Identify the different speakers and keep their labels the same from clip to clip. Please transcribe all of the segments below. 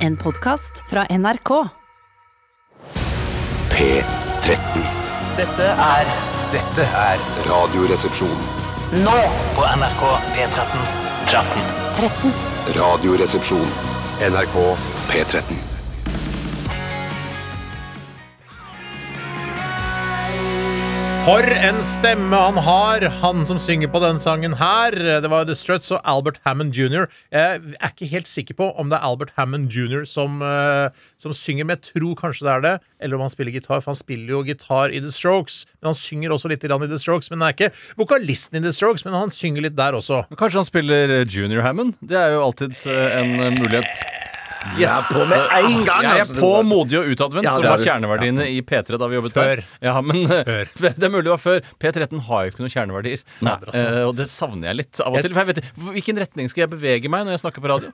Speaker 1: En podkast fra NRK.
Speaker 2: P13.
Speaker 3: Dette er Dette er
Speaker 2: Radioresepsjon.
Speaker 3: Nå på NRK P13 13
Speaker 2: Radioresepsjon. NRK P13.
Speaker 4: For en stemme han har, han som synger på denne sangen her. Det var The Struts og Albert Hammond jr. Jeg er ikke helt sikker på om det er Albert Hammond jr. som, eh, som synger, men jeg tror kanskje det er det. Eller om han spiller gitar, for han spiller jo gitar i The Strokes. Men han synger også litt grann i The Strokes, men han er ikke vokalisten i The Strokes, men han synger litt der også.
Speaker 5: Men Kanskje han spiller eh, junior Hammond? Det er jo alltids eh, en eh, mulighet. ah,
Speaker 6: Jeg er på med en gang!
Speaker 5: Jeg er
Speaker 6: altså.
Speaker 5: på modig og utadvendt,
Speaker 6: Ja,
Speaker 5: som
Speaker 6: det er
Speaker 5: var
Speaker 6: du.
Speaker 5: kjerneverdiene i P3 da vi jobbet
Speaker 4: Før.
Speaker 5: der. Ja, men eh,
Speaker 4: Før.
Speaker 5: Det er mulig det var før. P13 har jo ikke noen kjerneverdier.
Speaker 4: Fader, altså.
Speaker 5: Eh, og det savner jeg litt av og til. For jeg vet, ikke, hvilken retning skal jeg bevege meg når jeg snakker på radio?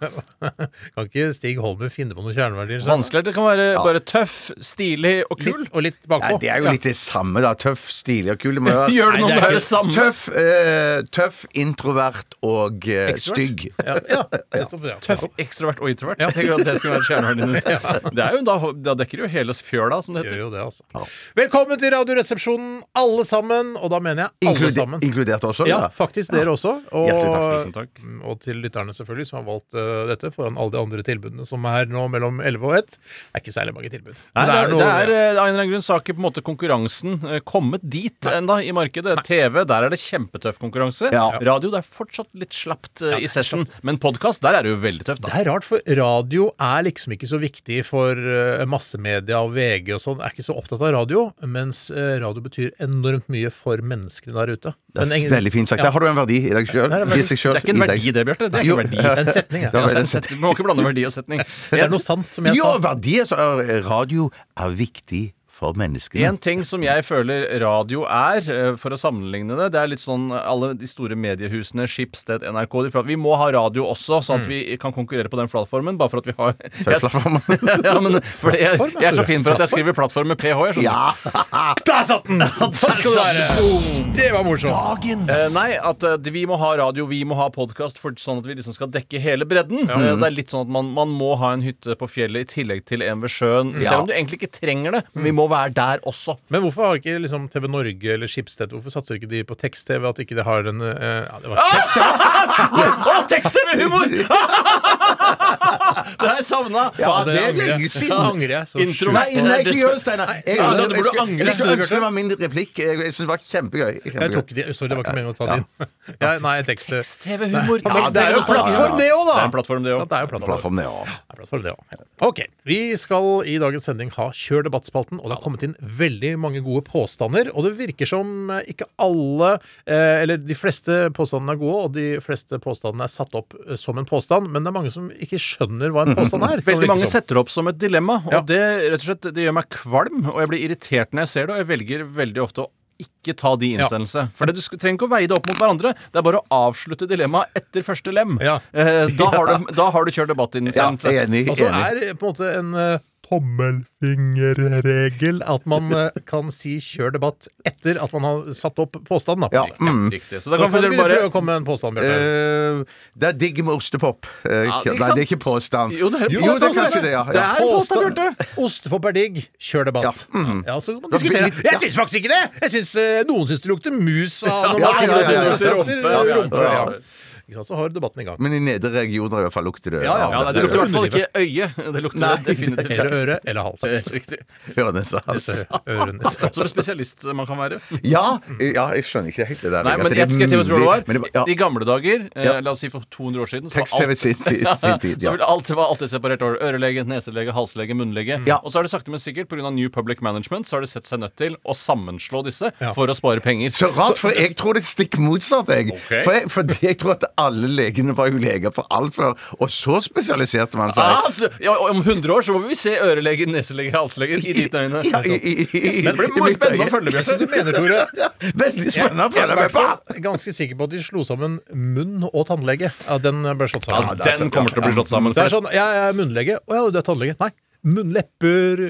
Speaker 4: Kan ikke Stig Holmer finne på noen kjerneverdier? så-
Speaker 5: Vanskelig. Det kan være bare tøff, stilig og kul.
Speaker 4: Litt, og litt
Speaker 6: Nei,
Speaker 4: bakpå.
Speaker 6: det er jo litt det samme, da. Tøff, stilig og kul. Det må jo være-
Speaker 5: Gjør
Speaker 4: Nei,
Speaker 5: det noe
Speaker 4: det er
Speaker 5: med
Speaker 4: ikke-
Speaker 5: det samme?
Speaker 6: Tøff, eh, tøff, introvert og eh, stygg.
Speaker 4: Ja, ja, nettopp, ja.
Speaker 5: Tøff, ekstrovert og introvert. Jeg tenker at Det skulle være kjerneverdiene dine. Det er jo, da, da dekker det jo hele fjøla, som det
Speaker 4: Gjør
Speaker 5: heter.
Speaker 4: jo det, altså. Velkommen til Radioresepsjonen, alle sammen. Og da mener jeg alle
Speaker 6: Inklude-
Speaker 4: sammen.
Speaker 6: inkludert også?
Speaker 4: Ja,
Speaker 6: Ja.
Speaker 4: faktisk dere også. Og,
Speaker 6: Hjertelig takk,
Speaker 5: tusen takk.
Speaker 4: og til lytterne selvfølgelig som har valgt eh, dette foran alle de andre tilbudene som er nå mellom 11 og 1. Det er ikke særlig mange tilbud.
Speaker 5: Nei,
Speaker 4: Men
Speaker 5: det er,
Speaker 4: noe-
Speaker 5: det er eh, av en eller annen grunn så har ikke på en måte konkurransen eh, kommet dit ennå i markedet. TV, der er det kjempetøff konkurranse.
Speaker 6: Ja.
Speaker 5: Radio, det er fortsatt litt slapt eh, i session. Men podkast, der er det jo veldig tøft.
Speaker 4: det
Speaker 5: Da.
Speaker 4: er rart, for radio er liksom ikke så viktig for eh, massemedia og VG og sånn. Er ikke så opptatt av radio, mens eh, radio betyr enormt mye for menneskene der ute.
Speaker 6: Det er veldig fint sagt. Der har du en verdi i deg sjøl.
Speaker 4: Nei, det er veldig-
Speaker 5: Det er ikke en verdi, det, Bjarte. Det er
Speaker 6: Jo.
Speaker 5: ikke en verdi.
Speaker 4: En setning, ja.
Speaker 6: Ja,
Speaker 5: Ja,
Speaker 6: det er
Speaker 5: en
Speaker 6: sant.
Speaker 5: setning. Vi må ikke blande verdi og setning.
Speaker 4: Det er noe sant, som jeg
Speaker 6: Jo,
Speaker 4: sa.
Speaker 6: verdier så er radio er viktig for menneskene.
Speaker 5: En ting som jeg føler radio er, eh, for å sammenligne det Det er litt sånn alle de store mediehusene, Schibsted, NRK de, for at Vi må ha radio også, sånn at vi kan konkurrere på den plattformen. Bare for at vi har
Speaker 6: Så er det plattformen.
Speaker 5: ja, men for det, jeg, jeg er så fin for at jeg skriver plattform med ph. Jeg skjønner.
Speaker 6: Ja.
Speaker 4: Der satt den! Sånn skal det være! Det var morsomt.
Speaker 5: Eh, nei, at eh, vi må ha radio, vi må ha podkast, sånn at vi liksom skal dekke hele bredden. Eh,
Speaker 4: Mm.
Speaker 5: det er litt sånn at man, man må ha en hytte på fjellet i tillegg til en ved sjøen.
Speaker 4: Mm.
Speaker 5: Selv om du egentlig ikke trenger det. Men vi må være der også.
Speaker 4: Men hvorfor har ikke liksom TV Norge eller Schibsted Hvorfor satser ikke de på tekst-TV? At ikke det har en eh, ja, det var Ah!
Speaker 5: Å, tekster med humor! det har jeg savna.
Speaker 6: Ja, det er
Speaker 4: angrer jeg.
Speaker 6: lenge siden.
Speaker 4: Det angrer jeg så sjukt.
Speaker 6: Nei, nei, ikke gjør det, Steinar. Jeg- jeg-
Speaker 5: Ja, da, du
Speaker 6: jeg
Speaker 5: burde
Speaker 6: skulle-
Speaker 5: angre,
Speaker 6: Jeg skulle
Speaker 5: Bjarte.
Speaker 6: ønske det var min replikk. Jeg jeg synes det var kjempegøy.
Speaker 4: Jeg
Speaker 6: Kjempegøy.
Speaker 4: tok de, sorry, det var ikke meningen å ta det inn. Ja, nei, tekst det
Speaker 5: TV-humor.
Speaker 4: Nei, det er jo en plattform, det også, da.
Speaker 5: Det er en plattform, det
Speaker 4: er
Speaker 5: òg.
Speaker 4: jo plattform.
Speaker 6: Plattformen, ja.
Speaker 4: Det er plattform, det også. Ok, Vi skal i dagens sending ha Kjør debattspalten, og det har kommet inn veldig mange gode påstander. Og det virker som eh, ikke alle, eh, eller de fleste påstandene er gode, og de fleste påstandene er satt opp eh, som en påstand, men det er mange som ikke skjønner hva en påstand er. kan det
Speaker 5: Veldig
Speaker 4: virke
Speaker 5: mange
Speaker 4: som.
Speaker 5: setter det opp som et dilemma, og
Speaker 4: Ja.
Speaker 5: det, rett og slett, det gjør meg kvalm. Og jeg blir irritert når jeg ser det, og jeg velger veldig ofte å ikke ta de i
Speaker 4: Ja.
Speaker 5: innsendelse. For det, du sk- trenger ikke å veie det opp mot hverandre. Det er bare å avslutte dilemmaet etter første lem.
Speaker 4: Ja.
Speaker 5: Eh, da, har du, da har du kjørt
Speaker 6: Ja,
Speaker 5: debattinnsendelse.
Speaker 6: jeg er enig.
Speaker 4: Altså
Speaker 6: enig.
Speaker 4: er på en måte en eh, tommelfingerregel at man eh, kan si 'kjør debatt' etter at man har satt opp påstanden. Da.
Speaker 6: Ja, mm.
Speaker 5: Riktig. Så
Speaker 4: Så
Speaker 5: da
Speaker 4: kan
Speaker 5: kan
Speaker 4: vi
Speaker 5: for eksempel
Speaker 4: bare...
Speaker 5: bare
Speaker 4: prøve å komme med en påstand, Bjarte.
Speaker 6: Eh, det er digg med ostepop. Eh,
Speaker 5: ikke
Speaker 6: nei,
Speaker 5: sant?
Speaker 6: det er ikke påstand.
Speaker 5: Jo, det er
Speaker 6: jo, det er
Speaker 5: påstand,
Speaker 6: kanskje det, ja. ja.
Speaker 5: Det er en påstand, Bjarte.
Speaker 4: Ostepop er digg, kjør debatt. Ja,
Speaker 5: Mhm.
Speaker 4: så kan man
Speaker 6: Da blir
Speaker 4: diskutere.
Speaker 6: litt-
Speaker 4: Jeg syns faktisk ikke det! Jeg synes, eh, Noen syns det lukter mus av når
Speaker 5: Ja,
Speaker 4: man
Speaker 5: ja,
Speaker 4: finner
Speaker 5: ja,
Speaker 4: ut
Speaker 5: ja, ja.
Speaker 4: at det lukter
Speaker 5: Rumpe, ja, Mm.
Speaker 4: rumpe,
Speaker 6: ja.
Speaker 4: ja. Ikke sant, Så har debatten i gang.
Speaker 6: Men i nedre regioner i hvert fall lukter det
Speaker 4: Ja, ja.
Speaker 6: av
Speaker 5: Ja, nei, det lukter i hvert fall ikke øye. Det lukter definitivt
Speaker 4: Eller øre eller hals.
Speaker 5: Riktig.
Speaker 6: Hørenesas.
Speaker 4: Ørenes.
Speaker 5: Så er det spesialist man kan være.
Speaker 6: altså. Ja, ja, jeg skjønner ikke helt det der.
Speaker 5: Nei,
Speaker 6: At
Speaker 5: men
Speaker 6: det er
Speaker 5: jeg skal til å tro det
Speaker 6: mulig, men
Speaker 5: var.
Speaker 6: ja,
Speaker 5: I gamle dager, eh,
Speaker 6: Ja.
Speaker 5: la oss si for 200 år siden, så var
Speaker 6: Tekst-TV
Speaker 5: alt
Speaker 6: sin, sin, sin tid.
Speaker 5: Så
Speaker 6: Ja.
Speaker 5: vil alt, var alltid separert over ørelege, neselege, halslege, munnlege.
Speaker 6: Ja.
Speaker 5: Og så har det sakte, men sikkert pga. New Public Management så har det sett seg nødt til å sammenslå disse
Speaker 4: Ja.
Speaker 5: for å spare penger.
Speaker 6: Så rart, for jeg tror det er stikk motsatt. Jeg.
Speaker 5: Ok.
Speaker 6: For jeg, fordi jeg tror at alle legene var jo leger for alt før, og så spesialiserte man seg.
Speaker 5: Ah, så- ja, om 100 år så må vi se øreleger, neseleger, halsleger i ditt øyne.
Speaker 6: Ja, i, i, i, i,
Speaker 5: det blir
Speaker 6: i mitt
Speaker 5: spennende å
Speaker 6: øye.
Speaker 5: følge med.
Speaker 4: Så du mener, Tore,
Speaker 6: Veldig spennende å
Speaker 4: Jeg
Speaker 6: følge
Speaker 4: er i hvert
Speaker 6: med på.
Speaker 4: fall ganske sikker på at de slo sammen munn og tannlege. Ja, den ble slått
Speaker 5: Ja,
Speaker 4: sammen.
Speaker 5: den kommer til å bli slått sammen.
Speaker 4: Det
Speaker 5: For
Speaker 4: er sånn, Jeg er munnlege. Å ja, du er tannlege. Nei. munnlepper,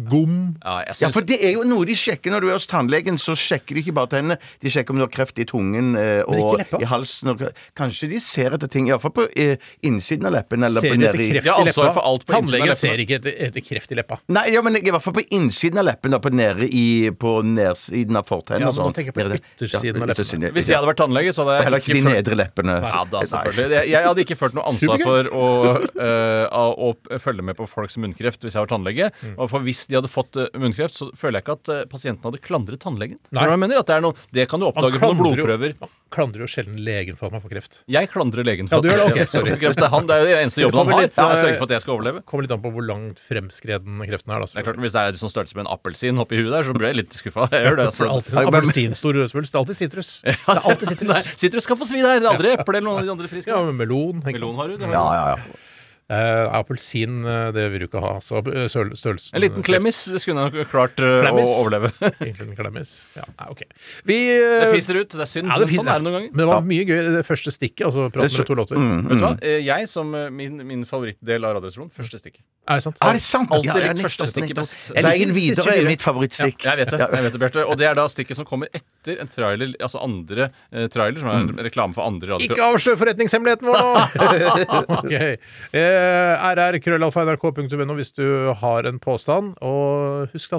Speaker 4: eh, gom
Speaker 5: Ja, jeg
Speaker 6: Ja,
Speaker 5: syns-
Speaker 6: for det er jo noe de sjekker når du er hos tannlegen. Så sjekker de ikke bare tennene, de sjekker om du har kreft i tungen eh, og
Speaker 4: leppa?
Speaker 6: i halsen. Og, kanskje de ser etter ting, iallfall på eh, innsiden av leppen. Eller
Speaker 4: Ser
Speaker 6: på
Speaker 4: de etter
Speaker 6: nedi-
Speaker 4: kreft
Speaker 5: Jeg har
Speaker 4: i
Speaker 5: ansvar
Speaker 4: leppa?
Speaker 5: for alt på innsiden
Speaker 4: Tannlegen
Speaker 5: av
Speaker 4: ser ikke etter, etter kreft i leppa.
Speaker 6: Nei, ja, men i hvert fall på innsiden av leppen. Da, på, nede i, på nedsiden av fortennene.
Speaker 4: Ja,
Speaker 6: og
Speaker 4: du må
Speaker 6: sånn.
Speaker 4: tenke på
Speaker 6: Nede-
Speaker 4: yttersiden av leppen.
Speaker 6: yttersiden,
Speaker 5: Hvis jeg hadde vært tannlege, så hadde
Speaker 6: Og
Speaker 5: jeg
Speaker 6: heller ikke de
Speaker 5: følt-
Speaker 6: nedre leppene.
Speaker 5: Ja da,
Speaker 6: Nei.
Speaker 5: selvfølgelig. Jeg, jeg hadde ikke følt noe ansvar for å, eh, å, å følge med på folks munnkreft hvis jeg var tannlege.
Speaker 4: Mm.
Speaker 5: Og for hvis de hadde fått eh, munnkreft, så føler jeg ikke at eh, pasienten hadde klandret tannlegen. Skjønner du hva jeg mener? At det, er noe, det kan du oppdage på noen blodprøver.
Speaker 4: jo, klandrer jo sjelden legen for at man får kreft.
Speaker 5: Jeg klandrer legen
Speaker 4: Ja,
Speaker 5: for
Speaker 4: du gjør det, ok,
Speaker 5: at jeg
Speaker 4: sorry.
Speaker 5: får kreft. Det er han, det er jo den eneste jobben
Speaker 4: kommer
Speaker 5: han har.
Speaker 4: litt, eh,
Speaker 5: Jeg sørger for at jeg skal overleve.
Speaker 4: Kommer litt an på hvor langt fremskreden kreften er. Da,
Speaker 5: Det er klart,
Speaker 4: selvfølgelig.
Speaker 5: Hvis det er sånn størrelse med en appelsin oppi huet der, så blir jeg litt skuffa. Jeg gjør
Speaker 4: For det
Speaker 5: det.
Speaker 4: er
Speaker 5: Altså.
Speaker 4: alltid en appelsinstor rødspuls. Det er alltid sitrus. Det er alltid
Speaker 5: Nei,
Speaker 4: sitrus.
Speaker 5: Sitrus kan få svi der. Det er aldri eple eller noen av de andre friske.
Speaker 4: Ja, men melon. ikke sant?
Speaker 5: Melon har du. det har du.
Speaker 6: Ja, ja, ja.
Speaker 4: Eh, appelsin, eh, det vil du ikke ha. Så eh, søl- størrelsen
Speaker 5: En liten klemmis det skulle jeg nok klart eh,
Speaker 4: Klemmis?
Speaker 5: å overleve.
Speaker 4: Egentlig en klemmis. Ja, nei, ok. Vi
Speaker 5: Det
Speaker 4: eh,
Speaker 5: fiser ut. Det er synd.
Speaker 4: ja, det
Speaker 5: men
Speaker 4: fiser-
Speaker 5: sånn er det noen ganger.
Speaker 4: Men det var mye gøy det første stikket, altså praten med to låter.
Speaker 5: Vet du
Speaker 4: Mm.
Speaker 5: hva? Eh, Jeg som eh, min, min favorittdel av Radioresepsjonen, første stikket.
Speaker 4: Er det sant?
Speaker 6: Er det sant?
Speaker 5: Alltid
Speaker 6: Ja, ja,
Speaker 5: litt
Speaker 6: nettopp,
Speaker 5: første stikket
Speaker 6: nettopp.
Speaker 5: best.
Speaker 4: Jeg liker
Speaker 6: Veien
Speaker 4: det siste
Speaker 6: videre er
Speaker 4: videre.
Speaker 6: mitt favorittstikk.
Speaker 5: Jeg vet det, jeg vet det, Bjarte. Og det er da stikket som kommer etter en trailer, altså andre eh, trailer, som er en reklame for andre
Speaker 4: Mm. Ikke
Speaker 5: radioprogram.
Speaker 4: avslør forretningshemmeligheten vår nå! okay. eh, rrkrøllalfa.nrk.no hvis du har en påstand. Og husk da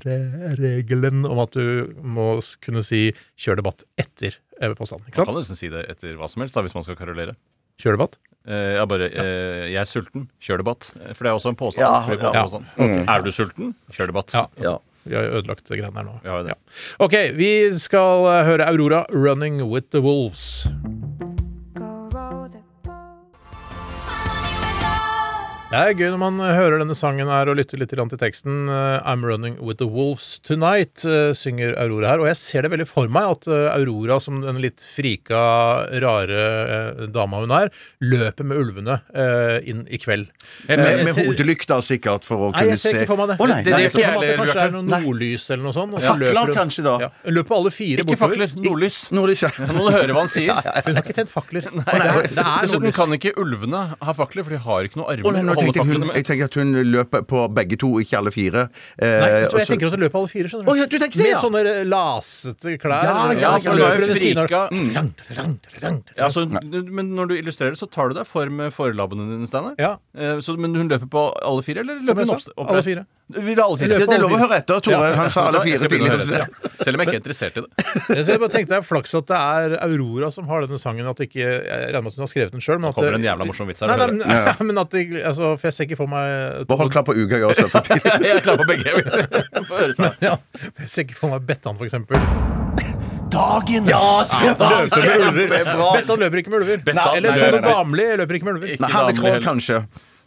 Speaker 4: tommelfingerregelen om at du må s- kunne si 'kjør debatt' etter eh, påstanden. Ikke
Speaker 5: Man
Speaker 4: sant?
Speaker 5: kan nesten si det etter hva som helst, da, hvis man skal karolere.
Speaker 4: Kjør debatt.
Speaker 5: Eh, jeg bare eh, Jeg er sulten. Kjør debatt. Eh, For det er også en påstand.
Speaker 6: Ja, Mm.
Speaker 5: Det blir på en
Speaker 4: ja.
Speaker 5: påstand. Er du sulten? Kjør debatt.
Speaker 4: Ja.
Speaker 6: Ja.
Speaker 4: Vi har jo ødelagt det greiene her nå.
Speaker 5: Vi har jo det.
Speaker 4: OK, vi skal eh, høre Aurora 'Running With The Wolves'.
Speaker 7: Go row the boat.
Speaker 4: Det er gøy når man eh, hører denne sangen her og lytter litt grann til teksten. eh, I'm running with the wolves tonight, eh, synger Aurora her. Og jeg ser det veldig for meg at eh, Aurora, som den litt frika, rare eh, dama hun er, løper med ulvene eh, inn i kveld.
Speaker 5: Helt
Speaker 4: Eh,
Speaker 6: Med,
Speaker 4: jeg
Speaker 6: med
Speaker 4: ser-
Speaker 6: hodelykta sikkert, for å
Speaker 4: Nei,
Speaker 6: kunne
Speaker 4: jeg
Speaker 6: se
Speaker 4: ser ikke for meg det.
Speaker 6: Å, nei,
Speaker 4: det,
Speaker 6: nei,
Speaker 4: jeg ser
Speaker 5: ikke
Speaker 4: for meg at det
Speaker 5: jeg
Speaker 4: kanskje
Speaker 5: heller,
Speaker 4: er noe
Speaker 6: Bjarte.
Speaker 4: nordlys eller noe sånt. og så
Speaker 6: Fakler
Speaker 4: løper hun-
Speaker 6: kanskje da.
Speaker 4: Ja, hun løper alle fire
Speaker 5: Ikke
Speaker 4: bortover.
Speaker 5: fakler. Nordlys.
Speaker 6: Nordlys, ja.
Speaker 5: Nå må du høre hva han sier.
Speaker 4: Hun har ikke tent fakler. Det er, det er
Speaker 5: Dessuten
Speaker 4: nordlys.
Speaker 5: kan ikke ulvene ha fakler, for de har ikke noe armer
Speaker 6: Å, nei, nå
Speaker 5: å holde
Speaker 6: tenkte jeg,
Speaker 5: faklene
Speaker 6: hun,
Speaker 5: med.
Speaker 6: jeg tenker at hun løper på begge to, ikke alle fire. Eh,
Speaker 4: Nei, vet du, hva, jeg
Speaker 6: og så-
Speaker 4: tenker at hun løper alle fire, skjønner du.
Speaker 6: Å, ja, du tenker det,
Speaker 4: Med
Speaker 6: ja.
Speaker 4: sånne lasete klær.
Speaker 6: Ja, ja,
Speaker 4: og så
Speaker 6: ja,
Speaker 4: løper
Speaker 6: ja,
Speaker 4: hun ved siden av-
Speaker 5: frika.
Speaker 4: Trang, trang, trang, trang.
Speaker 5: Ja, så, hun- men når du illustrerer det, så tar du deg for med forelabbene dine, Steinar.
Speaker 4: Ja.
Speaker 5: Eh, så- Men hun løper på alle fire, eller
Speaker 4: Som
Speaker 5: løper
Speaker 4: jeg
Speaker 5: hun
Speaker 4: sa,
Speaker 5: oppst-
Speaker 4: alle fire.
Speaker 5: Du vil ha alle fire.
Speaker 4: Jeg løper
Speaker 6: Ja, det er lov å
Speaker 4: alle fire.
Speaker 6: høre etter, Tore. Han sa alle
Speaker 5: Jeg
Speaker 6: fire
Speaker 5: skal begynne å høre
Speaker 6: tidligere.
Speaker 5: etter, ja. Selv om jeg ikke er interessert i det.
Speaker 4: Jeg ser- bare tenkte det er flaks at det er Aurora som har denne sangen. At ikke, jeg regner med at hun har skrevet den sjøl. Nå
Speaker 5: kommer en jævla morsom vits her,
Speaker 4: Nei, nei,
Speaker 5: hører
Speaker 4: nei, men at det, altså, for jeg ser ikke for meg
Speaker 6: Bare hold klar på Ugøy også. For tidlig.
Speaker 5: Jeg er klar på begge. Få høre seg.
Speaker 4: ja, Jeg ser ikke for meg Bettan, for eksempel.
Speaker 3: Dagen!
Speaker 4: Løper med ulver. Bettan løper ikke med ulver.
Speaker 5: Bettan
Speaker 4: eller
Speaker 5: løper
Speaker 4: Tone
Speaker 5: med-
Speaker 4: Damli løper ikke med ulver.
Speaker 6: Nei,
Speaker 5: Ikke
Speaker 6: Hanne
Speaker 5: damer
Speaker 6: Krogh,
Speaker 5: heller.
Speaker 6: kanskje.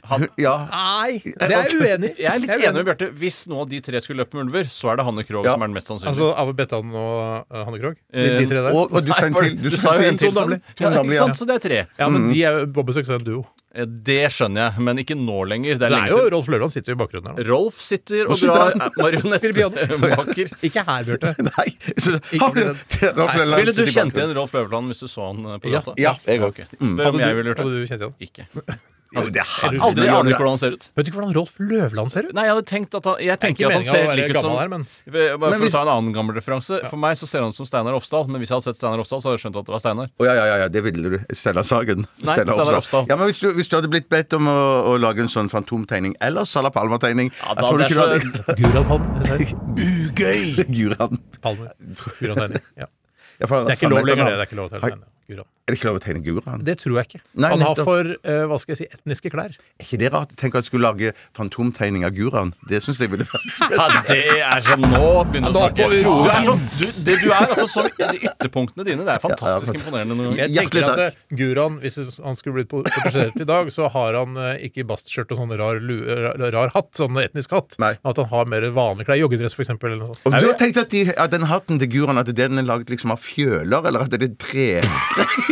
Speaker 6: Hun- Ja.
Speaker 4: Nei, det er jeg uenig i.
Speaker 5: Jeg er litt
Speaker 4: uenig.
Speaker 5: enig med Bjarte. Hvis noen av de tre skulle løpt med ulver, så er det Hanne Krogh
Speaker 6: Ja.
Speaker 5: som er den mest sannsynlige.
Speaker 4: Altså Ave Bettan og eh, Hanne Krogh? De,
Speaker 5: Eh,
Speaker 4: de tre der?
Speaker 6: Og, og du sa
Speaker 5: Nei,
Speaker 6: en
Speaker 5: var det-
Speaker 6: til.
Speaker 5: du
Speaker 6: Du
Speaker 5: sa
Speaker 6: sa
Speaker 5: jo en til,
Speaker 6: til.
Speaker 5: Damli.
Speaker 6: Tone
Speaker 5: Ja, ikke
Speaker 6: Damli, ja.
Speaker 5: sant? Så det er tre.
Speaker 4: Ja,
Speaker 6: Mm.
Speaker 4: men de er jo på besøk, så er det en duo.
Speaker 5: Eh, Det skjønner jeg, men ikke nå lenger. Det er
Speaker 4: Det er
Speaker 5: lenge
Speaker 4: jo
Speaker 5: siden.
Speaker 4: Rolf Løvland sitter jo i bakgrunnen her nå.
Speaker 5: Rolf sitter og
Speaker 6: sitter
Speaker 5: drar
Speaker 6: han?
Speaker 5: marionettmaker.
Speaker 4: Ikke her, Bjarte.
Speaker 6: Nei. Så, har
Speaker 4: bli
Speaker 6: du-
Speaker 4: redd.
Speaker 6: Det var flere land
Speaker 5: Ville du
Speaker 6: sitt i
Speaker 5: kjent
Speaker 6: bakgrunnen.
Speaker 5: igjen Rolf Løvland hvis du så han eh, på
Speaker 4: Ja.
Speaker 5: gata?
Speaker 6: Ja, jeg
Speaker 5: Ok. Spør om jeg ville gjort
Speaker 4: Hadde
Speaker 5: det.
Speaker 4: du kjent igjen?
Speaker 5: Ikke.
Speaker 6: Jo, det har du.
Speaker 5: Aldri aner hvordan han ser ut.
Speaker 4: Vet du ikke hvordan Rolf Løvland ser ut?
Speaker 5: Nei, jeg hadde tenkt at han, jeg
Speaker 4: ikke
Speaker 5: tenker at han
Speaker 4: meningen å
Speaker 5: ser
Speaker 4: være
Speaker 5: like ut som
Speaker 4: gammel her, men-
Speaker 5: Bare For
Speaker 6: hvis-
Speaker 5: å ta en annen gammel referanse. For meg så ser han ut som Steinar Ofsdal, men hvis jeg hadde sett Steinar Ofsdal, så hadde jeg skjønt at det var Steinar.
Speaker 6: Å ja, ja, ja, ja, det ville du. Stella Sagen.
Speaker 5: Nei, Stella Ropstad.
Speaker 6: Ja, men hvis du, hvis du hadde blitt bedt om å, å lage en sånn fantomtegning eller Sala Palma-tegning
Speaker 5: Ja,
Speaker 6: jeg
Speaker 5: da,
Speaker 6: tror du
Speaker 5: det
Speaker 6: ikke du
Speaker 5: er
Speaker 6: hadde-
Speaker 4: Guran
Speaker 5: så,
Speaker 4: Palmer.
Speaker 5: ugøy!
Speaker 6: Guran.
Speaker 4: Palmer. Guran Terning. Ja.
Speaker 6: Ja, for
Speaker 4: Det er ikke lov lenger, det.
Speaker 6: Er
Speaker 4: Det er ikke lov til å tegne. Guran.
Speaker 6: det ikke lov å tegne Guran?
Speaker 4: Det tror jeg ikke.
Speaker 6: Nei,
Speaker 4: Han har
Speaker 6: nettopp.
Speaker 4: for eh, hva skal jeg si, etniske klær.
Speaker 6: Er ikke det rart? Tenk at jeg skulle lage fantomtegning av Guran. Det syns jeg ville vært spesielt.
Speaker 5: Ja, det er som nå begynner å
Speaker 4: Ja, nå
Speaker 5: snakke.
Speaker 4: får vi
Speaker 5: Du
Speaker 4: roe
Speaker 5: er, sånn, du, det, du er altså så de Ytterpunktene dine. Det er fantastisk
Speaker 6: fantastisk.
Speaker 5: imponerende noen ganger.
Speaker 4: Jeg tenker
Speaker 6: Hjertelig
Speaker 4: at eh, Guran, hvis han skulle blitt portrettert i dag, så har han eh, ikke bastskjørt og sånn rar, lue- rar, rar hatt, sånn etnisk hatt,
Speaker 6: Nei.
Speaker 4: men at han har mer vanlige klær. Joggedress, for eksempel. Eller noe sånt.
Speaker 6: Om du har tenkt at, de, at den hatten til Guran at den er laget liksom av fjøler, eller at det er tre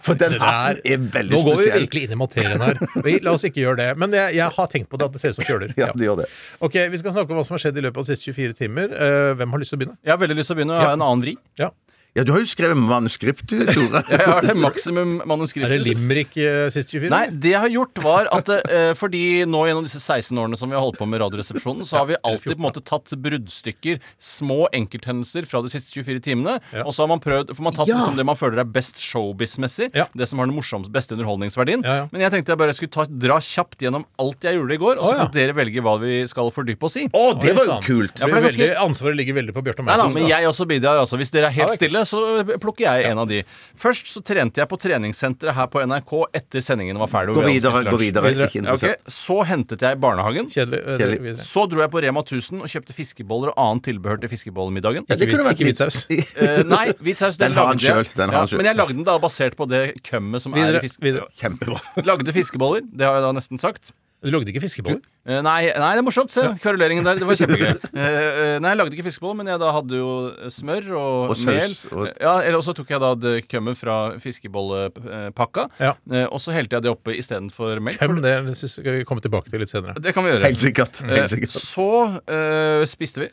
Speaker 6: For den
Speaker 4: Det
Speaker 6: hatten
Speaker 4: der-
Speaker 6: er veldig
Speaker 4: Nå går vi
Speaker 6: spesiell.
Speaker 4: virkelig inn i materien her. Vi- La oss ikke gjøre det. Men jeg, jeg har tenkt på det at det ser ut som fjøler.
Speaker 6: Ja, det gjør det.
Speaker 4: Ok, Vi skal snakke om hva som har skjedd i løpet av de siste 24 timer. Eh, hvem har lyst til å begynne?
Speaker 5: Jeg har veldig lyst til å begynne. Jeg har en annen vri.
Speaker 4: Ja.
Speaker 6: Ja, du har jo skrevet manuskript, du, Tore.
Speaker 5: Jeg har det maksimum manuskriptus.
Speaker 4: Er det Limerick eh, sist 24?
Speaker 5: Nei, det jeg har gjort var at eh, fordi nå gjennom disse 16 årene som vi har holdt på med Radioresepsjonen, så har vi alltid på en måte tatt bruddstykker, små enkelthendelser fra de siste 24 timene,
Speaker 4: Ja.
Speaker 5: og så har man prøvd For man har tatt liksom, det man føler er best showbiz-messig,
Speaker 4: Ja.
Speaker 5: det som har den morsomste, beste underholdningsverdien.
Speaker 4: Ja, ja.
Speaker 5: Men jeg tenkte jeg bare skulle ta, dra kjapt gjennom alt jeg gjorde i går, og så
Speaker 4: Å, ja.
Speaker 5: kan dere velge hva vi skal fordype oss i.
Speaker 6: Å, det
Speaker 4: Oi,
Speaker 6: var jo
Speaker 4: sann.
Speaker 6: kult!
Speaker 5: Ja,
Speaker 4: Det blir
Speaker 5: for det er ganske-
Speaker 4: veldig, ansvaret ligger veldig på Bjarte
Speaker 5: Nei da,
Speaker 4: Magnus.
Speaker 5: men jeg også bidrar. Altså. Hvis dere er helt
Speaker 4: ok.
Speaker 5: stille, så plukker jeg en av de. Først så trente jeg på treningssenteret her på NRK etter sendingen var ferdig. og
Speaker 6: Gå
Speaker 5: vi hadde
Speaker 6: videre,
Speaker 5: spist
Speaker 6: gå
Speaker 5: lunsj.
Speaker 6: videre.
Speaker 4: Videre.
Speaker 6: Ikke
Speaker 5: Ja, ok.
Speaker 6: interessant.
Speaker 5: Så hentet jeg i barnehagen.
Speaker 4: Kjedelig. eh,
Speaker 6: Kjedelig.
Speaker 4: videre.
Speaker 5: Så dro jeg på Rema 1000 og kjøpte fiskeboller og annet tilbehør til fiskebollemiddagen.
Speaker 6: Ja, det kunne
Speaker 4: Ikke
Speaker 6: vært
Speaker 4: hvit- ikke
Speaker 6: litt-
Speaker 4: hvit
Speaker 5: Eh, nei, hvit saus.
Speaker 6: Den har han
Speaker 5: lagde jeg.
Speaker 6: selv, den har han selv.
Speaker 5: men jeg lagde den da basert på det kømmet som er i
Speaker 4: Videre.
Speaker 5: fisk...
Speaker 4: videre.
Speaker 6: Kjempebra.
Speaker 5: Lagde fiskeboller. Det har jeg da nesten sagt.
Speaker 4: Du lagde ikke fiskeboller?
Speaker 5: Eh, nei, nei, det er morsomt. Se, kveruleringen der. Det var kjempegøy. Eh, eh, nei, jeg lagde ikke fiskeboller, men jeg da hadde jo smør og,
Speaker 6: Og saus,
Speaker 5: mel.
Speaker 6: og-
Speaker 5: Ja, eller også tok jeg da det kømmet fra fiskebollepakka,
Speaker 4: Ja.
Speaker 5: eh, og så helte jeg det oppi istedenfor melk.
Speaker 4: Hvem det? Det synes jeg skal vi komme tilbake til litt senere.
Speaker 5: Det kan vi gjøre.
Speaker 6: Helt sikkert. Helt
Speaker 5: Eh,
Speaker 6: sikkert.
Speaker 5: så eh, spiste vi.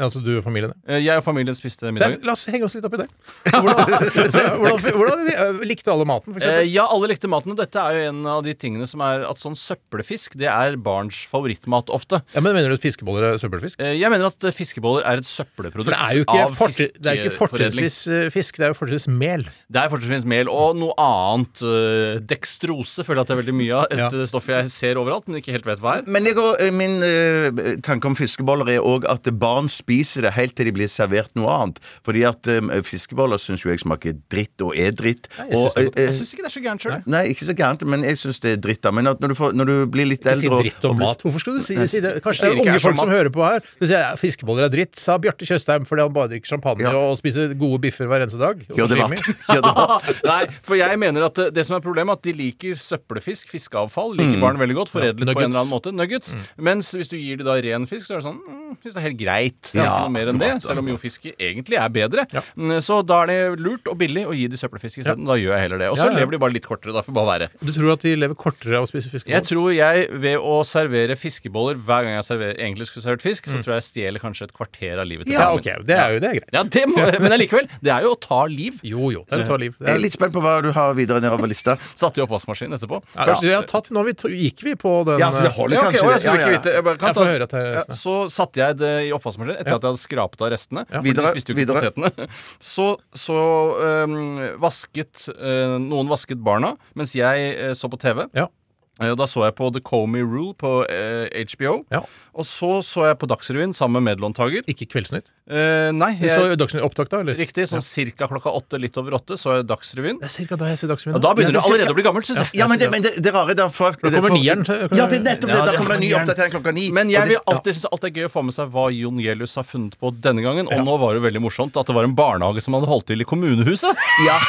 Speaker 4: Altså du og familien? ja.
Speaker 5: Eh, Jeg og familien spiste
Speaker 4: Der,
Speaker 5: middagen.
Speaker 4: la oss henge oss litt opp i det. Hvordan, hvordan, hvordan vi, eh, likte alle maten, for
Speaker 5: Eh,
Speaker 4: eksempel?
Speaker 5: ja, alle likte maten, og dette er jo en av de tingene som er at sånn søppelfisk, det er barns favorittmat ofte.
Speaker 4: Ja, men Mener du at fiskeboller er søppelfisk?
Speaker 5: Eh, Jeg mener at eh, fiskeboller er et søppelprodukt
Speaker 4: For det er jo ikke,
Speaker 5: av
Speaker 4: fortri- det er jo ikke
Speaker 5: fiskeforedling.
Speaker 4: fortrinnsvis eh, fisk, det er jo fortrinnsvis mel.
Speaker 5: Det er fortrinnsvis mel og noe annet. eh, dekstrose føler jeg at det er veldig mye av. Et
Speaker 4: Ja.
Speaker 5: eh, stoff jeg ser overalt, men ikke helt vet hva er.
Speaker 6: Men jeg, og- eh, min eh, tanke om fiskeboller er òg at barn spiser det helt til de blir servert noe annet. Fordi at eh, fiskeboller syns jo jeg smaker dritt og er dritt.
Speaker 4: Nei, jeg syns det er godt.
Speaker 6: eh, eh,
Speaker 5: Jeg syns ikke det er så gærent sjøl.
Speaker 6: Nei, ikke så gærent, men jeg syns det er dritt. da Men at når du, får, når du blir litt
Speaker 4: Ikke si
Speaker 6: eldre og-
Speaker 4: dritt om
Speaker 6: og blir-
Speaker 4: mat. Hvorfor skal du si, si det? Kanskje
Speaker 5: Sier
Speaker 4: det er
Speaker 5: ikke
Speaker 4: unge
Speaker 5: jeg som
Speaker 4: folk som
Speaker 5: mat.
Speaker 4: hører på her. Du sier, «Ja, fiskeboller er dritt, sa Bjarte Tjøstheim fordi han bare drikker champagne
Speaker 6: Ja.
Speaker 4: og spiser gode biffer hver eneste dag. Og
Speaker 6: Ja, det var
Speaker 4: sashimi.
Speaker 6: Ja, det var-
Speaker 5: Nei, for jeg mener at eh, det som er problemet, er at de liker søppelfisk, fiskeavfall,
Speaker 4: Mm.
Speaker 5: liker barn veldig godt, foredlet på en eller annen måte, nuggets. Mens hvis du gir de da ren fisk, så er det sånn mm, Syns det er helt greit. Det er
Speaker 6: Ja,
Speaker 5: ikke noe mer enn det, selv om jo fiske egentlig er bedre. Mm, Så da er det lurt og billig å gi de søppelfisk isteden. Da gjør jeg heller det. Og så
Speaker 4: Ja, ja.
Speaker 5: lever de bare litt kortere, da får bare være.
Speaker 4: Du tror at de lever kortere av å spise
Speaker 5: Jeg
Speaker 4: fiskeboller?
Speaker 5: tror jeg ved å servere fiskeboller hver gang jeg serverer, egentlig skulle servert fisk, så tror jeg jeg stjeler kanskje et kvarter av livet
Speaker 4: Mm.
Speaker 5: til
Speaker 4: Ja,
Speaker 5: barna
Speaker 4: ok.
Speaker 5: mine.
Speaker 4: Det er jo det er greit.
Speaker 5: Ja, det må, men allikevel. Det er jo å ta liv.
Speaker 4: Jo, jo. Det er å ta liv. Det
Speaker 6: Jeg er
Speaker 4: er,
Speaker 6: litt spent på hva du har videre nedover lista.
Speaker 5: Satte i oppvaskmaskinen etterpå.
Speaker 4: Ja, først, jeg har tatt, nå har vi, to- gikk vi på den
Speaker 6: Ja, så det holder
Speaker 5: eh, Ja, ok,
Speaker 6: kanskje.
Speaker 5: å, jeg
Speaker 6: det.
Speaker 5: skulle ikke vite. Jeg bare kan
Speaker 4: Jeg
Speaker 5: ta-
Speaker 4: får høre at det er
Speaker 5: Ja,
Speaker 4: resten.
Speaker 5: Så satte jeg det i oppvaskmaskinen etter at jeg hadde skrapet av restene. for
Speaker 6: Videre,
Speaker 5: de spiste jo ikke
Speaker 6: videre.
Speaker 5: potetene. Så, så øhm, vasket øh, Noen vasket barna mens jeg øh, så på TV.
Speaker 4: Ja.
Speaker 5: Eh, og Da så jeg på The Comey Rule på eh, HBO.
Speaker 4: Ja.
Speaker 5: Og så så jeg på Dagsrevyen sammen med medlåntaker.
Speaker 4: Ikke Kveldsnytt?
Speaker 5: Eh, nei,
Speaker 4: Du så
Speaker 5: jeg,
Speaker 4: Dagsnytt opptak da, eller?
Speaker 5: riktig. Sånn cirka klokka åtte, litt over åtte, så jeg Dagsrevyen.
Speaker 4: Det er cirka da jeg ser Dagsnytt.
Speaker 5: Og da begynner du
Speaker 6: Ja, det er
Speaker 5: allerede
Speaker 6: cirka-
Speaker 5: å bli gammel, syns jeg.
Speaker 6: Ja, men det, men det, det rare er da folk
Speaker 4: Da kommer
Speaker 6: folk-
Speaker 4: nieren til-
Speaker 6: Ja, det er nettopp det.
Speaker 4: Ja,
Speaker 6: Da
Speaker 4: det
Speaker 6: kommer det en ny
Speaker 4: kommer nieren.
Speaker 6: oppdatering klokka ni.
Speaker 5: Men
Speaker 6: Og
Speaker 5: jeg
Speaker 6: det-
Speaker 5: vil alltid synes alt det er gøy å få med seg hva Jon Gelius har funnet på denne gangen. Og nå var det jo veldig morsomt at det var en barnehage som hadde holdt til i kommunehuset.
Speaker 6: Ja.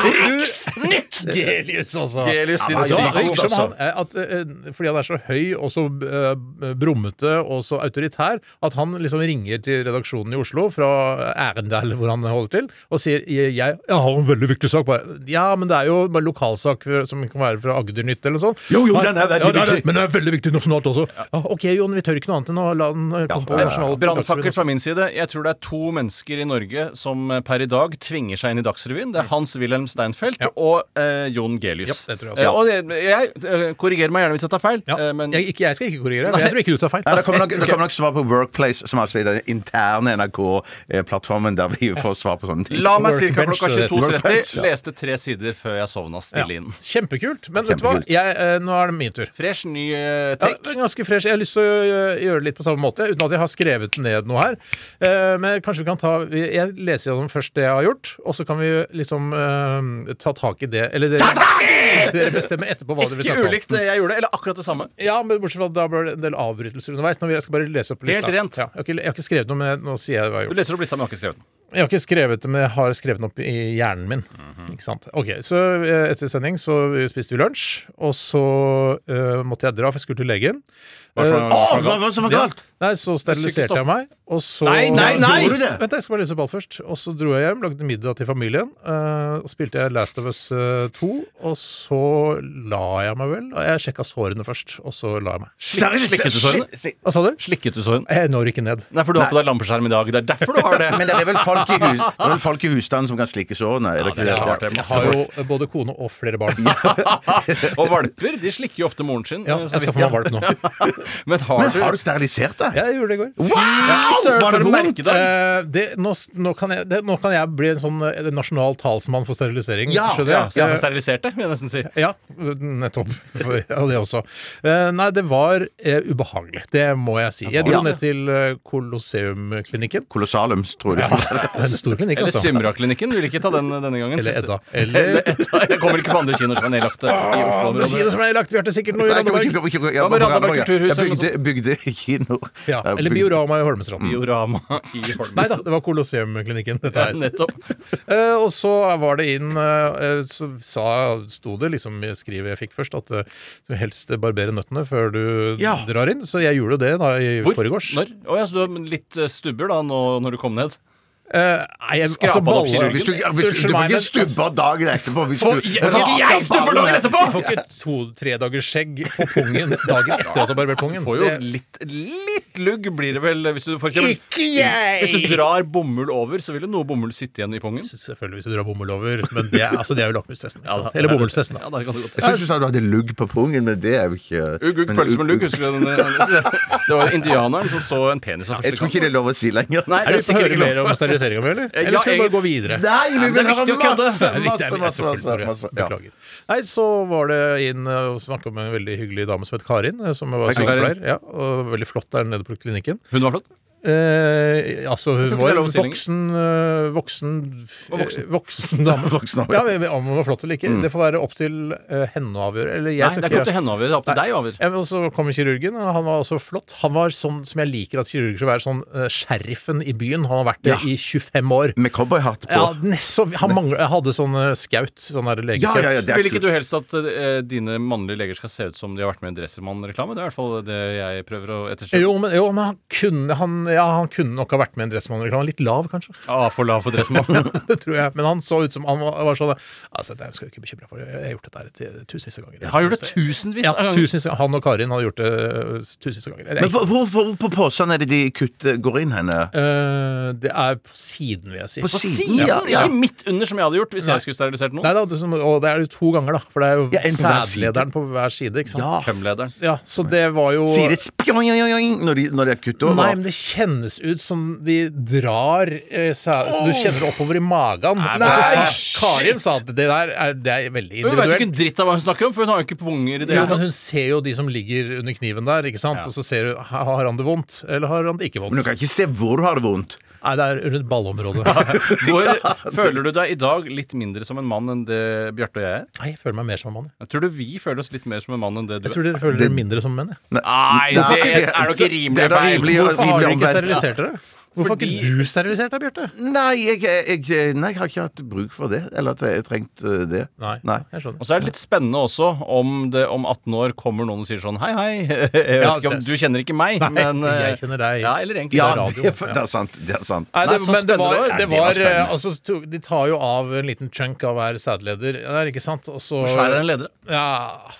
Speaker 4: Nytt Gelius, altså!
Speaker 5: Gelius, din
Speaker 4: Ja, det
Speaker 5: psyko,
Speaker 4: virker som
Speaker 5: altså.
Speaker 4: han, eh, at, eh, fordi han er så høy og så eh, brummete og så autoritær, at han liksom ringer til redaksjonen i Oslo fra Arendal, hvor han holder til, og sier jeg, 'Jeg har en veldig viktig sak'. Bare, ja, men det er jo bare lokalsak fra- som kan være fra Agdernytt eller noe sånt.
Speaker 8: Jo, jo,
Speaker 4: Nei,
Speaker 8: den er veldig
Speaker 4: ja, det
Speaker 8: viktig.
Speaker 4: Men den er veldig viktig nasjonalt også. Ja, OK, Jon, vi tør ikke noe annet enn å la den eh, komme på nasjonal
Speaker 5: Brannfakkel fra min side. Jeg tror det er to mennesker i Norge som eh, per i dag tvinger seg inn i Dagsrevyen. Det er Hans-Wilhelm Steinfeld og eh, Jon
Speaker 4: Mm. Ja,
Speaker 5: Gelius.
Speaker 4: det tror jeg også.
Speaker 5: Eh, og jeg, jeg eh, korrigerer meg gjerne hvis jeg tar feil,
Speaker 4: Ja.
Speaker 5: eh, men
Speaker 4: jeg, ikke, jeg skal ikke korrigere, men jeg tror ikke du tar feil.
Speaker 6: Nei, det kommer nok, det kommer nok svar på Workplace, som altså er den interne NRK-plattformen der vi får svar på sånne ting.
Speaker 5: La meg ca.
Speaker 4: Workbench,
Speaker 5: klokka
Speaker 4: det heter.
Speaker 5: 22.30.
Speaker 6: Workbench, ja.
Speaker 5: Leste tre sider før jeg sovna stille inn.
Speaker 4: Kjempekult. Men vet du hva,
Speaker 6: Kjempekult.
Speaker 4: jeg, eh, nå er det min tur.
Speaker 5: Fresh, ny eh,
Speaker 4: Ja,
Speaker 5: take.
Speaker 4: ganske fresh. Jeg har lyst til å eh, gjøre det litt på samme måte, uten at jeg har skrevet ned noe her. Eh, Men kanskje vi kan ta vi- Jeg leser gjennom først det jeg har gjort, og så kan vi liksom eh, ta tak i det. Eller dere, dere bestemmer etterpå hva dere vil
Speaker 5: Ikke
Speaker 4: snakke om.
Speaker 5: ulikt det jeg gjorde, eller akkurat det samme.
Speaker 4: Ja, men bortsett fra at da ble det en del avbrytelser underveis. Nå vil jeg skal bare lese opp lista.
Speaker 5: rent.
Speaker 4: Ja, jeg, har ikke, jeg har ikke skrevet noe, men nå sier jeg hva jeg har
Speaker 5: Du
Speaker 4: gjort.
Speaker 5: leser opp lista, men har ikke skrevet den.
Speaker 4: Jeg har ikke skrevet det, men jeg har skrevet den opp i hjernen min.
Speaker 5: Mhm.
Speaker 4: Ikke sant? Ok, Så eh, etter sending så spiste vi lunsj, og så eh, måtte jeg dra, for jeg skulle til legen. Eh,
Speaker 6: Å, hva var det som var galt?
Speaker 4: Nei, så steriliserte jeg meg, og så
Speaker 5: Nei, nei, nei!
Speaker 6: Gjorde du det?
Speaker 4: Vent, jeg skal bare lese opp alt først. Og så dro jeg hjem, lagde middag til familien. eh, og spilte jeg Last of Us eh, 2, og så la jeg meg vel. Og jeg sjekka sårene først, og så la jeg meg.
Speaker 5: Slikket du sånn? sårene?
Speaker 4: Hva sa du?
Speaker 5: Slikket du sårene?
Speaker 4: Jeg når ikke ned.
Speaker 5: Nei, for du har på deg lampeskjerm i dag. Det er derfor du har det.
Speaker 6: Men det er vel folk folk i, hus, det er vel folk i husstanden som kan slikke sårene? Er det ikke det?
Speaker 5: klart det.
Speaker 4: Jeg har jo både kone og flere barn.
Speaker 5: Og valper de slikker jo ofte moren sin.
Speaker 4: Ja,
Speaker 5: eh, så
Speaker 4: jeg skal
Speaker 5: vidt
Speaker 4: få meg valp nå.
Speaker 5: Men har
Speaker 6: Men
Speaker 5: du
Speaker 6: har du sterilisert deg?
Speaker 4: Jeg gjorde det i går.
Speaker 5: Søren,
Speaker 6: Var det
Speaker 5: for en
Speaker 6: vondt?
Speaker 5: merkedag.
Speaker 4: Eh, det, nå, s- nå, kan jeg, det, nå kan jeg bli en sånn eh, nasjonal talsmann for sterilisering.
Speaker 5: Ja,
Speaker 4: skjønner
Speaker 5: ja,
Speaker 4: jeg?
Speaker 5: så jeg
Speaker 4: Eh,
Speaker 5: får sterilisert det, vil jeg nesten si.
Speaker 4: Ja, nettopp. Og det også. Eh, Nei, det var eh, ubehagelig. Det må jeg si. Jeg dro
Speaker 6: Ja.
Speaker 4: ned til eh, Colosseum-klinikken.
Speaker 6: Kolossalum, tror jeg.
Speaker 4: Det er En stor klinikk,
Speaker 5: Eller
Speaker 4: altså.
Speaker 5: Symraklinikken. Vil ikke ta den denne gangen.
Speaker 4: Eller
Speaker 5: Siste-
Speaker 4: Edda. Eller
Speaker 5: Edda. Jeg kommer ikke på andre kinoer som er nedlagt eh, i
Speaker 4: andre kino
Speaker 5: Oslo-området.
Speaker 4: som er lagt. Vi har til sikkert noe i
Speaker 6: Nei, kom,
Speaker 4: Randaberg.
Speaker 6: kom, kom, kom,
Speaker 5: Hva med
Speaker 6: jeg-
Speaker 5: Randaberg kulturhus
Speaker 6: Jeg
Speaker 5: eller noe
Speaker 6: bygde, bygde kinoer.
Speaker 4: Ja,
Speaker 6: Jeg
Speaker 4: eller
Speaker 6: bygde-
Speaker 4: Biorama i Holmestrand.
Speaker 5: Biorama i Holmestrand.
Speaker 4: Nei da, det var Colosseum-klinikken. dette
Speaker 5: Ja,
Speaker 4: her.
Speaker 5: nettopp.
Speaker 4: Eh, og så var det inn eh, eh, Så sa, sto det liksom i skrivet jeg fikk først, at eh, du helst barberer nøttene før du
Speaker 5: Ja.
Speaker 4: drar inn. Så jeg gjorde jo det da i
Speaker 5: Hvor?
Speaker 4: forgårs.
Speaker 5: Når? Å ja, så du har litt eh, stubber da nå, når du kom ned?
Speaker 4: Eh, nei, jeg,
Speaker 5: Skrapa
Speaker 4: altså,
Speaker 5: det opp i
Speaker 4: baller-
Speaker 5: kirurgen?
Speaker 6: Hvis du, hvis du, du får ikke stubber dagen etterpå. Hvis du,
Speaker 5: jeg stubber dagen etterpå!
Speaker 4: altså, Du får ikke to-tre dagers skjegg på pungen dagen etter at du har barbert pungen.
Speaker 5: Får jo
Speaker 4: Det-
Speaker 5: litt, litt lugg blir det vel hvis du for eksempel,
Speaker 4: Ikke jeg!
Speaker 5: Hvis du drar bomull over, så vil jo noe bomull sitte igjen i pungen.
Speaker 4: Selvfølgelig hvis du drar bomull over, men det er, altså, det er jo lakmustesten. ikke
Speaker 5: Ja, da.
Speaker 4: sant? Eller bomullstesten.
Speaker 5: Ja, det kan du godt si.
Speaker 6: Jeg syns du sa du hadde lugg på pungen, men det er jo ikke
Speaker 5: Ugg, ugg,
Speaker 6: men
Speaker 5: pølse med
Speaker 6: ugg,
Speaker 5: lugg,
Speaker 6: ugg.
Speaker 5: husker du den? Det var indianeren som så en penis for
Speaker 6: Jeg
Speaker 5: første
Speaker 6: tror ikke det
Speaker 5: gang.
Speaker 6: er lov å si lenger.
Speaker 5: Nei,
Speaker 4: Er
Speaker 5: det
Speaker 4: det
Speaker 5: er sikkert ikke
Speaker 4: mer
Speaker 5: lov.
Speaker 4: om steriliseringa mi, eller?
Speaker 5: Ja,
Speaker 4: Eller skal vi bare
Speaker 5: jeg-
Speaker 4: gå videre?
Speaker 6: Nei, vi
Speaker 5: men det
Speaker 6: vil
Speaker 5: er
Speaker 6: høre
Speaker 5: viktig å kødde.
Speaker 6: masse,
Speaker 4: Det er riktig,
Speaker 6: masse,
Speaker 4: jeg
Speaker 6: masse,
Speaker 4: selvfølgelig
Speaker 6: masse,
Speaker 4: tror jeg.
Speaker 6: masse. Ja.
Speaker 4: Beklager. Nei, så var det inn eh, og snakka med en veldig hyggelig dame som het Karin, eh, som var
Speaker 5: Hei, Karin.
Speaker 4: sykepleier. Ja, og veldig flott der nede på klinikken.
Speaker 5: Hun var flott.
Speaker 4: Eh, altså, hun
Speaker 5: tror ikke det
Speaker 4: var
Speaker 5: er lov
Speaker 4: en
Speaker 5: å si lenger.
Speaker 4: voksen eh, voksen,
Speaker 5: Og voksen.
Speaker 4: eh, voksen dame.
Speaker 6: Voksen dame,
Speaker 4: ja,
Speaker 6: ja.
Speaker 4: men Om hun var flott eller ikke, det får være opp til eh, henne å avgjøre. Eller jeg
Speaker 5: Mm. Nei,
Speaker 4: skal
Speaker 5: det er ikke opp
Speaker 4: ikke
Speaker 5: til henne over, det er opp til deg over.
Speaker 4: Ja, men så kommer kirurgen, og han var også flott. Han var sånn som jeg liker at kirurger skal være, sånn eh, sheriffen i byen. Han har vært det
Speaker 6: Ja.
Speaker 4: i 25 år.
Speaker 6: Med cowboyhatt på.
Speaker 4: Ja, nest, så, han mangler, hadde sånn eh, skaut, sånn der
Speaker 6: Ja,
Speaker 4: legeskaut.
Speaker 6: ja, ja, det er
Speaker 5: Vil ikke du helst at eh, dine mannlige leger skal se ut som de har vært med i en Dresselmann-reklame? Det er i hvert fall det jeg prøver å etterstrebe.
Speaker 4: Jo, men, jo, men han, kunne, han, ja, han kunne nok ha vært med i en Dressmann-reklame. Litt lav, kanskje.
Speaker 5: Ah, for lav for Dresselmann.
Speaker 4: Det tror jeg. Men han så ut som han var, var sånn Altså, det skal du ikke bekymre deg for. Jeg har gjort dette her til- tusenvis av ganger.
Speaker 5: Har gjort det tusenvis
Speaker 4: ja,
Speaker 5: av ganger.
Speaker 4: tusenvis av Han og Karin hadde gjort det øh, tusenvis av ganger. Det er,
Speaker 6: Men
Speaker 4: ikke-
Speaker 6: hvor, hvor, hvor på posen er det de kutter, går inn henne?
Speaker 4: Øh, det er på siden, vil jeg si.
Speaker 6: På
Speaker 5: På
Speaker 6: siden?
Speaker 5: siden?
Speaker 6: Ja, ja.
Speaker 5: Ikke midt under, som jeg hadde gjort hvis
Speaker 4: Nei.
Speaker 5: jeg skulle
Speaker 4: Nei,
Speaker 5: sterilisert noen.
Speaker 4: da, det, er som- og det er jo to ganger, da. For det er jo
Speaker 6: Ja, en på hver side.
Speaker 4: sædlederen på hver side. Ikke sant?
Speaker 6: Ja.
Speaker 5: Kømlederen.
Speaker 4: Ja, så det var jo
Speaker 6: Sier det spjong, jong, jong, jong, når de, når de har kutt over?
Speaker 4: Nei, men det kjennes ut som de drar eh, sa- så Du kjenner det oppover i magen. og så sa, Karin sa at det der er, det er veldig
Speaker 5: Hun vet jo ikke
Speaker 4: individuelt.
Speaker 5: en dritt av hva hun snakker om, for hun har jo ikke punger i det
Speaker 4: Jo,
Speaker 5: hele
Speaker 4: men
Speaker 5: tatt.
Speaker 4: hun ser jo de som ligger under kniven der, ikke sant? og så ser hun ha- har han det vondt, eller har han det ikke vondt.
Speaker 6: Men du kan ikke se hvor du har det vondt.
Speaker 4: Nei, det er rundt ballområdet.
Speaker 5: Hvor føler du deg i dag litt mindre som en mann enn det Bjarte og jeg er?
Speaker 4: Nei, jeg føler meg mer som en mann. jeg.
Speaker 5: Jeg tror du vi føler oss litt mer som en mann enn det du
Speaker 4: Jeg
Speaker 5: er?
Speaker 4: tror dere føler dere mindre som menn. jeg.
Speaker 5: Nei,
Speaker 6: Nei,
Speaker 5: det
Speaker 6: det-
Speaker 5: er nok
Speaker 6: så- det
Speaker 5: rimelig
Speaker 6: er da
Speaker 5: feil.
Speaker 6: rimelig-
Speaker 4: Hvorfor har dere ikke
Speaker 6: omvendt.
Speaker 4: sterilisert dere? Hvorfor har
Speaker 5: Fordi-
Speaker 4: ikke du sterilisert deg, Bjarte?
Speaker 6: Nei jeg, jeg, nei, jeg har ikke hatt bruk for det. Eller at jeg har trengt eh, det.
Speaker 4: Nei,
Speaker 6: Nei.
Speaker 4: jeg skjønner.
Speaker 5: Og så er det litt spennende også om det om 18 år kommer noen og sier sånn Hei, hei, jeg vet
Speaker 4: Ja,
Speaker 5: ikke om
Speaker 4: det-
Speaker 5: du kjenner ikke meg,
Speaker 4: Nei,
Speaker 5: men eh,
Speaker 4: jeg kjenner deg.
Speaker 5: Ja, eller egentlig
Speaker 6: Ja,
Speaker 5: det er radio.
Speaker 6: det, det er sant. Det er sant.
Speaker 4: Nei,
Speaker 5: Nei,
Speaker 4: det,
Speaker 5: så
Speaker 4: men det
Speaker 5: spennende det
Speaker 4: var,
Speaker 5: var.
Speaker 4: det
Speaker 6: Nei, det var
Speaker 4: var,
Speaker 6: spennende.
Speaker 4: eh, altså, to- De tar jo av en liten chunk av hver sædleder, der, ikke sant? Og så
Speaker 5: Hvor svær er den lederen?
Speaker 4: Ja,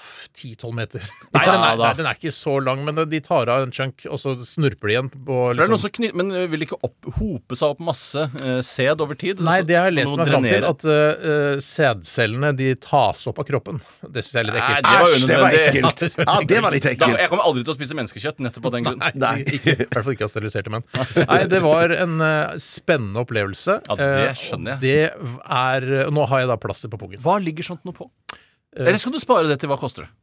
Speaker 4: 10-12 meter. Nei,
Speaker 5: Ja,
Speaker 4: den er,
Speaker 5: da.
Speaker 4: nei, den er ikke så lang, men de tar av en chunk, og så snurper de igjen på
Speaker 5: For det er noe
Speaker 4: liksom.
Speaker 5: som kny- men eh, vil ikke opp, hope seg opp masse eh, sæd over tid?
Speaker 4: Nei,
Speaker 5: Så-
Speaker 4: det har jeg lest
Speaker 5: noe
Speaker 4: meg fram til,
Speaker 5: drenere.
Speaker 4: at eh, eh, sædcellene de tas opp av kroppen. Det syns jeg er litt
Speaker 5: Nei,
Speaker 4: ekkelt.
Speaker 5: det var
Speaker 6: Æsj, det var
Speaker 5: unødvendig.
Speaker 6: ekkelt! Ja, det var litt
Speaker 5: Da,
Speaker 6: ekkelt.
Speaker 5: jeg kommer aldri til å spise menneskekjøtt nettopp av den grunn.
Speaker 4: Nei, ikke, I hvert fall ikke av steriliserte menn. Nei, det var en eh, spennende opplevelse.
Speaker 5: Ja, det skjønner
Speaker 4: jeg. Det er eh, Nå har jeg da plaster på pungen.
Speaker 5: Hva ligger sånt noe på? Eller skal du spare det til hva koster det?
Speaker 6: Eh.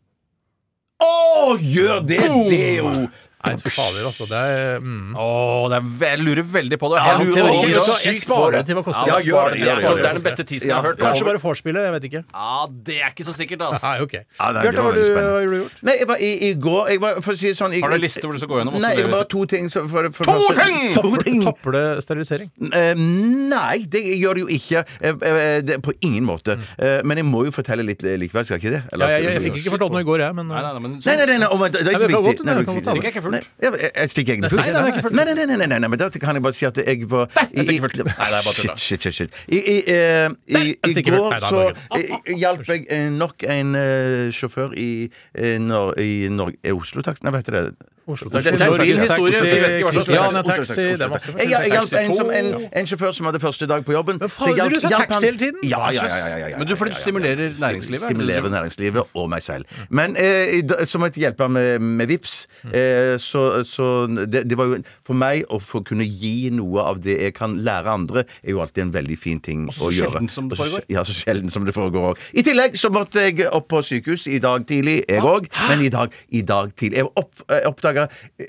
Speaker 6: Å, gjør det! Det er jo
Speaker 4: Nei, fy fader, altså. Det er mm.
Speaker 5: Åh, det er ve- jeg lurer veldig på det.
Speaker 4: Ja,
Speaker 5: Jeg lurer
Speaker 4: teori
Speaker 5: også-
Speaker 4: også. Jeg sparer det til hva koster.
Speaker 5: Ja,
Speaker 6: Ja, gjør
Speaker 5: spar
Speaker 6: det,
Speaker 5: det,
Speaker 6: gjør det,
Speaker 5: Så
Speaker 6: gjør
Speaker 5: det er
Speaker 6: det.
Speaker 5: den beste teasen jeg
Speaker 6: Ja.
Speaker 5: har hørt.
Speaker 4: Kanskje bare vorspielet, jeg vet ikke.
Speaker 5: Ja, det er ikke så sikkert, ass.
Speaker 4: Nei, ok.
Speaker 6: Ja, nei, det
Speaker 4: Bjarte,
Speaker 6: var
Speaker 4: hva har
Speaker 6: veldig
Speaker 4: du-
Speaker 6: spennende.
Speaker 4: hva har du gjort?
Speaker 6: Nei, jeg var i, i går jeg var, for å si det sånn, jeg,
Speaker 5: Har du en liste hvor du skal gå gjennom også
Speaker 6: Nei,
Speaker 5: det
Speaker 6: det
Speaker 5: vi-
Speaker 6: var to ting. som- for, for,
Speaker 5: To
Speaker 6: for,
Speaker 5: ting!
Speaker 6: To ting!
Speaker 4: Topper det sterilisering?
Speaker 6: Eh, nei, det gjør det jo ikke. Eh, eh, det, på ingen måte. Eh, men jeg må jo fortelle litt eh, likevel, skal jeg ikke det?
Speaker 4: Mm.
Speaker 6: Eller-
Speaker 4: Ja, jeg, jeg, jeg fikk ikke fortalt noe i går, jeg, men eh,
Speaker 5: Nei, nei, nei, men
Speaker 6: Nei, nei, nei,
Speaker 4: Nei,
Speaker 6: nei, men det det er
Speaker 4: men
Speaker 6: ikke viktig.
Speaker 4: det var godt, det var
Speaker 6: Nei, det var
Speaker 4: godt,
Speaker 6: ikke viktig.
Speaker 5: Stikker jeg ikke fullt?
Speaker 6: Nei, eh, jeg- jeg- jeg stikker ikke
Speaker 4: Nei,
Speaker 6: fullt.
Speaker 4: nei, det er ikke fullt.
Speaker 6: Nei, nei, nei, nei, nei, nei, nei, men da kan jeg bare si at jeg var
Speaker 5: jeg stikker
Speaker 6: i-
Speaker 5: fullt. Nei, det er bare tull, da.
Speaker 6: Shit, shit, shit. shit. I, i, eh, i,
Speaker 4: jeg
Speaker 6: i
Speaker 4: stikker fullt.
Speaker 6: går
Speaker 4: Nei, da, Norge.
Speaker 6: så eh, hjalp jeg eh, nok en eh, sjåfør i, eh, Nor i Norge, Oslo, takk. Nei, vet du det?
Speaker 4: Oslo
Speaker 6: Dette er en
Speaker 4: Norges
Speaker 5: historie,
Speaker 4: Taxi,
Speaker 5: jeg vet ikke hva slags-
Speaker 4: Christiania Taxi Det er masse
Speaker 6: Jeg, jeg hjalp en, som, en,
Speaker 4: Ja.
Speaker 6: en sjåfør som hadde første dag på jobben.
Speaker 4: Men
Speaker 6: så
Speaker 4: fader,
Speaker 6: hjalp-
Speaker 4: du tar
Speaker 6: hjalp
Speaker 4: taxi
Speaker 6: han-
Speaker 4: hele tiden?
Speaker 6: Ja, ja, ja, ja, ja, ja, ja,
Speaker 5: Men du- fordi du
Speaker 6: ja, ja, ja.
Speaker 5: stimulerer næringslivet, er det det du
Speaker 6: Stimulerer
Speaker 5: tror?
Speaker 6: næringslivet og meg selv. Men eh, i da- som et hjelper med, med VIPS, eh, så, så det, det var jo For meg å få kunne gi noe av det jeg kan lære andre, er jo alltid en veldig fin ting
Speaker 5: Og så
Speaker 6: å gjøre.
Speaker 5: sjelden som det
Speaker 6: Og så-
Speaker 5: foregår.
Speaker 6: Ja, så sjelden som det foregår òg. I tillegg så måtte jeg opp på sykehus i dag tidlig, jeg òg. Men i dag, i dag tidlig Jeg opp, oppdaga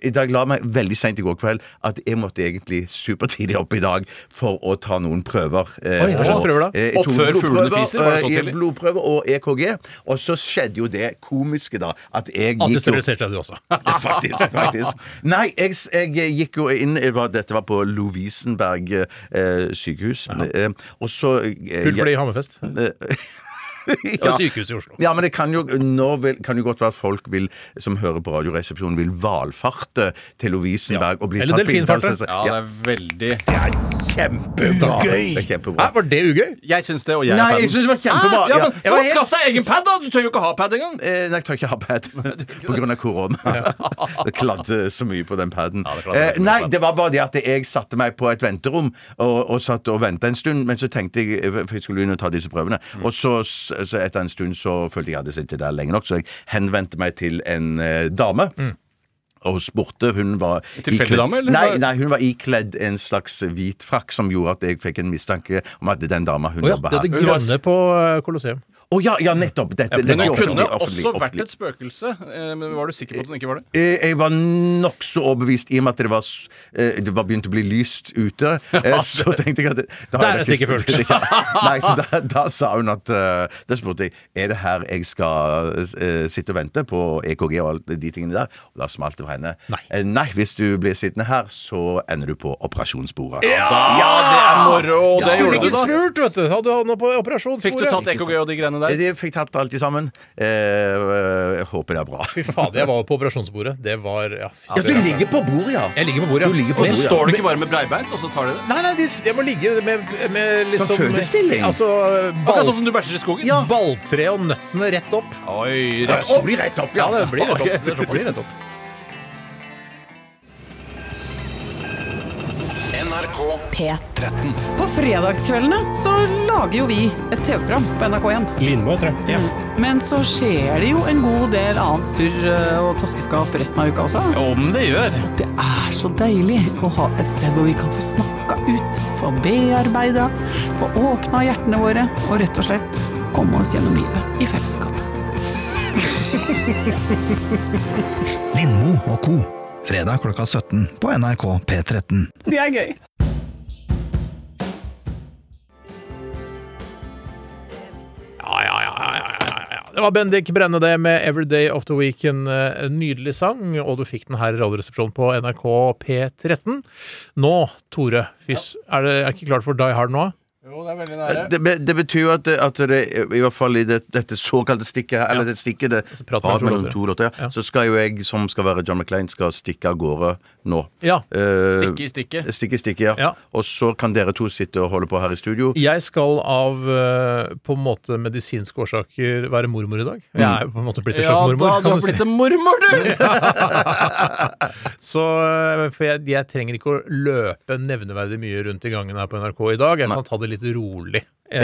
Speaker 6: I dag la meg veldig seint i går kveld at jeg måtte egentlig supertidlig opp i dag for å ta noen prøver. eh,
Speaker 4: Oi, hva slags
Speaker 6: og-
Speaker 4: prøver da?
Speaker 6: eh, jeg
Speaker 5: Opp
Speaker 6: tok
Speaker 5: før fuglene
Speaker 6: blodprøver,
Speaker 5: fiser, var det så
Speaker 6: eh,
Speaker 5: tidlig?
Speaker 6: Blodprøve og EKG. Og så skjedde jo det komiske, da, at jeg gikk jo Ah,
Speaker 4: Antesterilisert er du også
Speaker 6: Faktisk. faktisk Nei, jeg, jeg gikk jo inn jeg var, Dette var på Lovisenberg eh, sykehus. Eh, og så eh,
Speaker 4: Full fly i Hammerfest
Speaker 6: ja.
Speaker 4: Og sykehus i Oslo
Speaker 6: Ja, men det kan jo, nå vil, kan jo godt være at folk vil, som hører på Radioresepsjonen, vil valfarte til Lovisenberg og bli
Speaker 4: Eller
Speaker 6: tatt bilde av.
Speaker 4: delfinfarte.
Speaker 6: seg-
Speaker 5: Ja, det er veldig
Speaker 6: Kjempegøy! Det er
Speaker 4: Hæ,
Speaker 6: kjempebra.
Speaker 4: var det ugøy?
Speaker 5: Jeg syns det, og jeg
Speaker 6: Nei,
Speaker 5: har
Speaker 6: jeg
Speaker 5: paden.
Speaker 6: syns det var kjempebra.
Speaker 5: Ja, men,
Speaker 6: Jeg var helt
Speaker 5: Skaff deg egen pad, da! Du tør jo ikke ha pad engang!
Speaker 6: Eh, nei, jeg tør ikke ha pad pga. korona. Det kladde så mye på den paden.
Speaker 5: Ja, det kladde
Speaker 6: eh,
Speaker 5: veldig mye
Speaker 6: nei,
Speaker 5: på den.
Speaker 6: det var bare det at jeg satte meg på et venterom og, og satt og venta en stund, men så tenkte jeg eh, For jeg skulle inn og ta disse prøvene.
Speaker 5: Mm.
Speaker 6: Og så, så etter en stund så følte jeg jeg hadde sittet der lenge nok, så jeg henvendte meg til en eh, dame. Og spurte Hun var
Speaker 5: Mm. Tilfeldig
Speaker 6: ikledd-
Speaker 5: dame, eller?
Speaker 6: Nei, nei, hun var ikledd en slags hvit frakk som gjorde at jeg fikk en mistanke om at den dama hun
Speaker 4: Åja,
Speaker 6: jobba
Speaker 4: det er det
Speaker 6: her.
Speaker 4: grønne på eh, Colosseum
Speaker 6: Å ja, ja, nettopp! Dette,
Speaker 4: men
Speaker 6: dette
Speaker 5: Men
Speaker 6: er
Speaker 5: det kunne
Speaker 6: offentlig, offentlig,
Speaker 5: også vært
Speaker 6: offentlig.
Speaker 5: et spøkelse. eh, Men var du sikker på at den ikke var det?
Speaker 6: Eh, Jeg var nokså overbevist i og med at det var, s- eh, det var begynt å bli lyst ute. eh, Så tenkte jeg at det- da har
Speaker 4: Der
Speaker 6: jeg
Speaker 4: er
Speaker 6: nok-
Speaker 4: stikket
Speaker 6: Nei, så da, da sa hun at eh, Da spurte jeg er det her jeg skal eh, sitte og vente på EKG og alle de tingene der. Og da smalt det for henne.
Speaker 4: Nei.
Speaker 6: Eh, Nei, hvis du blir sittende her, så ender du på operasjonsbordet.
Speaker 5: Ja, det er moro! og Det
Speaker 4: Ah! Skulle
Speaker 5: gjorde
Speaker 4: ikke
Speaker 5: du, da.
Speaker 4: spurt, vet du Hadde han noe på
Speaker 5: Fikk du
Speaker 4: operasjonsbordet
Speaker 5: tatt EKG og de greiene
Speaker 6: Eh,
Speaker 5: der?
Speaker 6: De fikk tatt alt i sammen. Eh, eh, Jeg håper det er bra.
Speaker 4: Fy fader, jeg var på operasjonsbordet Det var, ja fy
Speaker 6: Ja, du
Speaker 4: fader.
Speaker 6: ligger på bordet, ja.
Speaker 4: Jeg ligger på bordet, ja.
Speaker 5: Og
Speaker 6: på
Speaker 5: så
Speaker 6: bordet, ja.
Speaker 5: står det ikke bare med breibeint, og så tar de det?
Speaker 4: Nei, nei, de, jeg må ligge med, med liksom
Speaker 6: fødestilling.
Speaker 4: Altså,
Speaker 5: Akkurat
Speaker 4: ball,
Speaker 5: sånn som du bæsjer i skogen?
Speaker 4: balltre og nøttene rett opp
Speaker 5: Oi,
Speaker 6: Da
Speaker 5: rett
Speaker 6: sto de rett opp,
Speaker 4: Ja, det blir rett opp
Speaker 5: Ok.
Speaker 4: Det blir rett opp
Speaker 3: NRK
Speaker 1: P13.
Speaker 3: 13.
Speaker 8: På fredagskveldene så lager jo vi et TV-program på NRK1. Mm.
Speaker 9: Lindmo, tror jeg. Ja.
Speaker 8: Men så skjer det jo en god del annet surr eh, og toskeskap resten av uka også.
Speaker 9: Om det gjør.
Speaker 8: Det er så deilig å ha et sted hvor vi kan få snakka ut, få bearbeida, få åpna hjertene våre og rett og slett komme oss gjennom livet i fellesskap.
Speaker 10: Lindmo og co. Fredag klokka 17 på NRK P13.
Speaker 8: Det er gøy.
Speaker 4: Ja, ja, ja, ja, ja, ja, ja. Det var Bendik Brenne det med 'Every Day of the Weekend'. eh, En nydelig sang, og du fikk den her i Radioresepsjonen på NRK P13. Nå, Tore, fys, er det er det ikke klart for Die Hard nå?
Speaker 5: Jo, det er veldig
Speaker 6: Det, be- det betyr jo at, det- at det, i hvert fall i det, dette såkalte stikket her, eller det stikket det
Speaker 4: prater
Speaker 6: prat
Speaker 4: mellom to
Speaker 6: mellom to låter, ja.
Speaker 4: Ja.
Speaker 6: så skal jo jeg, som skal være John McClain, skal stikke av gårde nå.
Speaker 4: Ja.
Speaker 6: Eh,
Speaker 5: Stikke i stikket.
Speaker 6: Stikke i stikket, ja.
Speaker 4: Ja.
Speaker 6: Og så kan dere to sitte og holde på her i studio.
Speaker 4: Jeg skal av eh, på en måte medisinske årsaker være mormor i dag. Jeg er jo på en måte blitt en
Speaker 5: Mm. Ja
Speaker 4: slags
Speaker 5: da,
Speaker 4: mormor.
Speaker 5: du
Speaker 4: Kan
Speaker 5: har
Speaker 4: du
Speaker 5: blitt
Speaker 4: si.
Speaker 5: en mormor, du!
Speaker 4: Så, eh, for jeg, jeg trenger ikke å løpe nevneverdig mye rundt i gangen her på NRK i dag. Jeg kan ta det litt rolig, eh,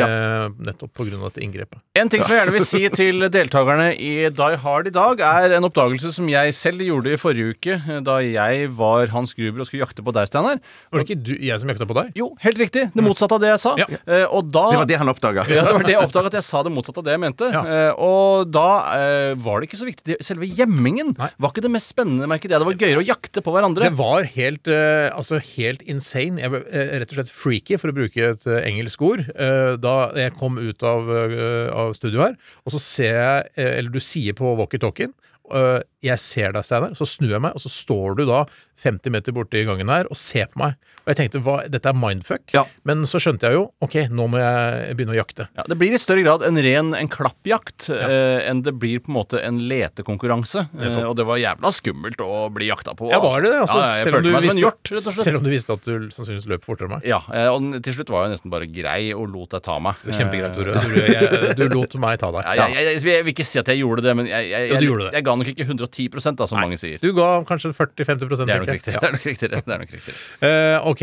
Speaker 4: nettopp på grunn av dette inngrepet.
Speaker 5: En ting som jeg gjerne vil si til deltakerne i Die Hard i dag, er en oppdagelse som jeg selv gjorde i forrige uke, eh, da jeg var Hans Gruber og skulle jakte på deg, Steinar.
Speaker 4: Var det ikke du, jeg som jakta på deg?
Speaker 5: Jo, helt riktig. Det motsatte av det jeg sa.
Speaker 4: Ja.
Speaker 5: Eh, Og da
Speaker 6: Det var det han oppdaga.
Speaker 5: Ja, det var det jeg oppdaget, at jeg sa det motsatte av det jeg mente.
Speaker 4: Ja.
Speaker 5: Eh, og da eh, var det ikke så viktig. Selve gjemmingen
Speaker 4: Nei.
Speaker 5: var ikke det mest spennende, merket jeg. Det var gøyere å jakte på hverandre.
Speaker 4: Det var helt, eh, altså helt insane. Jeg ble eh, rett og slett freaky, for å bruke et eh, engelsk ord. Eh, da jeg kom ut av, eh, av studio her, og så ser jeg eh, Eller du sier på walkietalkien eh, Jeg ser deg, Steinar. Så snur jeg meg, og så står du da 50 meter borte i gangen her og ser på meg. Og jeg tenkte hva, dette er mindfuck.
Speaker 5: Ja.
Speaker 4: Men så skjønte jeg jo OK, nå må jeg begynne å jakte.
Speaker 5: Ja, det blir i større grad en ren en klappjakt eh, enn det blir på en måte en letekonkurranse. Eh, og det var jævla skummelt å bli jakta på.
Speaker 4: Ja, var det det? Altså,
Speaker 5: ja, ja, jeg
Speaker 4: selv, om
Speaker 5: følte
Speaker 4: du
Speaker 5: meg som
Speaker 4: visste,
Speaker 5: en hjort, rett og slett.
Speaker 4: selv om du visste at du sannsynligvis løp fortere enn meg.
Speaker 5: Ja, eh, og den- til slutt var jeg nesten bare grei og lot deg ta meg.
Speaker 4: Det var Kjempegreit, Tore. Tore, jeg- Du lot meg ta deg.
Speaker 5: Ja, jeg, jeg, jeg, jeg vil ikke si at jeg gjorde det, men jeg, jeg,
Speaker 4: Jo,
Speaker 5: jeg,
Speaker 4: du gjorde det.
Speaker 5: jeg ga nok ikke 110 da, som mange sier.
Speaker 4: Du ga kanskje 40-50
Speaker 5: Det er nok
Speaker 4: tenker jeg.
Speaker 5: riktig. Det er nok riktigere. Det er nok riktigere.
Speaker 4: Eh, OK,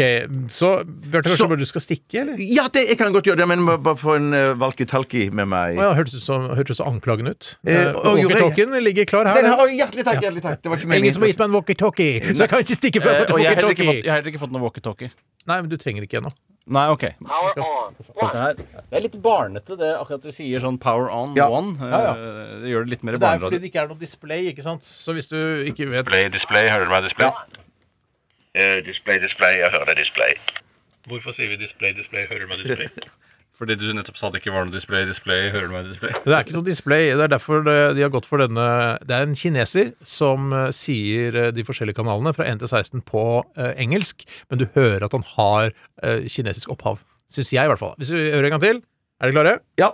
Speaker 4: så Bjarte, kanskje
Speaker 6: Så-
Speaker 4: bare du skal stikke, eller?
Speaker 6: Ja, det, jeg kan godt gjøre det, men må bare få en uh, valkitalki med meg.
Speaker 4: Å ja, hørtes ut som, hørtes så anklagende ut.
Speaker 6: Eh,
Speaker 4: Eh,
Speaker 6: å, gjorde jeg-
Speaker 4: Walkietalkien ligger klar her.
Speaker 6: Den
Speaker 4: den.
Speaker 6: har, å, hjertelig takk! hjertelig takk Det var ikke
Speaker 4: Ingen
Speaker 6: meningen.
Speaker 4: som har gitt meg en walkietalkie, så jeg kan ikke stikke før jeg
Speaker 5: Eh,
Speaker 4: har fått
Speaker 5: og jeg har heller ikke fått,
Speaker 4: walkietalkie.
Speaker 5: jeg har heller ikke fått noen walkietalkie.
Speaker 4: Nei, men du trenger ikke ennå.
Speaker 5: Nei, OK. Det er, det er litt barnete, det akkurat de sier sånn power on
Speaker 6: Ja.
Speaker 5: one. Eh,
Speaker 4: Ja,
Speaker 5: Det gjør det litt mer
Speaker 4: Det er fordi
Speaker 5: barneradio.
Speaker 4: det ikke er noe display, ikke sant? Så hvis du ikke vet
Speaker 11: Display, display, hører du meg? Display. Eh, display, display, jeg hører deg, display. Hvorfor sier vi display, display, hører du meg, display? Fordi du nettopp sa det ikke var noe display, display, hører du meg, display.
Speaker 4: Det er ikke noe display. Det er derfor det- de har gått for denne Det er en kineser som eh, sier eh, de forskjellige kanalene fra 1 til 16 på eh, engelsk, men du hører at han har eh, kinesisk opphav. Syns jeg, i hvert fall. Hvis vi hører en gang til. Er dere klare?
Speaker 6: Ja.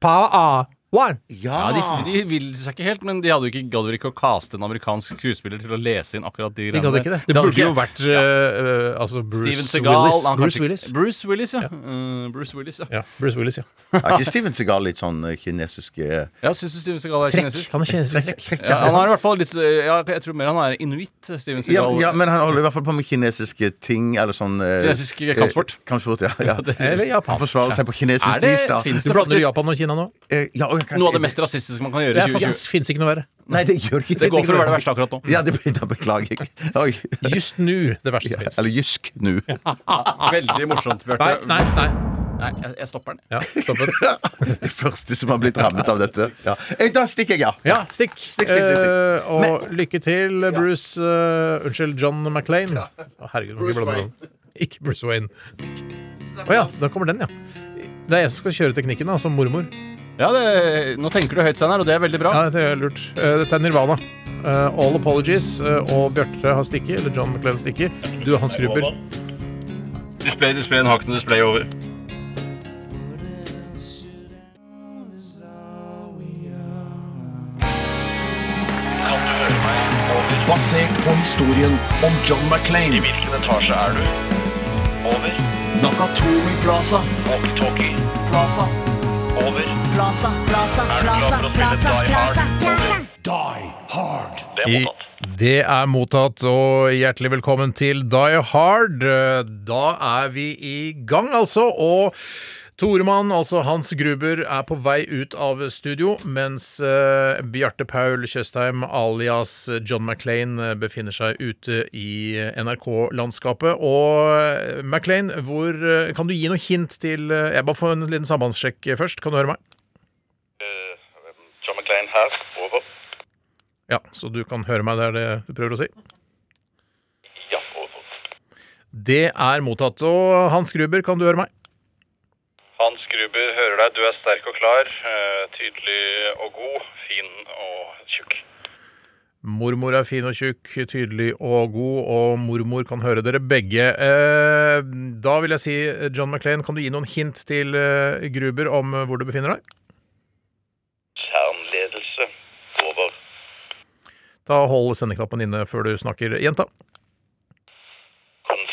Speaker 4: Power on. One.
Speaker 5: Ja, de, de vil seg ikke helt, men de hadde jo ikke, gadd vel ikke å caste en amerikansk skuespiller til å lese inn akkurat de
Speaker 4: De
Speaker 5: greiene
Speaker 4: hadde
Speaker 5: der.
Speaker 4: ikke det.
Speaker 5: De
Speaker 4: Det
Speaker 5: hadde
Speaker 4: burde jo
Speaker 5: ikke-
Speaker 4: vært eh, eh, altså Bruce
Speaker 5: Steven Segal
Speaker 4: Willis.
Speaker 5: han
Speaker 4: Bruce
Speaker 5: kanskje-
Speaker 4: Willis.
Speaker 5: Bruce Willis, ja. Eh, Bruce Willis, ja.
Speaker 4: Ja, Bruce Willis, ja.
Speaker 6: Er ikke Steven Segal litt sånn eh, kinesiske
Speaker 5: ja syns du Steven Segal er kinesisk?
Speaker 4: Han er kinesisk trekk.
Speaker 5: Ja, han er i hvert fall litt eh, ja, Jeg tror mer han er inuitt. Steven
Speaker 6: ja,
Speaker 5: Segal.
Speaker 6: ja, men han holder i hvert fall på med kinesiske ting, eller sånn eh,
Speaker 5: Kinesisk kampsport.
Speaker 6: eh, Kampsport, ja, ja.
Speaker 4: Eller
Speaker 6: Han
Speaker 4: japansk.
Speaker 6: forsvarer seg på
Speaker 5: Er
Speaker 6: kinesisk
Speaker 5: det-
Speaker 6: vis, da.
Speaker 5: finnes
Speaker 4: Du
Speaker 5: det
Speaker 4: blander
Speaker 5: faktisk-
Speaker 4: Japan og Kina nå?
Speaker 6: Eh, ja, og kanskje-
Speaker 5: Noe av det mest rasistiske man kan gjøre
Speaker 4: Det
Speaker 5: i
Speaker 4: er
Speaker 5: 2020.
Speaker 4: faktisk fins ikke noe verre.
Speaker 6: Nei, det gjør ikke
Speaker 5: Det går for å være det verste akkurat nå.
Speaker 6: Ja, det, da beklager jeg. Oi.
Speaker 4: Just nu, det verste
Speaker 6: Ja,
Speaker 4: som fins.
Speaker 6: eller jysk nå.
Speaker 5: Veldig morsomt, Bjarte.
Speaker 4: Nei, nei, nei.
Speaker 5: Nei, jeg, jeg stopper den.
Speaker 4: Ja, stopp det.
Speaker 6: Det første som har blitt rammet av dette. Ja. Eh, Da stikker jeg, ja.
Speaker 4: Ja, stikk.
Speaker 6: Stikk, stikk, stikk, stikk.
Speaker 4: Eh, og lykke til, Bruce eh, Unnskyld, John McClain. Å, herregud, må ikke blande meg inn. Ikke Bruce Wayne. Å ja, da kommer den, ja. Det er jeg som skal kjøre teknikken, da, som mormor.
Speaker 5: Ja, det, nå tenker du høyt, Steinar, og det er veldig bra.
Speaker 4: Ja, dette er lurt. Eh, dette er Nirvana. Eh, all apologies. eh, og Bjarte har stikket, eller John McClain har stikket. Du Hans Gruber.
Speaker 11: Display, display, en hakende display over.
Speaker 3: Basert på historien om John McClain.
Speaker 11: Hvilken etasje er du? Over.
Speaker 3: Nakatomi Plaza.
Speaker 11: Walkie-talkie.
Speaker 3: Plaza.
Speaker 11: Over.
Speaker 3: Plaza. Plaza.
Speaker 11: Er du klar for å spille Die Hard? Det er
Speaker 4: I-
Speaker 11: mottatt.
Speaker 4: Det er mottatt, og hjertelig velkommen til Die Hard. Da er vi i gang, altså. Og Toremann, altså Hans Gruber, er på vei ut av studio, mens eh, Bjarte Paul Tjøstheim alias John McClain eh, befinner seg ute i NRK-landskapet. Og eh, McClain, hvor eh, Kan du gi noe hint til eh, Jeg bare får en liten sambandssjekk først. Kan du høre meg?
Speaker 11: Eh, John McClain her. Over.
Speaker 4: Ja, så du kan høre meg, det er det du prøver å si?
Speaker 11: Ja, over.
Speaker 4: Det er mottatt. Og Hans Gruber, kan du høre meg?
Speaker 11: Hans Gruber hører deg. Du er sterk og klar. eh, Tydelig og god. Fin og tjukk.
Speaker 4: Mormor er fin og tjukk, tydelig og god, og mormor kan høre dere begge. Eh, Da vil jeg si, John McClain, kan du gi noen hint til eh, Gruber om eh, hvor du befinner deg?
Speaker 11: Kjernledelse. Over.
Speaker 4: Da hold sendeknappen inne før du snakker, jenta.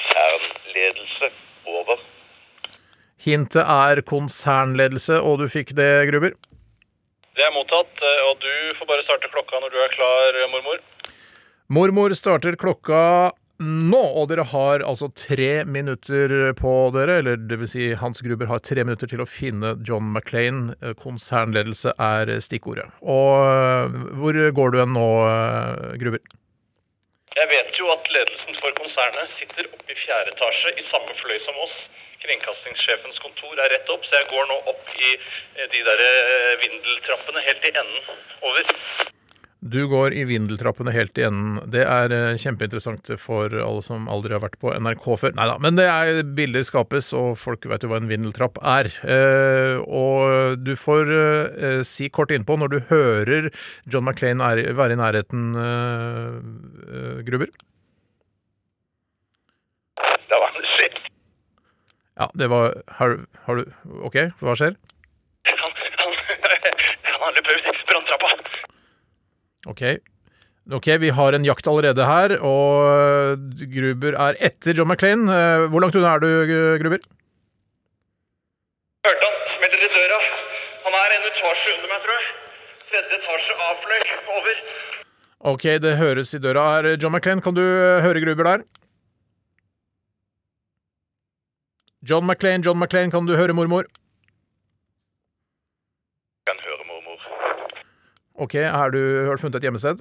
Speaker 11: Konsernledelse. Over.
Speaker 4: Hintet er konsernledelse, og du fikk det, Gruber.
Speaker 11: Det er mottatt, eh, og du får bare starte klokka når du er klar, eh, mormor.
Speaker 4: Mormor starter klokka nå, og dere har altså tre minutter på dere, eller det vil si Hans Gruber har tre minutter til å finne John McClain. Eh, Konsernledelse er stikkordet. Og eh, hvor går du hen nå, eh, Gruber?
Speaker 11: Jeg vet jo at ledelsen for konsernet sitter oppe i fjerde etasje i samme fløy som oss. Kringkastingssjefens kontor er rett opp, så jeg går nå opp i eh, de der eh, vindeltrappene helt i enden. Over.
Speaker 4: Du går i vindeltrappene helt i enden. Det er eh, kjempeinteressant for alle som aldri har vært på NRK før. Nei da, men det er bilder skapes, og folk vet jo hva en vindeltrapp er. Eh, og du får eh, si kort innpå når du hører John McClain er, være i nærheten, eh, eh, Gruber.
Speaker 11: Da var han skipt.
Speaker 4: Ja, det var Har, har du OK, hva skjer?
Speaker 11: Han, han, han har løpet ut branntrappa.
Speaker 4: OK. Ok, vi har en jakt allerede her, og Gruber er etter John McClain. Eh, Hvor langt unna er du, Gruber?
Speaker 12: Hørte han smeller i døra. Han er en etasje under meg, tror jeg. Tredje etasje, A-fløy. Over.
Speaker 4: Ok, det høres i døra her. John McClain, kan du eh, høre Gruber der? John McClain, John McClain, kan du høre mormor?
Speaker 12: Kan høre mormor.
Speaker 4: Ok, er du, har du funnet et gjemmested?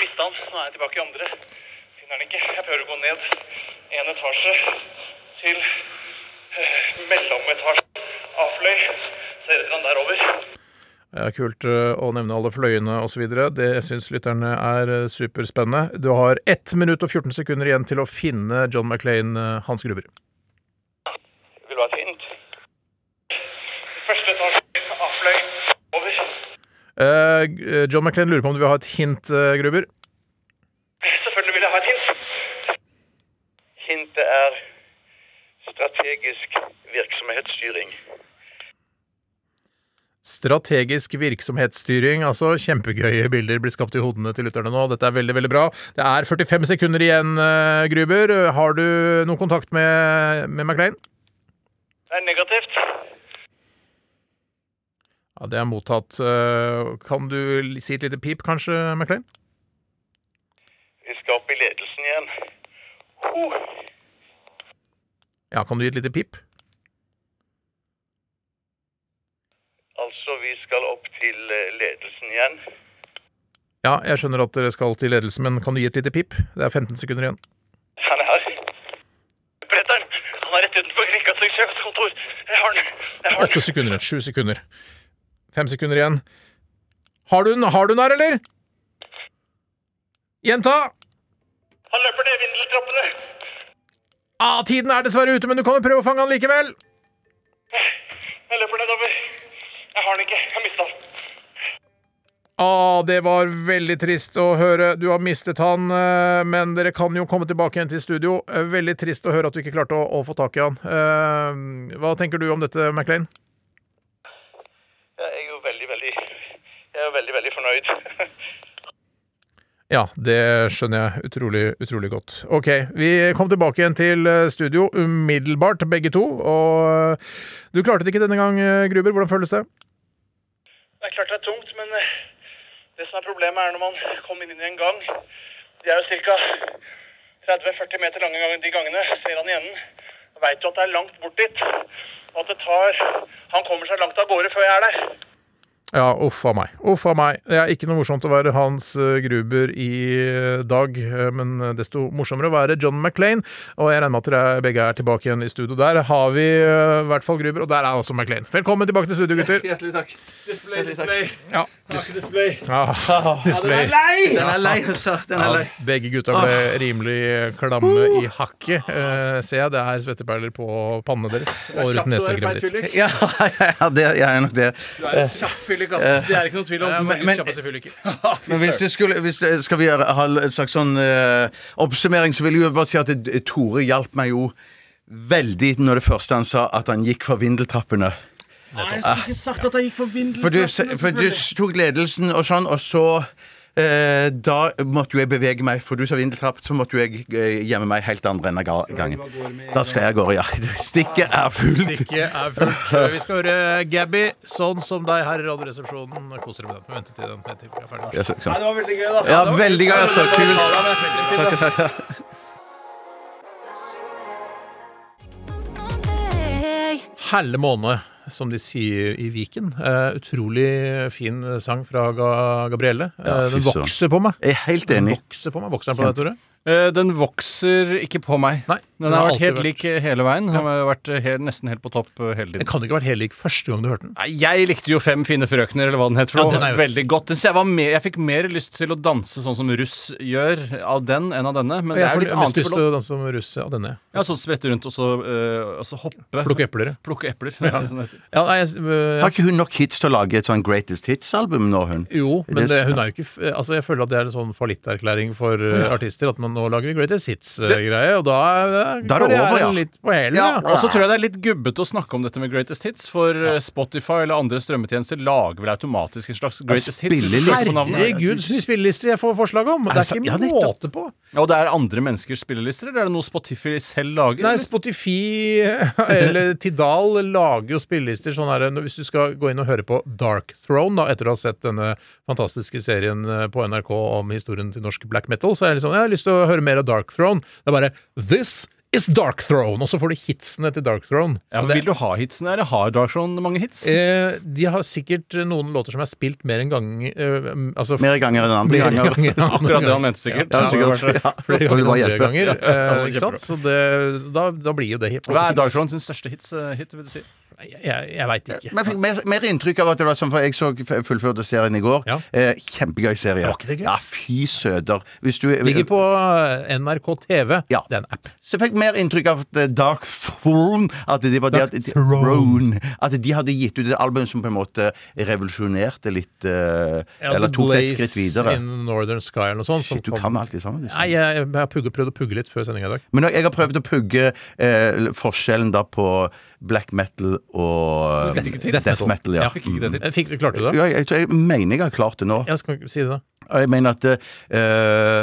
Speaker 12: Mista han. Nå er jeg tilbake i andre. Finner han ikke. Jeg prøver å gå ned en etasje til eh, mellometasjen. A-fløy. Ser dere han der over?
Speaker 4: Eh, Kult eh, å nevne alle fløyene osv. Det syns lytterne er eh, superspennende. Du har 1 minutt og 14 sekunder igjen til å finne John McClain, eh, Hans Gruber.
Speaker 12: Vil du ha et hint? Første etasje, A-fløy. Over.
Speaker 4: Eh, G- eh, John McClain lurer på om du vil ha et hint, eh, Gruber.
Speaker 12: Selvfølgelig vil jeg ha et hint. Hintet er strategisk virksomhetsstyring.
Speaker 4: Strategisk virksomhetsstyring. Altså kjempegøye bilder blir skapt i hodene til lytterne nå. Dette er veldig, veldig bra. Det er 45 sekunder igjen, eh, Gruber. Har du noen kontakt med, med McClain?
Speaker 12: Det er negativt.
Speaker 4: Ja, det er mottatt. Eh, Kan du l- si et lite pip, kanskje, McClain?
Speaker 12: Vi skal opp i ledelsen igjen. Oh,
Speaker 4: Ja, kan du gi et lite pip?
Speaker 12: altså, vi skal opp til eh, ledelsen igjen.
Speaker 4: Ja, jeg skjønner at dere skal til ledelsen, men kan du gi et lite pip? Det er 15 sekunder igjen.
Speaker 12: Han er her. Bretteren! Han er rett utenfor kringkastingssjefens kontor. Jeg har den. Jeg har
Speaker 4: Åtte
Speaker 12: den.
Speaker 4: sekunder igjen. Sju sekunder. Fem sekunder igjen. Har du den, har du den her, eller? Gjenta!
Speaker 12: Han løper ned vindeltrappene.
Speaker 4: Ah, tiden er dessverre ute, men du kan jo prøve å fange han likevel.
Speaker 12: Jeg løper nedover. Jeg har den ikke. Jeg mista den.
Speaker 4: Ah, det var veldig trist å høre. Du har mistet han, eh, men dere kan jo komme tilbake igjen til studio. Eh, Veldig trist å høre at du ikke klarte å, å få tak i han. Eh, Hva tenker du om dette, Maclean?
Speaker 12: Jeg er jo veldig, veldig Jeg er jo veldig, veldig fornøyd.
Speaker 4: Ja, det skjønner jeg utrolig, utrolig godt. Ok, vi kom tilbake igjen til eh, studio umiddelbart, begge to. Og eh, du klarte det ikke denne gang, eh, Gruber. Hvordan føles det?
Speaker 12: Det er klart det er tungt, men eh, det som er problemet er når man kommer inn i en gang. De er jo ca. 30-40 meter lange gang- de gangene. Ser han i enden. Veit jo at det er langt bort dit. Og at det tar Han kommer seg langt av gårde før jeg er der.
Speaker 4: Ja, uff a meg. Uff a meg. Det er ikke noe morsomt å være Hans eh, Gruber i eh, dag, eh, men desto morsommere å være John McClain. Og jeg regner med at dere begge er tilbake igjen i studio. Der har vi eh, i hvert fall Gruber, og der er også McClain. Velkommen tilbake til studio, gutter.
Speaker 5: Hjertelig takk. Display, display.
Speaker 4: Ja.
Speaker 5: display.
Speaker 4: Ah, display.
Speaker 5: lei!
Speaker 6: Den er lei, altså. Den er
Speaker 4: Ja,
Speaker 6: lei.
Speaker 4: begge gutta ble rimelig eh, klamme
Speaker 6: Uh.
Speaker 4: i hakket. Eh, ser jeg det er svetteperler på pannene deres og rundt nesegrevet ditt.
Speaker 5: feit
Speaker 6: Ja, ja, det, jeg er nok det.
Speaker 5: Kjapp fyllik, ass.
Speaker 4: Eh.
Speaker 5: Det er ikke noe tvil om.
Speaker 6: Men- men- Men hvis det skulle, hvis det, skal vi gjøre, ha en slags sånn eh, oppsummering, så vil jeg jo bare si at det, Tore hjalp meg jo veldig når det første han sa at han gikk for vindeltrappene. Ah.
Speaker 5: Nei, jeg skulle ikke sagt at jeg gikk for
Speaker 6: For du,
Speaker 5: vindelplassen.
Speaker 6: for du tok ledelsen og sånn, og så eh, da måtte jo jeg bevege meg, for du sa vindeltrapp, så måtte jo jeg eh, gjemme meg helt andre enden av ga- gangen. Da skal jeg av gårde, ja. Stikket er fullt.
Speaker 4: Stikket er fullt. Vi skal høre Gabby, sånn som deg her i Radioresepsjonen. Koser deg med den. Vente til den til vi er ferdig.
Speaker 6: Ja, så- sånn.
Speaker 5: Det var veldig gøy, da.
Speaker 6: Ja, veldig gøy, altså. Kult. Takk, takk, takk.
Speaker 4: Helle måne, som de sier i Viken. Eh, utrolig fin sang fra Ga Gabrielle. Eh,
Speaker 6: Ja, fy
Speaker 4: den
Speaker 6: søren.
Speaker 4: vokser på meg.
Speaker 6: Jeg er helt
Speaker 4: Den
Speaker 6: enig.
Speaker 4: vokser på meg. Vokser den på deg, Tore?
Speaker 5: Eh, Den vokser ikke på meg.
Speaker 4: Nei,
Speaker 5: Den har
Speaker 4: alltid
Speaker 5: vært helt lik hele veien. Den har vært eh, helt, nesten helt på topp eh, hele
Speaker 4: Den
Speaker 5: tiden.
Speaker 4: kan ikke ha vært helt lik første gang du hørte den.
Speaker 5: Nei, Jeg likte jo Fem fine frøkner, eller hva den het. For
Speaker 4: Ja,
Speaker 5: det
Speaker 4: den er
Speaker 5: var
Speaker 4: jo-
Speaker 5: veldig godt Den- så jeg, var mer, jeg fikk mer lyst til å danse sånn som russ gjør av den, enn av denne. Men det
Speaker 4: Jeg
Speaker 5: er jo
Speaker 4: får
Speaker 5: litt
Speaker 4: mest
Speaker 5: annet
Speaker 4: lyst
Speaker 5: type låt.
Speaker 4: til å danse med russe av denne.
Speaker 5: Ja, sånn sprette rundt og så, eh, og så hoppe.
Speaker 4: Plukke epler.
Speaker 5: Plukke epler. Ja. Sånn det heter.
Speaker 4: Ja, nei, jeg, øh,
Speaker 6: Har ikke hun nok hits til å lage et sånn Greatest Hits-album nå, hun?
Speaker 4: jo, men
Speaker 6: Det-
Speaker 4: det, hun er jo ikke f- Altså, eh, jeg føler at det er en sånn fallitterklæring for øh, artister. At man nå lager vi Greatest Hits-greie, eh, og da er,
Speaker 6: Da er det
Speaker 4: karrieren
Speaker 6: over, ja.
Speaker 4: litt på hælen.
Speaker 5: Ja,
Speaker 4: Ja.
Speaker 5: og så tror jeg det er litt gubbete å snakke om dette med Greatest Hits, for eh, Spotify eller andre strømmetjenester lager vel automatisk en slags Greatest Hits. hvis du
Speaker 6: spilleliste.
Speaker 5: slår på navnet.
Speaker 4: Herregud, så mye spillelister jeg får forslag om! Det er
Speaker 6: sant?
Speaker 4: ikke
Speaker 6: Ja, nettopp.
Speaker 4: måte på.
Speaker 5: Ja, og det er andre menneskers spillelister, eller er det noe Spotify selv lager?
Speaker 4: Nei,
Speaker 5: eller?
Speaker 4: Spotify eller Tidal lager jo spillelister sånn her Hvis du skal gå inn og høre på Dark Throne, da, etter å ha sett denne fantastiske serien eh, på NRK om historien til norsk black metal, så er jeg liksom Jeg har lyst til å høre mer av Dark Throne. Det er bare This is Dark Throne! Og så får du hitsene til Dark Throne.
Speaker 5: ja,
Speaker 4: Og
Speaker 5: men
Speaker 4: det-
Speaker 5: vil du ha hitsene, eller har Darkshone mange hits?
Speaker 4: Eh, de har sikkert noen låter som er spilt mer enn gang eh, altså,
Speaker 6: Mer ganger enn andre
Speaker 4: Flere
Speaker 6: ganger.
Speaker 4: ganger enn andre
Speaker 5: Akkurat det han
Speaker 4: ganger.
Speaker 5: mente, sikkert.
Speaker 6: Ja, sikkert.
Speaker 5: det var det.
Speaker 6: Ja.
Speaker 4: Flere
Speaker 6: Det vil
Speaker 4: ganger
Speaker 6: bare
Speaker 4: enn andre
Speaker 6: hjelpe.
Speaker 4: ganger.
Speaker 5: det
Speaker 4: Eh,
Speaker 5: var
Speaker 4: ikke sant? Så det, da, da blir jo det hip-
Speaker 5: Hva er
Speaker 4: hits.
Speaker 5: Darkshone sin største hits, eh, hit, vil du si?
Speaker 4: Jeg, jeg, jeg veit ikke.
Speaker 6: Men jeg fikk mer, mer inntrykk av at det var sånn, for jeg så f- fullførte serien i går.
Speaker 4: Ja.
Speaker 6: Eh, kjempegøy serie.
Speaker 4: Var ikke det gøy?
Speaker 6: Ja, fy søder. Hvis du
Speaker 4: Ligger på eh, NRK TV.
Speaker 6: Ja.
Speaker 4: Det er en app.
Speaker 6: Så jeg fikk mer inntrykk av at eh, Dark Throne At det var det
Speaker 4: Dark
Speaker 6: at, de-
Speaker 4: Throne.
Speaker 6: at de hadde gitt ut et album som på en måte revolusjonerte litt eh, Eller
Speaker 4: The
Speaker 6: tok det et
Speaker 4: Blaze
Speaker 6: skritt videre.
Speaker 4: in Northern Sky eller noe sånt. som
Speaker 6: Shit, du
Speaker 4: kom-
Speaker 6: kan alltid sammen. du.
Speaker 4: Nei, jeg, jeg har pugget, prøvd å pugge litt før sendinga i dag.
Speaker 6: Men jeg har prøvd å pugge eh, forskjellen da på black metal og
Speaker 4: Du fikk ikke til.
Speaker 6: death metal. ja.
Speaker 5: Jeg
Speaker 6: Mm.
Speaker 5: fikk ikke det til.
Speaker 4: Jeg fikk, klarte du det?
Speaker 6: Ja, jeg, jeg mener jeg har klart det nå.
Speaker 4: Jeg skal ikke si det, da.
Speaker 6: Og jeg mener at eh,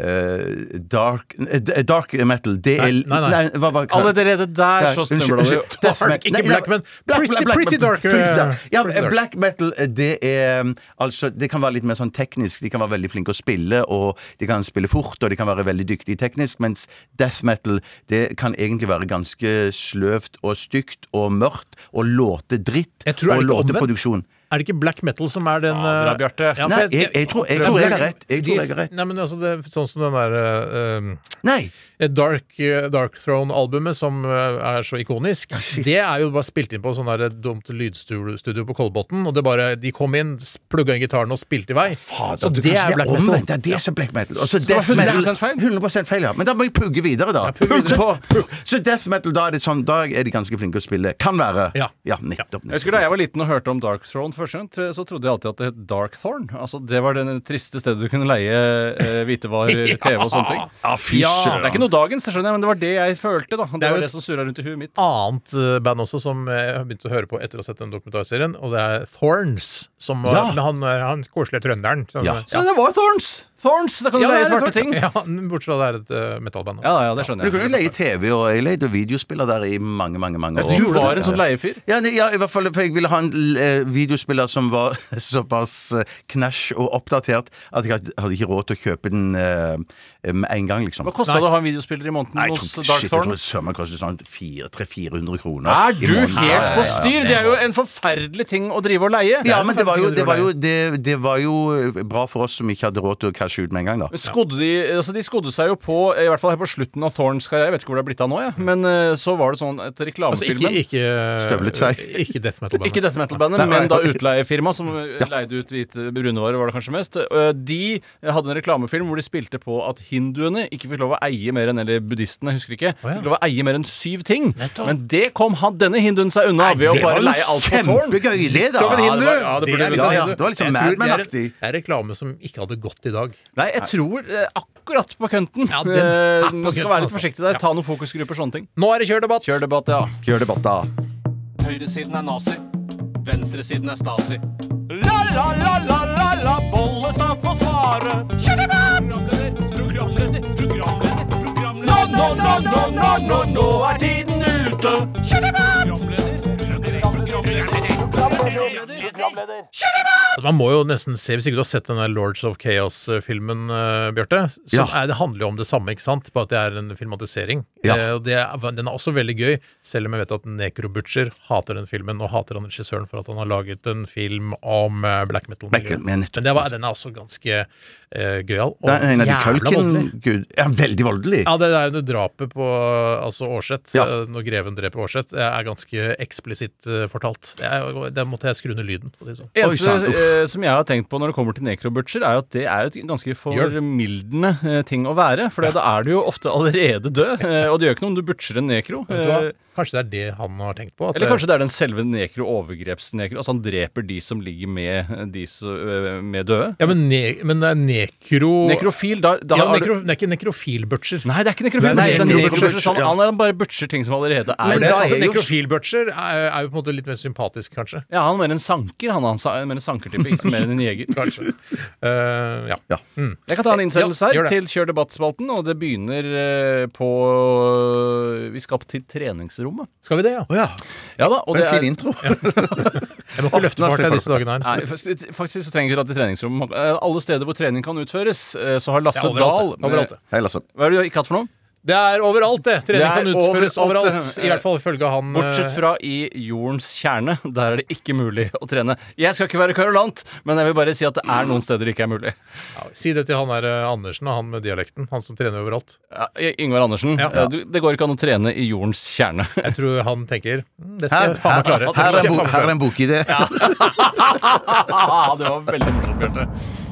Speaker 6: eh, dark, eh, dark metal, det er
Speaker 4: Nei, nei, nei.
Speaker 6: hva var
Speaker 5: Allerede der
Speaker 6: Nei,
Speaker 5: så
Speaker 6: unnskyld,
Speaker 5: snubla du.
Speaker 6: unnskyld. Death metal.
Speaker 4: ikke
Speaker 6: Nei, nei,
Speaker 4: black, men pretty- pretty dark, eh,
Speaker 6: pretty dark. Ja,
Speaker 4: pretty dark.
Speaker 6: black metal, eh, det er um, Altså, det kan være litt mer sånn teknisk. De kan være veldig flinke å spille, og de kan spille fort, og de kan være veldig dyktige teknisk, mens death metal, det kan egentlig være ganske sløvt og stygt og mørkt, og låte dritt,
Speaker 4: Jeg tror det er
Speaker 6: og
Speaker 4: litt omvendt.
Speaker 6: låteproduksjon.
Speaker 4: Er det ikke black metal som er den
Speaker 5: Fader,
Speaker 4: eh,
Speaker 5: da, Bjarte.
Speaker 4: for
Speaker 6: Nei, jeg, jeg tror jeg tror jeg har rett. Jeg tror jeg har
Speaker 4: De-
Speaker 6: rett.
Speaker 4: Nei, men altså, det er sånn som den der eh,
Speaker 6: Nei!
Speaker 4: eh, Dark, eh, Dark Throne-albumet som eh, er så ikonisk, det er jo bare spilt inn på sånn der dumt lydstudio på Kolbotn, og det bare, de kom inn, s- plugga inn gitaren og spilte i vei.
Speaker 6: Fader,
Speaker 4: så
Speaker 6: du,
Speaker 4: det
Speaker 6: kanskje
Speaker 4: er black metal.
Speaker 6: omvendt, ja, det er så black metal. Og så
Speaker 5: det var
Speaker 6: death metal-
Speaker 5: 100% feil?
Speaker 6: 100% feil, ja. Men da må jeg pugge videre, da.
Speaker 4: pugg
Speaker 6: Pugg
Speaker 4: videre.
Speaker 6: på. Pugg. Så death metal, da er, det sånn, da er de ganske flinke å spille. Kan være.
Speaker 4: Ja.
Speaker 6: nettopp.
Speaker 5: Jeg husker Da jeg var liten og hørte om Dark Throne første gang, t- så trodde jeg alltid at det het Dark Thorn. Altså, det var det triste stedet du kunne leie eh, hvitevarer, TV og sånne ting.
Speaker 6: Ja, fy
Speaker 5: Det
Speaker 6: søren.
Speaker 5: er ikke noe dagens, det skjønner jeg, men det var det jeg følte. da Det,
Speaker 4: er jo
Speaker 5: var
Speaker 4: et-
Speaker 5: det som surra rundt i huet
Speaker 6: Ah,
Speaker 5: mitt.
Speaker 4: Annet eh, band også som eh, jeg har begynt å høre på etter å ha sett den dokumentarserien, og det er Thorns, som var
Speaker 6: Ja.
Speaker 4: med han, eh, han koselige trønderen. Som,
Speaker 6: Ja.
Speaker 5: Så det var Thorns! Thorns! Da kan du
Speaker 4: det
Speaker 5: leie
Speaker 4: er
Speaker 5: Sånn svarte
Speaker 4: Thorns.
Speaker 5: ting. Ja,
Speaker 4: Ja, bortsett fra det er et eh, metalband.
Speaker 5: ja, ja, det
Speaker 6: Du
Speaker 5: skjønner
Speaker 6: kunne jo
Speaker 5: jeg.
Speaker 6: leie TV, og jeg leide videospiller der i mange, mange mange år.
Speaker 5: Du var en sånn leiefyr.
Speaker 6: Ja, nei, ja, i hvert fall, for jeg ville ha en eh, videospiller som var såpass eh, knæsj og oppdatert at jeg hadde hadde ikke råd til å kjøpe den eh, med en gang, liksom.
Speaker 5: Hva kosta det å ha en videospiller i
Speaker 6: Nei,
Speaker 5: måneden
Speaker 6: jeg
Speaker 5: hos
Speaker 6: tror,
Speaker 5: Dark
Speaker 6: shit, jeg
Speaker 5: Thorn?
Speaker 6: tror sømmen koster sånn 300-400 kroner.
Speaker 5: Er
Speaker 6: i
Speaker 5: du
Speaker 6: måneden. Ja,
Speaker 5: helt
Speaker 6: ja,
Speaker 5: på
Speaker 6: ja, ja.
Speaker 5: styr? Det er jo en forferdelig ting å drive og leie.
Speaker 6: Ja, men det var, jo, det, var jo, det, det var jo eh, bra for oss som ikke hadde råd til å cashe ut med en gang, da.
Speaker 5: Men Skodde de, altså de skodde seg jo på, i hvert fall her på slutten av Thorns karriere, jeg vet ikke hvor det er blitt av nå, jeg. men eh, så var det sånn etter
Speaker 4: Altså, ikke,
Speaker 5: reklamefilmen.
Speaker 4: ikke,
Speaker 6: Støvlet seg.
Speaker 4: ikke death metal-bandet.
Speaker 5: Ikke dette metal-bandet,
Speaker 6: Nei, nei,
Speaker 5: men da
Speaker 6: ok.
Speaker 5: utleiefirmaet som eh, leide ut hvite brunvarer, var det kanskje mest. eh, De hadde en reklamefilm hvor de spilte på at hinduene ikke fikk lov å eie mer enn Eller buddhistene, jeg husker ikke.
Speaker 4: ja.
Speaker 5: Fikk lov å eie mer enn syv ting. Men det kom han, denne hinduen seg unna ved å bare leie alt på Thorn.
Speaker 6: kjempegøy idé, da!
Speaker 5: Litt av en hindu.
Speaker 6: Ja, det,
Speaker 5: Det er
Speaker 6: var, ja,
Speaker 5: litt
Speaker 6: det, burde,
Speaker 5: av en
Speaker 6: ja,
Speaker 5: hindu.
Speaker 6: det var liksom
Speaker 4: Jeg tror
Speaker 6: Mad
Speaker 4: det er-
Speaker 6: Men-aktig.
Speaker 4: Det er reklame som ikke hadde gått i dag.
Speaker 5: Nei, jeg tror eh, akkurat på kønten.
Speaker 4: Ja, den er
Speaker 5: Eh,
Speaker 4: på
Speaker 5: Man skal
Speaker 4: kønten,
Speaker 5: være litt
Speaker 4: altså.
Speaker 5: forsiktig der.
Speaker 4: Ja.
Speaker 5: Ta noen fokusgrupper, sånne ting.
Speaker 4: Nå er det kjørdebatt!
Speaker 5: Kjør debatt, ja.
Speaker 6: Kjør debatt, da.
Speaker 13: Høyresiden er nazi. Venstresiden er stasi.
Speaker 3: La, la, la, la, la, la, Bollestad får svare. Kjør debatt! Programleder, programleder, programleder. Nå, nå, nå, nå, nå, nå, nå er tiden ute. Kjør debatt!
Speaker 4: Man må jo nesten se, Hvis ikke du har sett den der Lords of Chaos-filmen, eh, Bjarte, så
Speaker 6: Ja.
Speaker 4: er, det handler jo om det samme, ikke sant? Bare at det er en filmatisering.
Speaker 6: Ja.
Speaker 4: Eh, og det er, den er også veldig gøy, selv om jeg vet at Necro Butcher hater den filmen, og hater han regissøren for at han har laget en film om eh, black metal.
Speaker 6: Black metal, men nettopp.
Speaker 4: det var, den er også ganske eh, gøyal. Og
Speaker 6: Det er en av de
Speaker 4: jævla voldelig.
Speaker 6: Kulken-gud Ja, veldig voldelig.
Speaker 4: Ja, det er jo det drapet på altså Aarseth,
Speaker 6: Ja.
Speaker 4: eh, når greven dreper Aarseth, eh, er ganske eksplisitt eh, fortalt. Det, er, det måtte jeg skru ned lyden. for å si det sånn.
Speaker 5: eneste
Speaker 6: sann, uff.
Speaker 5: eh, som jeg har tenkt på når det kommer til necrobutcher, er jo at det er jo et ganske formildende eh, ting å være. For da er du jo ofte allerede død, eh, og det gjør ikke noe om du butcher en nekro.
Speaker 4: Vet du hva?
Speaker 5: Eh,
Speaker 4: Kanskje det er det han har tenkt på? at
Speaker 5: Eller
Speaker 4: det-
Speaker 5: kanskje det er den selve nekro, overgrepsnekro. Altså han dreper de som ligger med, de s- øh, med døde.
Speaker 4: Ja, men, ne men det er nekro...
Speaker 5: Nekrofil, da, da
Speaker 4: ja,
Speaker 5: har du-
Speaker 4: nekro det er ikke nekrofil-butcher.
Speaker 5: Nei, det er ikke nekrofil.
Speaker 4: Nei,
Speaker 5: det
Speaker 4: nei,
Speaker 5: er nekrobutcher,
Speaker 4: nekrobutcher,
Speaker 5: sånn,
Speaker 4: ja.
Speaker 5: Han er bare butcher ting som allerede er
Speaker 4: Men det,
Speaker 5: der.
Speaker 4: altså, Nekrofil-butcher er, er jo på en måte litt mer sympatisk, kanskje.
Speaker 5: Ja, han er mer en sanker. Han, han er mer en sankertype, ikke mer enn en jeger.
Speaker 4: Kanskje. ja. Mm.
Speaker 5: Jeg kan ta en innsendelse
Speaker 4: Ja, gjør
Speaker 5: her
Speaker 4: det.
Speaker 5: til Kjør debattspalten, og det begynner eh, på Vi skal opp til treningsrommet.
Speaker 4: Skal vi det, ja?
Speaker 6: ja.
Speaker 5: da, og
Speaker 6: Det
Speaker 5: det
Speaker 6: var en fin
Speaker 5: er-
Speaker 6: intro.
Speaker 4: Jeg må ikke løfte
Speaker 5: Åpna
Speaker 4: fart
Speaker 5: seg
Speaker 4: jeg, disse
Speaker 5: for-
Speaker 4: dagene her.
Speaker 5: Nei, faktisk, faktisk så trenger vi ikke dra til treningsrommet. Eh, Alle steder hvor trening kan utføres, eh, så har Lasse
Speaker 4: Ja, overalt,
Speaker 5: Dahl
Speaker 4: det. Overalt, det.
Speaker 6: Hei, Lasse.
Speaker 5: Hva er det du ikke hatt for noe?
Speaker 4: Det er overalt, det. Trening
Speaker 5: Det er
Speaker 4: kan utføres
Speaker 5: overalt,
Speaker 4: overalt.
Speaker 5: det.
Speaker 4: I hvert fall ifølge han eh,
Speaker 5: Bortsett fra i jordens kjerne. Der er det ikke mulig å trene. Jeg skal ikke være kverulant, men jeg vil bare si at det er noen steder det ikke er mulig.
Speaker 4: ja, Si det til han der eh, Andersen, da, han med dialekten. Han som trener overalt.
Speaker 5: Ja, Yngvar Andersen,
Speaker 4: Ja.
Speaker 5: eh, du, det går ikke an å trene i jordens kjerne.
Speaker 4: Jeg tror han tenker "Mm, Det skal jeg faen meg klare.
Speaker 6: Her er en, bo her er en bokidé.
Speaker 5: Ah, det var veldig morsomt, Bjarte.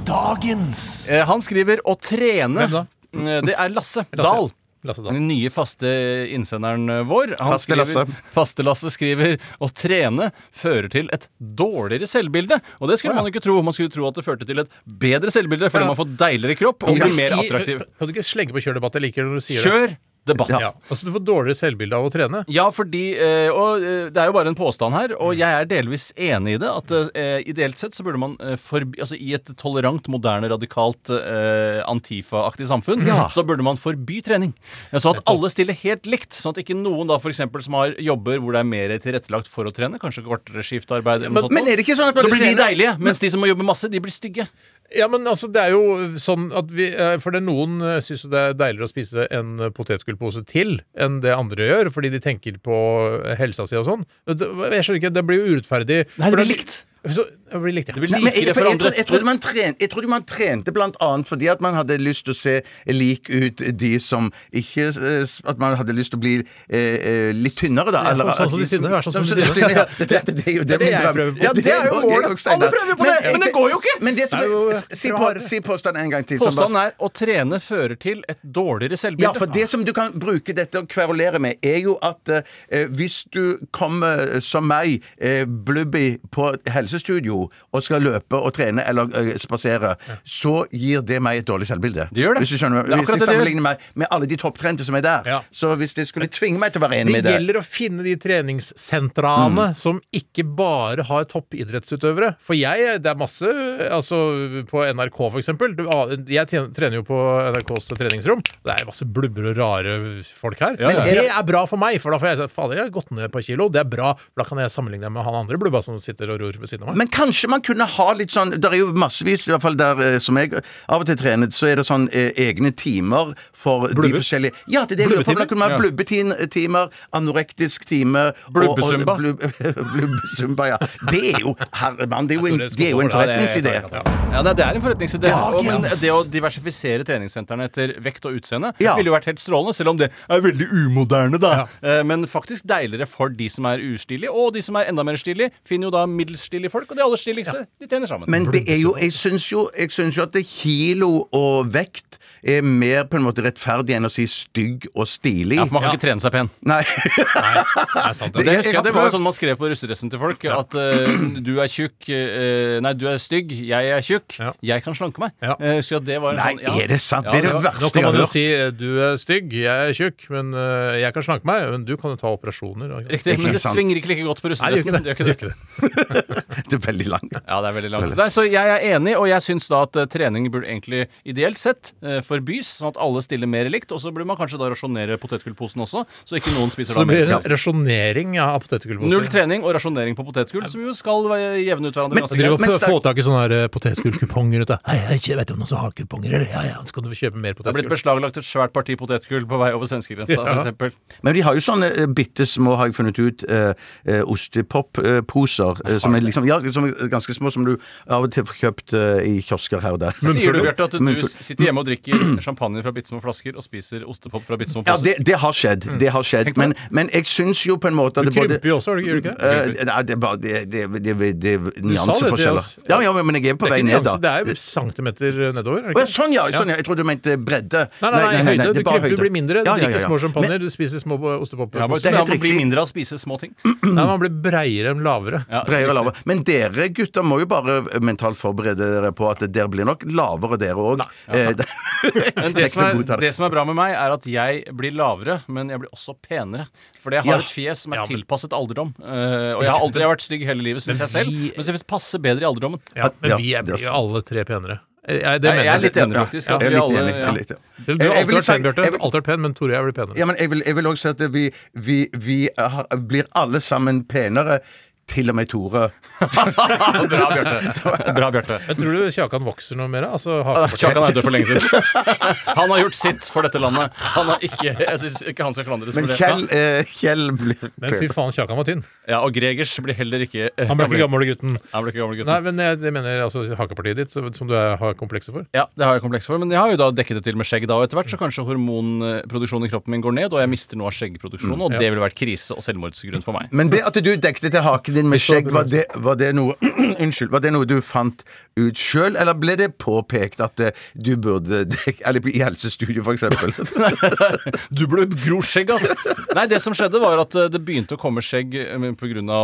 Speaker 5: Dagens! Eh, han skriver 'å trene'.
Speaker 4: Hvem da?
Speaker 5: Eh, Det er Lasse
Speaker 4: Lasse.
Speaker 5: Dahl.
Speaker 4: Lasse Dahl.
Speaker 5: Den nye faste innsenderen eh, vår. Han
Speaker 6: Faste Lasse.
Speaker 5: faste Lasse skriver 'å trene fører til et dårligere selvbilde'. Og det skulle man ikke tro. Man skulle tro at det førte til et bedre selvbilde fordi
Speaker 4: Ja.
Speaker 5: man får deiligere kropp og
Speaker 4: Kan du
Speaker 5: blir mer
Speaker 4: si-
Speaker 5: attraktiv.
Speaker 4: Kan du ikke slegge på kjørdebatt? Jeg liker det når du sier det.
Speaker 5: Kjør debatt.
Speaker 4: Ja. Altså, du får dårligere selvbilde av å trene.
Speaker 5: Ja, fordi eh, Og eh, det er jo bare en påstand her,
Speaker 6: Mm.
Speaker 5: og jeg er delvis enig i det. At eh, ideelt sett så burde man eh, forby Altså i et tolerant, moderne, radikalt eh, Antifa-aktig samfunn, så burde man forby trening. Ja, Så at alle stiller helt likt. Sånn at ikke noen da for eksempel, som har jobber hvor det er mer tilrettelagt for å trene, kanskje kortere skiftarbeid eller noe sånt,
Speaker 6: men er det ikke sånn at når
Speaker 5: så
Speaker 6: du
Speaker 5: blir de
Speaker 6: trener-
Speaker 5: deilige, mens de som må jobbe masse, de blir stygge.
Speaker 4: Ja, men altså, det er jo sånn at vi eh, For det er noen eh, syns jo det er deiligere å spise en eh, potetgullpose til enn det andre gjør, fordi de tenker på eh, helsa si og sånn. Men det- Jeg skjønner ikke, det blir jo urettferdig. For
Speaker 5: Nei, det blir
Speaker 4: da-
Speaker 5: likt.
Speaker 4: Så, det blir likt, ja.
Speaker 5: Det blir
Speaker 6: Nei, men jeg,
Speaker 5: likere
Speaker 6: for
Speaker 5: for
Speaker 6: jeg,
Speaker 5: andre.
Speaker 6: trodde, jeg, trodde man trente, jeg trodde man trente blant annet fordi at man hadde lyst til å se lik ut de som ikke eh, s- At man hadde lyst til å bli eh, eh, litt tynnere, da.
Speaker 4: Ja, sånn- sånn
Speaker 6: at
Speaker 4: som
Speaker 6: de
Speaker 4: de tynne, vær sånn som de tynne.
Speaker 6: ja. Det, det, det, det er jo det,
Speaker 4: Det er det
Speaker 6: min
Speaker 4: jeg
Speaker 6: drøm.
Speaker 4: prøver på.
Speaker 6: Ja, det er jo målet.
Speaker 4: Alle prøver på det, men det går jo ikke.
Speaker 6: Men det som,
Speaker 4: Det er jo-
Speaker 6: si, på, si påstanden en gang til. som bare-
Speaker 5: Påstanden er å trene fører til et dårligere selvbilde.
Speaker 6: Ja, for det som du kan bruke dette og kverulere med, er jo at eh, hvis du kommer eh, som meg, eh, blubby, på et helsestudio og skal løpe og trene eller eh, spasere, så gir det meg et dårlig selvbilde.
Speaker 5: Det gjør det.
Speaker 6: Hvis du skjønner
Speaker 5: Det er
Speaker 6: meg. Hvis
Speaker 5: akkurat
Speaker 6: jeg
Speaker 5: det det gjør.
Speaker 6: sammenligner meg med alle de topptrente som er der,
Speaker 4: Ja.
Speaker 6: så hvis det skulle tvinge meg til å være enig
Speaker 4: Det
Speaker 6: med det
Speaker 4: gjelder å finne de treningssentrene som ikke bare har toppidrettsutøvere. For jeg, det er masse Altså, på NRK, for eksempel. Du, a- jeg tjen- trener jo på NRKs treningsrom. Det er masse blubber og rare folk her.
Speaker 5: Ja, ja.
Speaker 4: Men det er bra for meg, for da får jeg si fader, jeg har gått ned et par kilo. Det er bra. for Da kan jeg sammenligne meg med han andre blubba som sitter og ror ved siden av meg.
Speaker 6: Men kanskje man kunne ha litt sånn Det er jo massevis, i hvert fall der eh, som jeg av og til trenet, så er det sånn eh, egne timer for
Speaker 5: Blubber?
Speaker 6: de forskjellige Ja, det er det jeg lurer på. om det
Speaker 5: Blubbetimer?
Speaker 6: kunne man ha
Speaker 5: Ja.
Speaker 6: Blubbetimer, anorektisk time og- og-
Speaker 5: Blubbesumba?
Speaker 6: blubb- Blubbesumba, ja. Det er jo Herremann, det er jo en, det er jo en
Speaker 4: Ja, det er-
Speaker 6: forretningsidé.
Speaker 5: Ja, det det er en forretningsidé. Og, men det å diversifisere treningssentrene etter vekt og utseende
Speaker 6: Ja.
Speaker 5: ville jo vært helt strålende, selv om det er veldig umoderne, da. Eh, Men faktisk deiligere for de som er ustilige, og de som er enda mer stilige, finner jo da middels stilige folk, og de aller stiligste, de trener sammen.
Speaker 6: Men det er jo, jeg syns jo, jeg syns jo at det kilo og vekt er mer på en måte rettferdig enn å si stygg og stilig.
Speaker 5: ja, for man kan ikke Sånn, trene seg pen.
Speaker 6: Nei.
Speaker 4: Det er sant, det.
Speaker 5: Det,
Speaker 6: Jeg-
Speaker 5: husker
Speaker 6: jeg har
Speaker 5: jeg, det var jo
Speaker 6: prøvd.
Speaker 5: sånn man skrev på russedressen til folk. At eh, du er tjukk eh, Nei, du er stygg, jeg er tjukk,
Speaker 4: Ja.
Speaker 5: jeg kan slanke meg.
Speaker 4: Ja.
Speaker 5: Eh, husker jeg at det var en
Speaker 6: Nei,
Speaker 5: sånn ja.
Speaker 6: er det sant?
Speaker 5: Ja,
Speaker 6: Det er det
Speaker 5: var-
Speaker 4: Nå
Speaker 6: verste
Speaker 4: kan man
Speaker 6: jeg har
Speaker 4: jo
Speaker 6: hørt.
Speaker 4: si du er stygg, jeg er tjukk, men øh, jeg kan slanke meg. Men du kan jo ta operasjoner. og-
Speaker 5: Riktig, men
Speaker 6: Ikke
Speaker 5: det
Speaker 6: sant.
Speaker 5: svinger ikke like godt på
Speaker 4: Nei, det gjør
Speaker 5: russedressen.
Speaker 4: ikke det.
Speaker 5: Det gjør
Speaker 4: Det gjør ikke det.
Speaker 6: Det er veldig langt.
Speaker 5: Ja, det er veldig langt. Nei, så jeg er enig, og jeg syns da at eh, trening burde egentlig ideelt sett eh, forbys, sånn at alle stiller mer likt. Og så burde man kanskje da rasjonere potetgullposen også, så ikke noen spiser
Speaker 4: Så
Speaker 5: da
Speaker 4: det blir
Speaker 5: mer.
Speaker 4: en rasjonering av potetgullposer.
Speaker 5: Null trening og rasjonering på potetgull, som jo skal eh, jevne ut hverandre ganske
Speaker 4: Driver
Speaker 5: greit.
Speaker 4: og
Speaker 6: Men
Speaker 4: prøver å
Speaker 6: sterk-
Speaker 4: altså, få tak i sånne her, eh, potetgullkuponger. vet du. Hei, hei, kje- vet du om noen som har kuponger? Eller? Ja, ja, så kan du kjøpe mer
Speaker 5: Det er blitt
Speaker 4: potetgull.
Speaker 5: beslaglagt et svært parti potetgull på vei over svenskegrensa,
Speaker 4: Ja.
Speaker 5: for eksempel
Speaker 6: Men de har jo sånne bitte små, har jeg funnet ut, eh, eh, ostepopposer. Eh, som er liksom som, ja, som er ganske små, som du av og til får kjøpt eh, i kiosker her og der.
Speaker 5: Sier du, Bjarte, at du
Speaker 6: Munnfull.
Speaker 5: s- sitter hjemme og drikker champagne fra bitte små flasker og spiser ostepop fra bitte små
Speaker 6: Ja,
Speaker 5: poser?
Speaker 6: det, det har skjedd.
Speaker 4: Mm.
Speaker 6: Det har skjedd.
Speaker 5: Tenk på
Speaker 6: Men, men jeg syns jo på en måte at
Speaker 5: Du
Speaker 6: det både-
Speaker 5: krymper jo også, gjør du ikke- gjør du ikke?
Speaker 6: Eh, Nei, det er bare det, det, det, det, det er
Speaker 4: Du sa det til
Speaker 6: nyanseforskjeller.
Speaker 4: oss.
Speaker 6: Ja, ja, men jeg er på
Speaker 4: det er
Speaker 6: vei
Speaker 4: ikke
Speaker 6: ned,
Speaker 4: nyanse,
Speaker 6: da.
Speaker 4: Det er jo centimeter nedover. er det
Speaker 6: Å, ja,
Speaker 4: ikke?
Speaker 6: sånn, ja, sånn, ja! Jeg trodde du mente bredde.
Speaker 4: Nei, nei, nei, høyde.
Speaker 6: det er
Speaker 4: du
Speaker 6: bare
Speaker 4: krymper, du
Speaker 6: høyde.
Speaker 4: blir mindre. Du
Speaker 6: Ja, ja, ja,
Speaker 4: drikker
Speaker 6: ja.
Speaker 4: små sjampanjer, du spiser små ostepopper.
Speaker 5: Ja, men
Speaker 6: det er helt
Speaker 5: man blir
Speaker 6: riktig.
Speaker 5: mindre av å spise små ting.
Speaker 4: Nei, man blir breiere enn lavere.
Speaker 6: Bredere og lavere. Men dere gutter må jo bare mentalt forberede dere på at dere blir nok lavere, dere Eh, òg.
Speaker 5: Men det som, er, det som er bra med meg, er at jeg blir lavere, men jeg blir også penere. Fordi jeg har
Speaker 6: Ja.
Speaker 5: et fjes som er
Speaker 6: Ja, men-
Speaker 5: tilpasset alderdom. eh, og jeg har aldri jeg har vært stygg hele livet, syns
Speaker 4: Men
Speaker 5: jeg selv.
Speaker 4: vi-
Speaker 5: Men jeg passer bedre i alderdommen.
Speaker 4: Ja, men vi er, blir jo alle tre penere. Jeg, jeg- det
Speaker 5: Nei,
Speaker 4: mener
Speaker 5: jeg er litt enig, faktisk, at Jeg er vi litt alle- enig, jeg er ja. litt enig.
Speaker 4: Du
Speaker 6: Jeg-
Speaker 4: har
Speaker 6: jeg
Speaker 4: alltid
Speaker 6: vil
Speaker 4: vært pen,
Speaker 6: si-
Speaker 4: Bjarte.
Speaker 6: jeg
Speaker 4: Du har Alltid vært pen, men Tore, jeg blir penere.
Speaker 6: Ja, men jeg vil, jeg vil også si at vi, vi, vi har, blir alle sammen penere. Til og med Tore.
Speaker 5: Bra, Bjarte. Bra, Bjarte.
Speaker 4: Men tror du Kjakan vokser noe mer? Altså, hakepartiet?
Speaker 5: Kjakan er død for lenge siden. Han har gjort sitt for dette landet. Han har ikke, jeg syns ikke han skal klandres
Speaker 6: Men
Speaker 5: for det.
Speaker 6: Kjell, eh, Kjell blir
Speaker 4: Men fy faen, Kjakan var tynn.
Speaker 5: Ja, Og Gregers blir heller ikke
Speaker 4: Han ble ikke gamle gutten.
Speaker 5: Han ble ikke gamle gutten.
Speaker 4: Nei, men jeg, jeg mener altså hakepartiet ditt, så- som du er- har komplekser for.
Speaker 5: Ja, det har jeg kompleks for, men jeg har jo da dekket det til med skjegg da, og etter hvert så kanskje hormonproduksjonen i kroppen min går ned, og jeg mister noe av skjeggproduksjonen, og
Speaker 6: Mm, ja.
Speaker 5: det ville vært krise og selvmordsgrunn for meg.
Speaker 6: Men det at du dekte til haken din med skjegg, var det, var det noe Unnskyld, var det noe du fant ut sjøl, eller ble det påpekt at eh, du burde dekke Eller i helsestudio, for eksempel?
Speaker 5: du burde gro skjegg, ass! Nei, det som skjedde, var at eh, det begynte å komme skjegg eh, pga.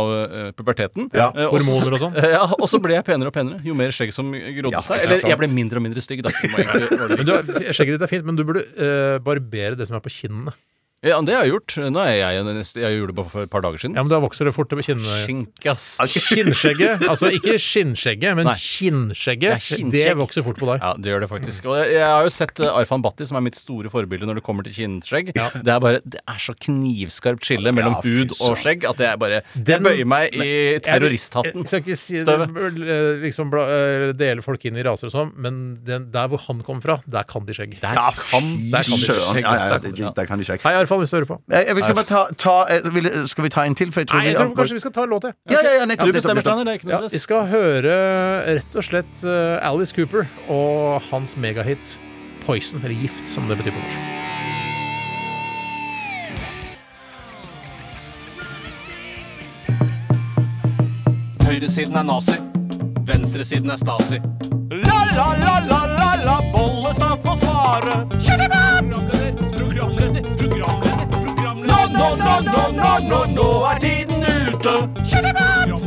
Speaker 5: puberteten.
Speaker 6: Ja,
Speaker 5: Eh, og så-
Speaker 4: hormoner og sånn.
Speaker 5: Eh, Ja, og så ble jeg penere og penere jo mer skjegg som grodde seg.
Speaker 4: det er
Speaker 5: Eller
Speaker 4: sant.
Speaker 5: jeg ble mindre og mindre stygg, da. som egentlig var det
Speaker 4: Men du, har- skjegget ditt er fint, men du burde eh, barbere det som er på kinnene.
Speaker 5: Ja, det har jeg gjort. Nå er jeg, jeg, jeg gjorde det bare for et par dager siden.
Speaker 4: Ja, men da vokser det fort på kinnene.
Speaker 5: Skinkas.
Speaker 4: Altså, Kinnskjegget. Altså ikke skinnskjegget, men
Speaker 5: Nei.
Speaker 4: kinnskjegget.
Speaker 5: Ja, kinnskjegg.
Speaker 4: Det vokser fort på deg.
Speaker 5: Ja, det gjør det faktisk. Og jeg, jeg har jo sett eh, Arfan Bhatti, som er mitt store forbilde når det kommer til kinnskjegg. Det er bare, det er så knivskarpt skille mellom
Speaker 4: Ja, fy
Speaker 5: hud og
Speaker 4: søren.
Speaker 5: skjegg at jeg bare
Speaker 4: Den-
Speaker 5: Jeg bøyer meg i terroristhatten.
Speaker 4: Jeg skal ikke si det,
Speaker 5: Støvet.
Speaker 4: bør, eh, liksom, bla, eh, dele folk inn i raser og sånn, men den, der hvor han kommer fra, der kan de skjegg.
Speaker 5: Der kan,
Speaker 4: der kan de
Speaker 6: Søren.
Speaker 4: skjegg.
Speaker 6: Ja,
Speaker 4: Der
Speaker 6: ja, ja,
Speaker 4: kan de
Speaker 6: det- der kan de skjegg.
Speaker 4: Hei, Arfan, hvis du hører på.
Speaker 6: Jeg, jeg vil ikke bare ta, ta eh, vil, Skal vi ta en til? For jeg tror,
Speaker 4: Nei, jeg
Speaker 6: vi-
Speaker 4: tror kanskje vi skal ta en låt, jeg.
Speaker 6: Ja, ja, ja, nettopp,
Speaker 4: Du bestemmer,
Speaker 6: nettopp,
Speaker 4: Steiner,
Speaker 6: nettopp.
Speaker 4: det er ikke noe stress. Ja, vi skal høre rett og slett eh, Alice Cooper og hans megahit Poison, eller Gift, som det betyr på norsk.
Speaker 13: Høyresiden er nazi. Venstresiden er stasi.
Speaker 3: La-la-la-la-la-la, Bollestad får svare. Programleder, programleder, programleder, programleder. Nå, nå, nå, nå, nå, nå, nå er tiden ute.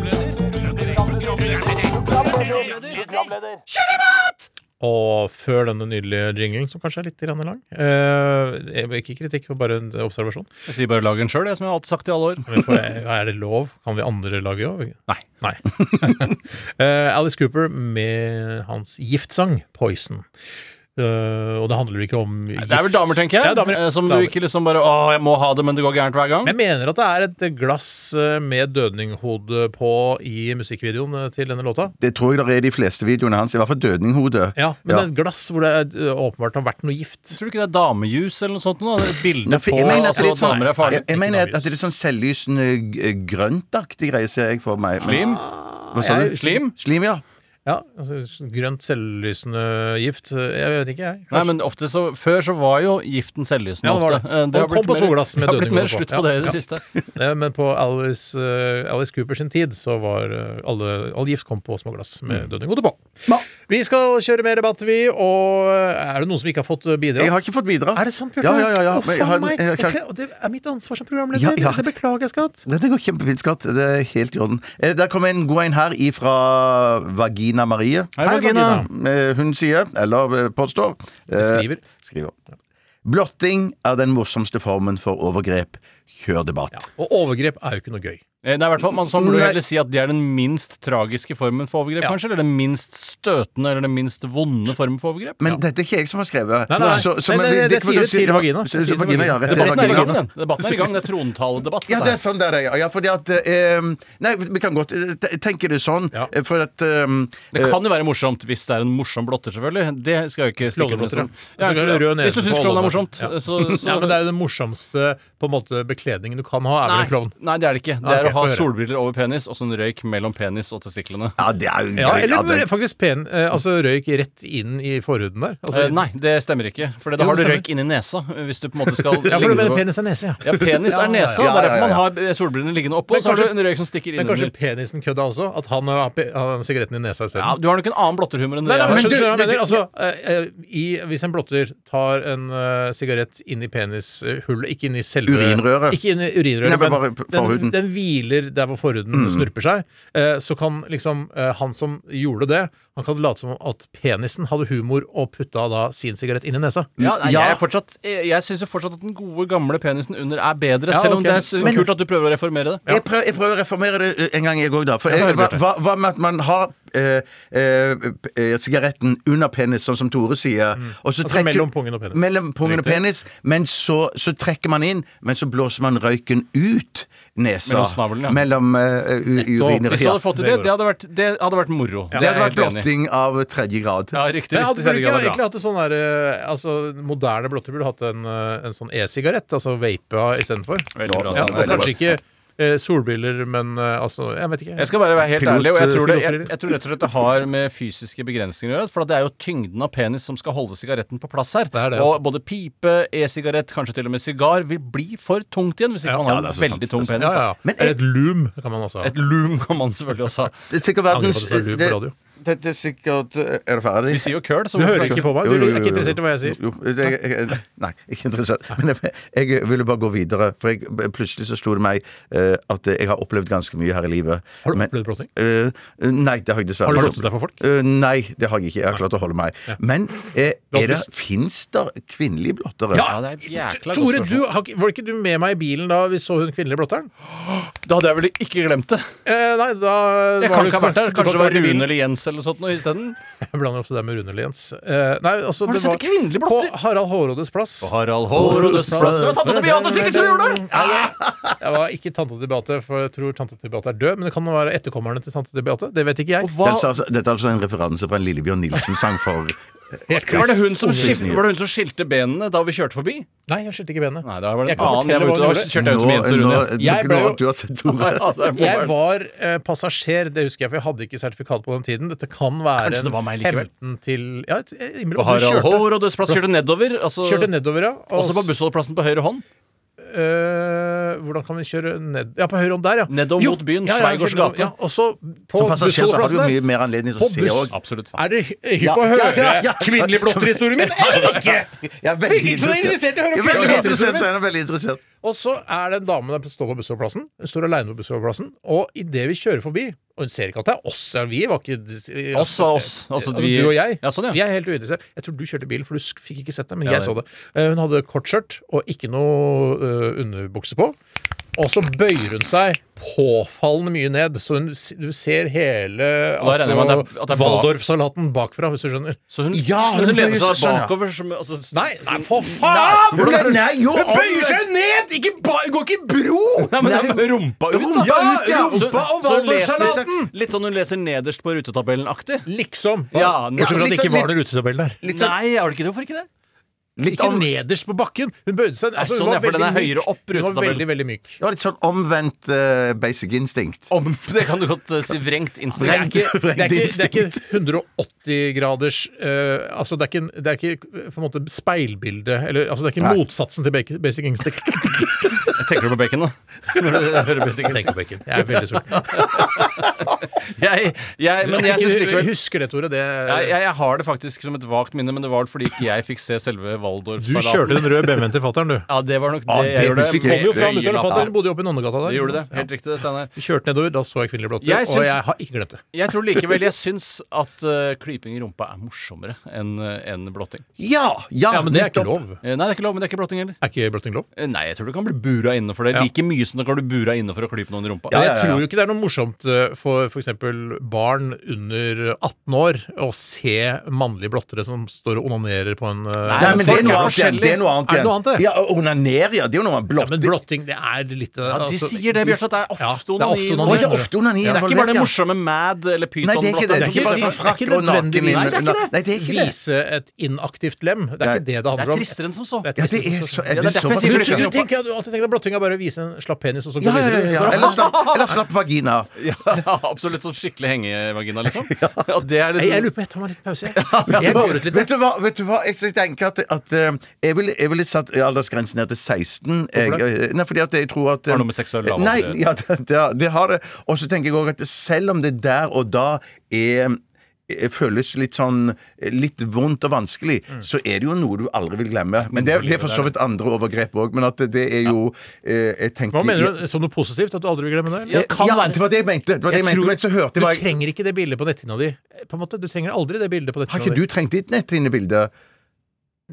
Speaker 4: Og før denne nydelige jinglen, som kanskje er litt grann lang eh, jeg- Ikke kritikk, bare en observasjon.
Speaker 5: Jeg sier bare lag en sjøl, som jeg har alltid sagt i alle år.
Speaker 4: Men får jeg- Er det lov? Kan vi andre lage òg?
Speaker 5: Nei.
Speaker 4: Nei. Eh, Alice Cooper med hans giftsang 'Poison'. Eh, og det handler ikke om gift.
Speaker 5: Det er vel damer, tenker jeg.
Speaker 4: Ja, damer, ja.
Speaker 5: eh, Som
Speaker 4: Damer.
Speaker 5: du ikke liksom bare Å, jeg må ha det, men det går gærent hver gang.
Speaker 4: Jeg mener at det er et glass eh, med dødninghode på i musikkvideoen eh, til denne låta.
Speaker 6: Det tror jeg det er i de fleste videoene hans. I hvert fall dødninghodet.
Speaker 4: Ja, Men det er et glass hvor det er, eh, åpenbart har vært noe gift.
Speaker 5: Tror du ikke det er damejus eller noe sånt? nå, da? Det er et
Speaker 6: Ja,
Speaker 5: Bilde
Speaker 6: for
Speaker 5: på
Speaker 6: jeg mener at
Speaker 5: altså,
Speaker 6: det er litt sånn,
Speaker 5: damer er
Speaker 6: jeg,
Speaker 5: farlige.
Speaker 6: jeg mener at at det er litt sånn selvlysende g- eh, grøntaktig greie, ser jeg for meg.
Speaker 5: Slim?
Speaker 6: Hva sa du?
Speaker 4: Jeg- slim?
Speaker 6: Slim, ja.
Speaker 4: Ja, altså Grønt selvlysende gift. eh, Jeg vet ikke, jeg.
Speaker 5: Nei, men ofte så, Før så var jo giften selvlysende.
Speaker 4: Ja, det var
Speaker 5: ofte.
Speaker 4: det.
Speaker 5: Eh,
Speaker 4: Og kom på småglass med
Speaker 5: det har
Speaker 4: dødninghode
Speaker 5: blitt mer
Speaker 4: på.
Speaker 5: slutt
Speaker 4: Ja,
Speaker 5: på det i det
Speaker 4: ja.
Speaker 5: siste.
Speaker 4: Nei, Eh, men på Alice, eh, Alice Cooper sin tid så var eh, alle, all gift kom på små glass
Speaker 6: Mm.
Speaker 4: med dødninghode på. Vi skal kjøre mer debatt, vi. Og eh, er det noen som ikke har fått eh, bidrag?
Speaker 6: Jeg har ikke fått bidra.
Speaker 4: Er det sant, Bjørte?
Speaker 6: Ja, ja, ja. ja.
Speaker 4: Å,
Speaker 6: Men jeg
Speaker 4: faen
Speaker 6: har-
Speaker 4: meg.
Speaker 6: jeg har-
Speaker 4: Jeg kle- og det er mitt ansvar som programleder.
Speaker 6: Ja, ja.
Speaker 4: Det beklager jeg, skatt.
Speaker 6: Dette går kjempefint, Skatt. Det er helt i orden. Eh, Der kom en god en her ifra Vagina Marie.
Speaker 4: Hei, Vagina.
Speaker 6: Eh, Hun sier, eller eh, påstår eh,
Speaker 4: Skriver.
Speaker 6: skriver. Blotting er den morsomste formen for overgrep. Kjør debatt.
Speaker 4: Og overgrep er jo ikke noe gøy.
Speaker 5: Eh, Nei, i hvert fall, man sånn burde
Speaker 6: Nei.
Speaker 5: heller si at det er den minst tragiske formen for overgrep, kanskje? Eller den minst støtende, eller den minst vonde formen for overgrep?
Speaker 6: Men dette er ikke jeg som har skrevet.
Speaker 4: Nei, nei,
Speaker 6: Så- så-
Speaker 4: nei,
Speaker 6: men
Speaker 4: nei,
Speaker 6: vi-
Speaker 4: det
Speaker 6: kan
Speaker 4: sier
Speaker 6: du
Speaker 4: det
Speaker 6: si-
Speaker 4: til
Speaker 6: ja,
Speaker 4: vagina. Det
Speaker 6: så-
Speaker 4: sier det
Speaker 6: så
Speaker 4: til
Speaker 6: vagina, ja,
Speaker 4: vagina.
Speaker 6: rett til
Speaker 5: Debatten er i gang,
Speaker 6: vagina.
Speaker 5: den. Debatten er i gang. Det er trontaledebatt.
Speaker 6: Ja,
Speaker 5: dette
Speaker 6: det er
Speaker 5: her.
Speaker 6: sånn det er, ja. ja fordi at eh, Nei, vi kan godt eh, te- tenke det sånn, eh, for at eh,
Speaker 5: Det kan jo være morsomt hvis det er en morsom blotter, selvfølgelig. Det skal jeg ikke stikke under
Speaker 4: Klovneblotter,
Speaker 5: stolen.
Speaker 4: sånn- ja.
Speaker 5: Ja,
Speaker 4: Og så er det rød nese
Speaker 5: Hvis du syns
Speaker 4: på
Speaker 5: klovn er
Speaker 4: alle
Speaker 5: morsomt,
Speaker 4: barn. Ja.
Speaker 5: så, så
Speaker 4: Ja, men det er jo den morsomste på en måte, bekledningen du kan ha, er vel en
Speaker 5: nei,
Speaker 4: klovn.
Speaker 5: nei, det er det ikke. Det
Speaker 4: Ah,
Speaker 5: er
Speaker 4: ok.
Speaker 5: å ha
Speaker 4: få høre.
Speaker 5: solbriller over penis og sånn røyk mellom penis og testiklene.
Speaker 6: Ja, det er jo
Speaker 4: Ja, eller faktisk pen, eh, altså røyk rett inn i forhuden der. Altså,
Speaker 5: Eh, nei, det stemmer ikke. For da
Speaker 4: Jo,
Speaker 5: har du
Speaker 4: det stemmer.
Speaker 5: røyk inni nesa. eh, Hvis du på en måte skal
Speaker 4: Ja, for
Speaker 5: legge
Speaker 4: du mener
Speaker 5: på-
Speaker 4: penis er nese, ja.
Speaker 5: Ja, penis
Speaker 4: Ja, ja,
Speaker 5: er nese.
Speaker 4: ja,
Speaker 5: og
Speaker 4: ja,
Speaker 5: Det er derfor
Speaker 4: ja, ja.
Speaker 5: man har eh, solbrillene liggende oppå.
Speaker 4: Men
Speaker 5: Så har
Speaker 4: kanskje-
Speaker 5: du en røyk som stikker
Speaker 4: Men kanskje
Speaker 5: innunder.
Speaker 4: penisen kødda også? At han har pe- har sigaretten i nesa isteden?
Speaker 5: Ja, du har nok en annen blotterhumor enn det.
Speaker 4: Nei, nei,
Speaker 5: jeg har.
Speaker 4: men skjønner du hva jeg
Speaker 5: Men-
Speaker 4: mener? Altså, eh, eh, i, hvis en blotter tar en eh, sigarett inn i penishullet, ikke inn i selve
Speaker 6: Urinrøret.
Speaker 4: Ikke inn i
Speaker 6: Nei,
Speaker 4: urinrøret,
Speaker 6: men bare på
Speaker 4: den,
Speaker 6: forhuden.
Speaker 4: den hviler der hvor forhuden
Speaker 6: Mm.
Speaker 4: snurper seg. eh, så kan liksom eh, han som gjorde det, han kan late som at penisen hadde humor og putta da sin sigarett inn i nesa.
Speaker 5: Ja, nei, Jeg, er fortsatt- eh, jeg, jeg syns jo fortsatt at den gode, gamle penisen under er bedre,
Speaker 4: Ja,
Speaker 5: selv om
Speaker 4: ok.
Speaker 5: det er s-
Speaker 4: Men-
Speaker 5: kult at du prøver å reformere det.
Speaker 6: Jeg prøver, jeg prøver å reformere det eh, en gang, jeg òg, da. For
Speaker 5: Ja,
Speaker 6: jeg,
Speaker 5: det
Speaker 6: hva,
Speaker 5: er
Speaker 6: hva hva med at man har eh, eh, p- eh, sigaretten under penis, sånn som Tore sier. Og så
Speaker 4: Altså
Speaker 6: trekker-
Speaker 4: mellom pungen og penis.
Speaker 6: Mellom pungen og
Speaker 4: Riktig.
Speaker 6: penis men så, så trekker man inn, men så blåser man røyken ut nesa.
Speaker 5: Mellom snavelen, ja.
Speaker 6: Mellom eh, u- urinrøret.
Speaker 5: Hvis du hadde fått til det, det
Speaker 6: Ja.
Speaker 5: hadde vært, det hadde vært moro.
Speaker 6: det hadde vært
Speaker 5: blotting.
Speaker 6: blotting av tredje grad.
Speaker 5: Ja, riktig.
Speaker 4: Men
Speaker 5: Hvis
Speaker 4: hadde,
Speaker 5: det
Speaker 4: burde
Speaker 5: tredje
Speaker 4: ikke
Speaker 5: grad er
Speaker 4: egentlig
Speaker 5: bra.
Speaker 4: hatt det sånn der, eh, altså, moderne blotter burde hatt en, eh, en sånn e-sigarett, altså vapa istedenfor.
Speaker 5: Veldig bra,
Speaker 4: Ja,
Speaker 5: Steiner,
Speaker 4: og
Speaker 5: veldig bra.
Speaker 4: kanskje ikke eh, solbriller, men eh, altså, jeg vet ikke.
Speaker 5: Jeg skal bare være helt
Speaker 4: Pilot- eh,
Speaker 5: ærlig, og jeg tror, det, jeg,
Speaker 4: pilotbriller.
Speaker 5: jeg tror rett og slett det har med fysiske begrensninger å gjøre. For det er jo tyngden av penis som skal holde sigaretten på plass her.
Speaker 4: er det, altså.
Speaker 5: og både pipe, e-sigarett, kanskje til og med sigar vil bli for tungt igjen hvis ikke man har
Speaker 6: Ja,
Speaker 5: en
Speaker 6: det er så sant.
Speaker 5: veldig tung
Speaker 6: Det er
Speaker 5: penis.
Speaker 4: Ja, ja.
Speaker 5: Da.
Speaker 6: Men
Speaker 4: Eller et loom kan man også ha.
Speaker 5: Et loom kan man selvfølgelig også ha.
Speaker 6: Det er sikkert
Speaker 4: Angrer på
Speaker 6: verdens
Speaker 4: at jeg sa lur på
Speaker 6: det-
Speaker 4: radio.
Speaker 6: Dette er sikkert Er du ferdig?
Speaker 5: Vi sier jo køl, så
Speaker 4: Du
Speaker 5: hvorfor
Speaker 4: hører ikke på meg.
Speaker 6: Jo,
Speaker 4: Du
Speaker 6: jo,
Speaker 4: er
Speaker 6: jo,
Speaker 4: ikke
Speaker 6: jo.
Speaker 4: interessert i hva jeg sier.
Speaker 6: Jo, det, jeg, jeg, nei, ikke interessert. Men jeg, jeg ville bare gå videre, for jeg, plutselig så slo det meg eh, at jeg har opplevd ganske mye her i livet.
Speaker 4: Har du
Speaker 6: Men-
Speaker 4: opplevd blotting?
Speaker 6: Eh, nei, det har jeg
Speaker 4: Har
Speaker 6: dessverre
Speaker 4: du
Speaker 6: ikke.
Speaker 4: blottet deg for folk?
Speaker 6: Eh, nei, det har jeg ikke. Jeg har klart å holde meg. Men eh, er det,
Speaker 4: Blottest.
Speaker 6: fins det kvinnelige blottere?
Speaker 4: Ja,
Speaker 5: det er et jækla
Speaker 4: Tore,
Speaker 5: godt
Speaker 4: du,
Speaker 5: spørsmål.
Speaker 4: har ikke- var ikke du med meg i bilen da vi så hun kvinnelige blotteren?
Speaker 5: Da hadde jeg vel ikke glemt det.
Speaker 4: Eh, nei, da
Speaker 5: Jeg
Speaker 4: var
Speaker 5: kan
Speaker 4: du-
Speaker 5: ikke ha vært der.
Speaker 4: du kan
Speaker 5: Kanskje det
Speaker 4: ikke ha
Speaker 5: var
Speaker 4: vært i bilen.
Speaker 5: Rune eller Jens eller sånt noe isteden.
Speaker 4: Jeg blander ofte det med Rune Liens. Eh, nei, altså,
Speaker 5: Har du
Speaker 4: det
Speaker 5: sett
Speaker 4: var
Speaker 5: en kvinnelig blotter?
Speaker 4: På Harald Hårrådes plass.
Speaker 5: Harald Hårrådes plass. Det var tante til Beate sikkert som gjorde det!
Speaker 4: Jeg var ikke tante til Beate, for jeg tror tante til Beate er død. Men det kan være etterkommerne til tante til Beate. Det vet ikke jeg.
Speaker 5: Hva?
Speaker 6: Dette er altså- dette er altså en referanse fra en Lillebjørn Nilsen-sang for
Speaker 5: Var det, hun som
Speaker 6: Unge
Speaker 5: skilte,
Speaker 6: Disney.
Speaker 5: var det hun som skilte benene da vi kjørte forbi?
Speaker 4: Nei, jeg skilte ikke benet.
Speaker 5: Nei, da var det
Speaker 4: Jeg
Speaker 5: en
Speaker 4: kan
Speaker 5: annen. Jeg
Speaker 4: fortelle hva
Speaker 5: var ute
Speaker 4: hun
Speaker 5: og
Speaker 4: gjorde.
Speaker 5: kjørte jeg ut med Jens og
Speaker 6: nå,
Speaker 5: Rune.
Speaker 4: Jeg
Speaker 6: nå, nå,
Speaker 4: ble jo-
Speaker 6: at du har sett Tore.
Speaker 5: Ja, det er
Speaker 4: Jeg
Speaker 5: bomberen.
Speaker 4: var eh, passasjer, det husker jeg, for jeg hadde ikke sertifikat på den tiden. Dette kan være
Speaker 5: Kanskje det var
Speaker 4: en
Speaker 5: meg likevel.
Speaker 4: 15 til Ja, jeg- jeg innbiller
Speaker 5: På
Speaker 4: meg at du
Speaker 5: Harald
Speaker 4: kjørte,
Speaker 5: Hår og Dødsplass kjørte nedover. Altså,
Speaker 4: kjørte nedover, ja. Og
Speaker 5: Også på
Speaker 4: s-
Speaker 5: bussholdeplassen på høyre hånd.
Speaker 4: eh, hvordan kan vi kjøre ned Ja, på høyre hånd der, ja.
Speaker 5: Nedover
Speaker 4: Jo,
Speaker 5: mot byen,
Speaker 4: ja, ja, jeg
Speaker 5: Schweigaards
Speaker 4: kjørte-
Speaker 5: gate.
Speaker 4: Ja, og så på
Speaker 6: Som passasjer så har du jo
Speaker 4: bussholdeplassen der.
Speaker 6: mye mer anledning til
Speaker 4: På
Speaker 6: å se
Speaker 4: buss.
Speaker 6: òg.
Speaker 5: Absolutt.
Speaker 4: Er dere hy- hypp på å
Speaker 6: Ja,
Speaker 4: høre
Speaker 6: ja, ja.
Speaker 4: kvinnelig blotterhistorien min, eller ikke?
Speaker 6: Jeg er veldig
Speaker 4: Ikke så interessert i å høre
Speaker 6: Jeg
Speaker 4: kvinnelig
Speaker 6: er veldig
Speaker 4: blotterhistorie.
Speaker 6: interessert, så jeg er veldig interessert.
Speaker 4: Og så er det en dame der som står på bussholdeplassen. Hun står aleine på bussholdeplassen, og idet vi kjører forbi Og hun ser ikke at det er oss, ja, vi var ikke
Speaker 5: Oss var oss. Altså,
Speaker 4: Altså,
Speaker 5: vi-
Speaker 4: du og jeg.
Speaker 5: Ja, sånn, ja.
Speaker 4: Vi er helt uinteressert. Jeg tror du kjørte bilen, for du sk- fikk ikke sett det, men
Speaker 5: Ja,
Speaker 4: jeg så
Speaker 5: det-
Speaker 4: det. Eh, Hun hadde kort skjørt og ikke noe eh, underbukse på. Og så bøyer hun seg påfallende mye ned, så hun, s- du ser hele altså,
Speaker 5: regner jeg med at det er- at det er bak-
Speaker 4: Waldorf-salaten bakfra, hvis du skjønner.
Speaker 5: Så hun,
Speaker 6: Ja,
Speaker 5: hun,
Speaker 6: hun
Speaker 5: lener seg
Speaker 6: bøyer seg sånn, ja.
Speaker 5: bakover som altså, s-
Speaker 4: Nei, nei, for faen!
Speaker 6: Hvordan er det? Nei, jo,
Speaker 4: Hun bøyer seg ned! Ikke ba går ikke i bro!
Speaker 5: Nei, men det er med rumpa ut, da.
Speaker 6: Rumpa ut, ja.
Speaker 5: Så-
Speaker 6: Rumpa og
Speaker 5: så hun leser-
Speaker 6: Waldorfsalaten.
Speaker 5: Litt sånn hun leser nederst på rutetabellen-aktig.
Speaker 4: Liksom.
Speaker 5: Ja,
Speaker 4: Bortsett fra at det
Speaker 6: liksom
Speaker 4: ikke var
Speaker 6: litt-
Speaker 4: noen rutetabell der.
Speaker 6: Litt sånn-
Speaker 5: Nei, har du ikke det? Hvorfor ikke det?
Speaker 6: Litt
Speaker 4: Ikke
Speaker 6: om-
Speaker 4: nederst på bakken. Hun bøyde seg altså, hun
Speaker 5: sånn,
Speaker 4: var
Speaker 5: ja, for den
Speaker 4: veldig
Speaker 5: er
Speaker 4: myk.
Speaker 5: høyere opp,
Speaker 4: Hun var
Speaker 5: rutetabellen.
Speaker 4: veldig, veldig myk.
Speaker 6: Ja, litt sånn omvendt eh, basic instinct.
Speaker 5: Om, det kan du godt eh, si. Vrengt
Speaker 4: Det er
Speaker 5: instinkt.
Speaker 4: ikke, det er ikke, det er ikke 180 graders eh, Altså, det er ikke, det er ikke eh, på en måte speilbilde eller, altså, Det er ikke
Speaker 6: Nei.
Speaker 4: motsatsen til bacon, basic instinct.
Speaker 5: Tenker du på bacon, da? Når du hører basic
Speaker 4: Jeg
Speaker 5: instinct.
Speaker 4: tenker bacon. Jeg er veldig sulten.
Speaker 5: Jeg, jeg, men jeg synes likevel
Speaker 4: Du husker det, Tore. Det,
Speaker 5: jeg, jeg, jeg har det faktisk som et vagt minne, men det var fordi ikke jeg fikk se selve
Speaker 4: du kjørte
Speaker 5: Waldorf-salaten.
Speaker 4: den røde BMW-en til fatter'n, du.
Speaker 5: Ja, det var nok det,
Speaker 6: Ja, det
Speaker 5: jeg gjorde.
Speaker 6: husker
Speaker 5: Jeg
Speaker 6: jeg.
Speaker 5: kom jo fra
Speaker 6: Det gir
Speaker 5: Mutter'n og
Speaker 4: Fatter'n
Speaker 5: fatter'n.
Speaker 4: bodde jo oppe i Nonnegata der.
Speaker 5: Det gjorde det. Helt riktig, det, Steinar.
Speaker 4: Vi kjørte nedover, da så jeg kvinnelige blotter,
Speaker 5: Jeg syns-
Speaker 4: og jeg har ikke glemt det.
Speaker 5: Jeg tror likevel jeg syns at eh, klyping i rumpa er morsommere enn eh, enn blotting.
Speaker 6: Ja! Ja,
Speaker 4: Ja, men det er ikke
Speaker 6: nettopp.
Speaker 4: lov.
Speaker 5: Eh, Nei, det er ikke lov, men det er ikke blotting heller.
Speaker 4: Er ikke blotting lov?
Speaker 5: Eh, Nei, jeg tror du kan bli bura inne for det.
Speaker 4: Ja.
Speaker 5: Like mye som du kan bli bura inne for å klype noen i rumpa.
Speaker 4: Ja,
Speaker 5: Ja,
Speaker 4: jeg tror jo ikke det er noe morsomt eh, for f.eks. barn under 18 år å se mannlige blottere som står og onanerer på en eh,
Speaker 6: Nei, men det
Speaker 4: folk
Speaker 6: er noe annet igjen.
Speaker 4: forskjellige.
Speaker 6: Det er noe annet
Speaker 4: Er det noe annet, det?
Speaker 6: Ja, og Onaner, ja. Det er jo noe man
Speaker 4: Ja, men
Speaker 6: blotter.
Speaker 4: blotting, det er litt eh,
Speaker 5: de
Speaker 4: altså,
Speaker 5: sier det, Bjørnstad. Det er
Speaker 4: Ja, det er
Speaker 5: ofte onani.
Speaker 4: ofte
Speaker 5: involvert.
Speaker 6: Å, det
Speaker 4: onani.
Speaker 6: er ofte
Speaker 5: Det
Speaker 6: onani
Speaker 5: er ikke
Speaker 6: involvert,
Speaker 5: bare det
Speaker 6: ja.
Speaker 5: morsomme Mad eller
Speaker 6: Nei, det er ikke det. Det er
Speaker 4: Det er
Speaker 6: ikke
Speaker 4: ikke-
Speaker 6: bare sånn
Speaker 4: det er
Speaker 6: frakk
Speaker 4: ikke
Speaker 6: og naken
Speaker 4: nødvendigvis-
Speaker 5: Nei,
Speaker 6: inne.
Speaker 5: det er ikke det.
Speaker 6: Nei, det er ikke det.
Speaker 4: Vise et inaktivt lem. Det er
Speaker 6: Nei.
Speaker 4: ikke det det
Speaker 5: Det
Speaker 4: handler
Speaker 5: er
Speaker 4: om.
Speaker 5: tristere enn som så.
Speaker 4: Det er
Speaker 6: Ja, det
Speaker 4: trist,
Speaker 6: er
Speaker 4: så-
Speaker 6: så
Speaker 5: Ja,
Speaker 6: er
Speaker 5: det er
Speaker 6: det
Speaker 5: derfor jeg
Speaker 4: Du,
Speaker 5: sier
Speaker 6: såpass-
Speaker 4: du tenker at du alltid tenker deg blotting er bare å vise en slapp penis og så gå
Speaker 6: Ja, ja, ja,
Speaker 4: videre.
Speaker 6: ja. Eller, slapp, eller slapp vagina.
Speaker 5: Ja, absolutt sånn skikkelig hengevagina, liksom. Ja, det er
Speaker 4: Nei,
Speaker 5: litt-
Speaker 4: jeg lurer på Jeg tar meg litt pause, jeg.
Speaker 6: Vet
Speaker 4: Jeg
Speaker 6: du
Speaker 4: går ut
Speaker 6: Altså, hva-
Speaker 4: litt.
Speaker 6: Vet du hva, vet du hva? Jeg, så jeg tenker at, at eh, jeg ville vil ville satt aldersgrensen ned til 16. Jeg,
Speaker 5: Hvorfor
Speaker 6: eh, nei, fordi at jeg tror at eh,
Speaker 5: Har noe med seksuell lavalder
Speaker 6: Nei,
Speaker 5: å gjøre?
Speaker 6: ja, det, det, har- det har det. Og så tenker jeg òg at selv om det der og da er eh, føles litt sånn eh, litt vondt og vanskelig, så er det jo noe du aldri vil glemme. Men det, det er for så vidt andre overgrep òg, men at det er jo eh, Jeg tenker
Speaker 4: Hva mener du som noe positivt? At du aldri vil glemme det? eller?
Speaker 6: Ja, det var det jeg mente. Det var det jeg, mente, men så hørte
Speaker 4: du
Speaker 6: jeg bare
Speaker 4: trenger ikke det bildet på netthinna di. På en måte, Du trenger aldri det bildet på
Speaker 6: Har
Speaker 4: netthinna
Speaker 6: ikke
Speaker 4: di.
Speaker 6: du trengt ditt nett inne i bildet?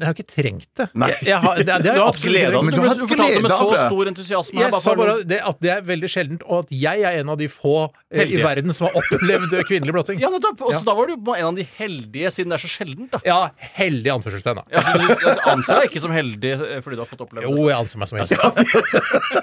Speaker 4: Jeg har ikke trengt det.
Speaker 6: Nei.
Speaker 4: Jeg, jeg har, det, det har
Speaker 5: Du
Speaker 4: jeg
Speaker 5: har hatt
Speaker 4: absolutt ikke
Speaker 5: glede av
Speaker 4: trengt.
Speaker 5: det.
Speaker 6: Men du har
Speaker 5: Du fortalte det med
Speaker 6: glede av
Speaker 5: så
Speaker 6: det.
Speaker 5: stor entusiasme. her,
Speaker 4: Jeg sa
Speaker 5: for-
Speaker 4: bare det, at det er veldig sjeldent, og at jeg er en av de få eh, i
Speaker 5: Heldige.
Speaker 4: verden som har opplevd eh, kvinnelig blotting.
Speaker 5: Ja, nettopp. Og så
Speaker 4: Ja.
Speaker 5: da var du på en av de heldige, siden det er så sjeldent, da.
Speaker 4: Ja, heldig anførselstegn, da.
Speaker 5: Ja, så du altså, anser deg ikke som heldig eh, fordi du har fått oppleve
Speaker 4: Jo,
Speaker 5: det.
Speaker 4: jeg anser meg som heldig.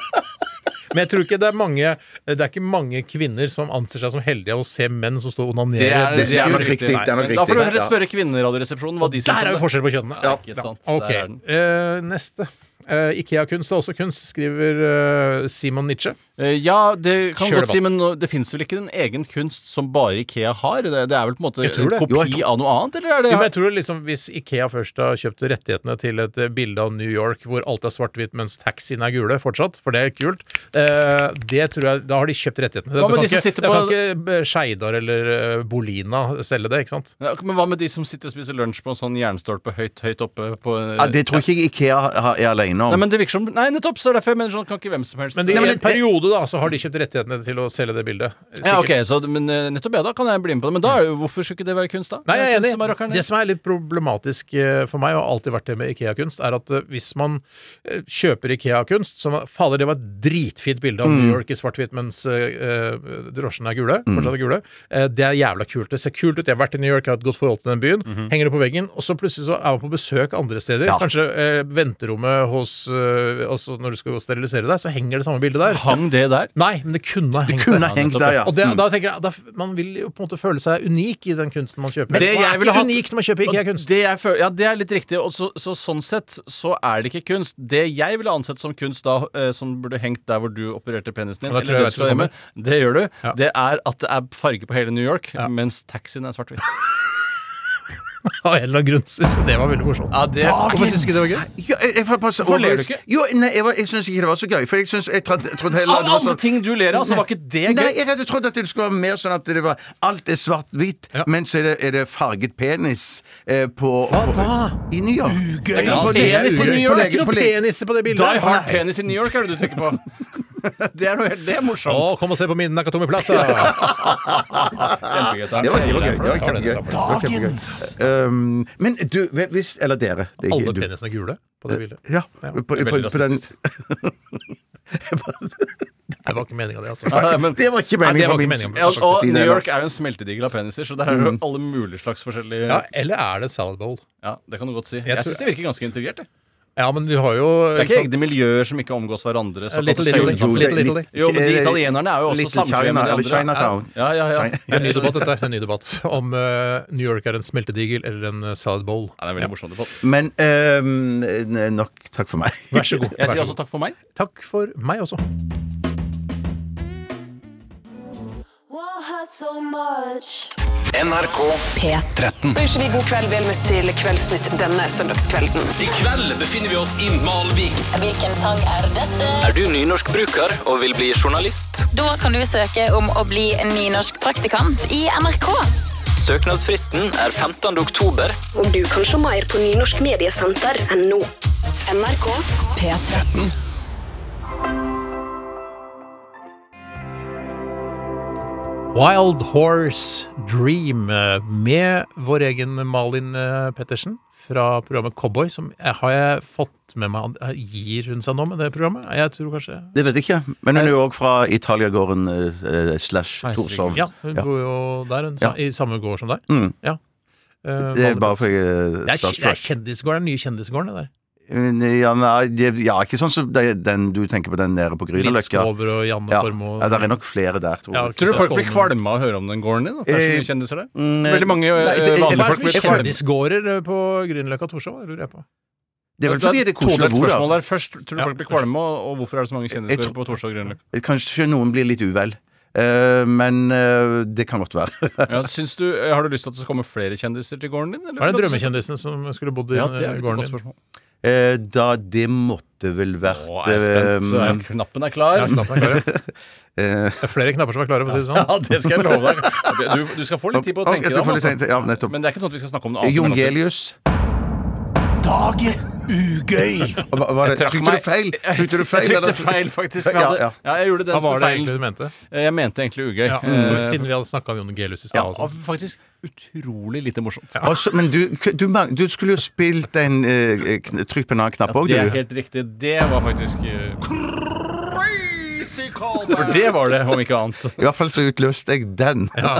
Speaker 4: Men jeg tror ikke det er mange Det er ikke mange kvinner som anser seg som heldige av å se menn som står og onanerer.
Speaker 6: det er nok riktig, det er nok
Speaker 5: Nei, Da får du
Speaker 6: riktig.
Speaker 5: heller spørre Kvinneradioresepsjonen hva de syns
Speaker 4: Der er jo
Speaker 5: om det.
Speaker 4: forskjell på kjønnene.
Speaker 5: Ja, ikke sant. Der
Speaker 4: Ok,
Speaker 5: er den.
Speaker 4: eh, Neste. Eh, Ikea-kunst er også kunst, skriver eh, Simon Nietzsche.
Speaker 5: Eh, Ja, det kan
Speaker 4: Kjør
Speaker 5: godt si,
Speaker 4: debatt.
Speaker 5: men nå- det fins vel ikke en egen kunst som bare Ikea har? Det, det er vel på en måte
Speaker 4: Jeg tror
Speaker 5: en
Speaker 4: det.
Speaker 5: kopi
Speaker 4: Jo, jeg tror-
Speaker 5: av noe annet, eller er det
Speaker 4: Jo, men jeg tror liksom Hvis Ikea først har kjøpt rettighetene til et eh, bilde av New York hvor alt er svart-hvitt mens taxiene er gule fortsatt, for det er kult, eh, det tror jeg, da har de kjøpt rettighetene.
Speaker 5: Hva med
Speaker 4: kan
Speaker 5: de som
Speaker 4: ikke,
Speaker 5: sitter
Speaker 4: da
Speaker 5: på-
Speaker 4: kan ikke eh, Skeidar eller eh, Bolina selge det, ikke sant?
Speaker 5: Ja, Men hva med de som sitter og spiser lunsj på en sånn jernstolpe høyt, høyt oppe på eh,
Speaker 6: Ja, det tror ikke jeg Ikea har- er alene om.
Speaker 5: Nei, men det virker som Nei, nettopp! Så er det derfor jeg mener sånn kan ikke hvem som helst
Speaker 4: Men de-
Speaker 5: Nei,
Speaker 4: i en periode da, så har de kjøpt rettighetene til å selge det bildet. Sikkert.
Speaker 5: ja, ok, så, men eh, nettopp ja, da kan jeg bli med på det. Men da er det jo, hvorfor skulle ikke det være kunst, da?
Speaker 4: Nei, jeg er
Speaker 5: Det kunst som er
Speaker 4: enig.
Speaker 5: rockeren,
Speaker 4: Det som er litt problematisk eh, for meg, og har alltid vært det med Ikea-kunst, er at eh, hvis man eh, kjøper Ikea-kunst som Fader, det var et dritfint bilde av New York i svart-hvitt mens eh, eh, drosjene er gule. Fortsatt er gule. Eh, det er jævla kult. Det ser kult ut. Jeg har vært i New York, jeg har et godt forhold til den byen. Henger det på veggen, og så plutselig så er man på besøk andre steder. Kanskje eh, venterommet hos eh, også Når du skal sterilisere deg, så henger det samme bildet der.
Speaker 5: Hang det der?
Speaker 4: Nei, men det kunne ha hengt
Speaker 6: Kunne
Speaker 4: der.
Speaker 6: hengt der, ja. Mm.
Speaker 4: Og det, da tenker jeg, da, f- Man vil jo på en måte føle seg unik i den kunsten man kjøper.
Speaker 5: Det
Speaker 4: man
Speaker 5: jeg
Speaker 4: er
Speaker 5: ville
Speaker 4: ikke
Speaker 5: hatt-
Speaker 4: unik når man kjøper IKEA-kunst.
Speaker 5: Det jeg føler, ja, det er litt riktig. Og så, så sånn sett så er det ikke kunst. Det jeg ville ansett som kunst da, eh, som burde hengt der hvor du opererte penisen din,
Speaker 4: Ja, da tror jeg jeg vet hva
Speaker 5: eller dødsfra
Speaker 4: som
Speaker 5: hjemme, det gjør du,
Speaker 4: Ja.
Speaker 5: det er at det er farge på hele New York, mens taxien er svart-hvit.
Speaker 4: Av en eller annen grunn syns jeg det var veldig morsomt.
Speaker 5: Ja, det
Speaker 4: Hvorfor syns du ikke det var gøy?
Speaker 6: Ja, jeg, jeg, får passe-
Speaker 5: Hvorfor ler du ikke?
Speaker 6: Jo, nei, jeg, var- jeg syns ikke det var så gøy. For jeg syns jeg trad- trodde heller
Speaker 5: Av
Speaker 6: det var
Speaker 5: alle
Speaker 6: sånn
Speaker 5: ting du ler av, så var ikke det
Speaker 6: Nei,
Speaker 5: gøy.
Speaker 6: jeg hadde trodd at det skulle være mer sånn at det var alt er svart-hvitt, men så er det, er det farget penis eh, på
Speaker 4: Hva
Speaker 6: på-
Speaker 4: da?
Speaker 6: I New York.
Speaker 4: Gøy!
Speaker 6: Ja,
Speaker 4: På
Speaker 6: det er
Speaker 4: penis i
Speaker 6: ugøy.
Speaker 4: New York! Det er
Speaker 6: På lege-
Speaker 4: ikke
Speaker 6: på
Speaker 4: noen
Speaker 6: lege-
Speaker 4: penis på det bildet.
Speaker 5: Die Hard
Speaker 4: Nei.
Speaker 5: Penis i New York er det du tenker på. Det er, noe, helt- det er morsomt.
Speaker 4: Å, kom og se på min Nakatomi Plaza! Ja,
Speaker 5: Kjempegøy, takk.
Speaker 6: Det var, det var gøy. Det var
Speaker 4: Jeg tar den,
Speaker 6: kjempegøy.
Speaker 4: jeg
Speaker 6: Det var kjempegøy. Um, men du, hvis Eller dere. Det er ikke
Speaker 4: Alle
Speaker 6: du.
Speaker 4: penisene er gule på det bildet.
Speaker 6: Ja.
Speaker 4: Ja.
Speaker 6: På, på,
Speaker 5: Det er veldig
Speaker 6: på den
Speaker 5: rasistisk.
Speaker 4: Det var ikke meninga, det,
Speaker 5: Nei,
Speaker 4: altså.
Speaker 5: men-
Speaker 6: Det var ikke
Speaker 4: Nei, det var
Speaker 6: meningen
Speaker 4: ikke
Speaker 6: fra min
Speaker 4: meningen.
Speaker 6: side.
Speaker 5: Ja,
Speaker 6: Jeg skal ikke
Speaker 5: og
Speaker 6: si det,
Speaker 5: New
Speaker 6: da.
Speaker 5: York er jo en smeltedigel av peniser, så der er det jo alle mulige slags forskjellige
Speaker 4: Ja,
Speaker 5: Ja,
Speaker 4: eller er det salad bowl?
Speaker 5: det kan du godt si. Jeg
Speaker 4: tror-
Speaker 5: syns det virker ganske integrert. jeg.
Speaker 4: Ja, men du har jo
Speaker 5: Det er ikke egne miljøer som ikke omgås hverandre. såkalt
Speaker 4: Little
Speaker 5: søyle-
Speaker 4: Little,
Speaker 5: samfunn.
Speaker 4: Little Little.
Speaker 5: Jo, men de italienerne er jo også
Speaker 6: Little
Speaker 5: samkvemmet
Speaker 6: China,
Speaker 5: med de andre.
Speaker 6: eller Chinatown.
Speaker 5: Ja, ja, ja.
Speaker 6: China-
Speaker 4: Det er en ny debatt, dette. En ny debatt om eh, New York er en smeltedigel eller en eh, salad bowl.
Speaker 5: Ja, det er en veldig morsom debatt.
Speaker 6: Men øhm, n- nok takk for meg.
Speaker 4: Vær så god.
Speaker 5: Jeg
Speaker 4: Vær så
Speaker 5: sier også
Speaker 4: god.
Speaker 5: takk for meg.
Speaker 4: Takk for meg også.
Speaker 7: What hurt so much?
Speaker 2: NRK
Speaker 14: P13.
Speaker 15: Ønsker vi god kveld, vel møtt til Kveldsnytt denne søndagskvelden.
Speaker 14: I kveld befinner vi oss i Malvik.
Speaker 16: Hvilken sang er dette?
Speaker 14: Er du nynorskbruker og vil bli journalist?
Speaker 16: Da kan du søke om å bli nynorsk praktikant i NRK.
Speaker 14: Søknadsfristen er 15. oktober.
Speaker 17: Og du kan se mer på Nynorsk Mediesenter NO. NRK P13.
Speaker 4: Wild Horse Dream eh, med vår egen Malin eh, Pettersen fra programmet Cowboy, som jeg, har jeg fått med meg eh, Gir hun seg nå med det programmet? Jeg tror kanskje
Speaker 6: Det vet jeg ikke. Men
Speaker 4: Eh,
Speaker 6: hun er jo òg fra Italiagården eh, eh, slash Torshov.
Speaker 4: Ja, hun
Speaker 6: Ja.
Speaker 4: bor jo der, hun, sa- i
Speaker 6: Ja.
Speaker 4: samme gård som deg.
Speaker 6: Mm.
Speaker 4: Ja. Eh,
Speaker 6: Det er
Speaker 4: Malin-
Speaker 6: bare for jeg
Speaker 4: det er, kj-
Speaker 6: eh,
Speaker 4: det er
Speaker 6: starstruck.
Speaker 4: kjendisgården, den nye kjendisgården, det der.
Speaker 6: eh, Ja, nei, det- ja, ikke sånn som de- den du tenker på, den nede på
Speaker 4: Lill
Speaker 6: Grünerløkka.
Speaker 4: Skåber og Janne
Speaker 6: Ja.
Speaker 4: Formoe.
Speaker 6: ja, det er nok flere der, tror
Speaker 4: Ja,
Speaker 6: jeg.
Speaker 5: Tror du folk blir
Speaker 4: Skålene.
Speaker 5: kvalme av å høre om den gården din? At det er så mye kjendiser der?
Speaker 6: Mm,
Speaker 5: Veldig mange
Speaker 6: nei,
Speaker 5: eh,
Speaker 6: det- jeg-
Speaker 5: vanlige
Speaker 4: Hva er det
Speaker 5: folk
Speaker 4: som
Speaker 5: blir
Speaker 4: er
Speaker 5: kvalme.
Speaker 4: kjendisgårder eh, på Grünerløkka og Torshov? Det lurer jeg på.
Speaker 6: Det er vel fordi det er koselig
Speaker 5: Todelt
Speaker 6: å bo der.
Speaker 5: spørsmål der. Først, tror du folk blir kvalme, og- og hvorfor er det så mange kjendiser på Torshov og Grünerløkka?
Speaker 6: Kanskje noen blir litt uvel. Eh, men eh, det kan godt være.
Speaker 5: Ja, syns du- eh, har du lyst til at det skal komme flere kjendiser til gården din? eller?
Speaker 4: Hva er det drømmekjendisen som skulle bodd i
Speaker 5: Ja, det
Speaker 4: eh,
Speaker 5: er et
Speaker 4: gården
Speaker 5: godt
Speaker 4: din?
Speaker 5: spørsmål.
Speaker 6: Eh, da det måtte vel vært
Speaker 5: Nå er jeg spent. Så er- Knappen er klar.
Speaker 4: Ja, knappen er klar, ja.
Speaker 6: eh,
Speaker 4: Det er flere knapper som er klare, for å si det sånn.
Speaker 5: Ja, det skal jeg love deg. Du, du skal få litt tid på å
Speaker 6: Ok,
Speaker 5: tenke deg
Speaker 6: så
Speaker 5: om. altså.
Speaker 6: får du tenke- ja, nettopp.
Speaker 5: Men det er ikke sånn at vi skal snakke om noe annet.
Speaker 6: Jon
Speaker 5: mellom til.
Speaker 6: Gelius.
Speaker 5: Dag ugøy!
Speaker 6: Hva- hva er det?
Speaker 5: Jeg trakk
Speaker 6: Trykte
Speaker 5: meg-
Speaker 6: du feil? Trykte du feil,
Speaker 5: Jeg
Speaker 6: eller?
Speaker 5: trykte feil, faktisk. for jeg
Speaker 6: Ja,
Speaker 5: hadde-
Speaker 6: ja.
Speaker 5: ja, jeg gjorde den
Speaker 4: Hva var det
Speaker 5: feilen.
Speaker 4: egentlig du mente?
Speaker 5: Eh, Jeg mente egentlig ugøy.
Speaker 4: Ja, Mm.
Speaker 5: Eh,
Speaker 4: Siden vi hadde snakka om Jon Gelius i
Speaker 5: ja,
Speaker 4: stad. og sånn.
Speaker 5: faktisk utrolig lite morsomt.
Speaker 6: Og så- men du, du, mang- du skulle jo spilt en eh, kn- Trykk på en annen knapp òg,
Speaker 5: Det er
Speaker 6: du.
Speaker 5: helt riktig. Det var faktisk eh,
Speaker 3: Crazy
Speaker 5: For det var det, om ikke annet.
Speaker 6: I hvert fall så utløste jeg den.
Speaker 4: Ja.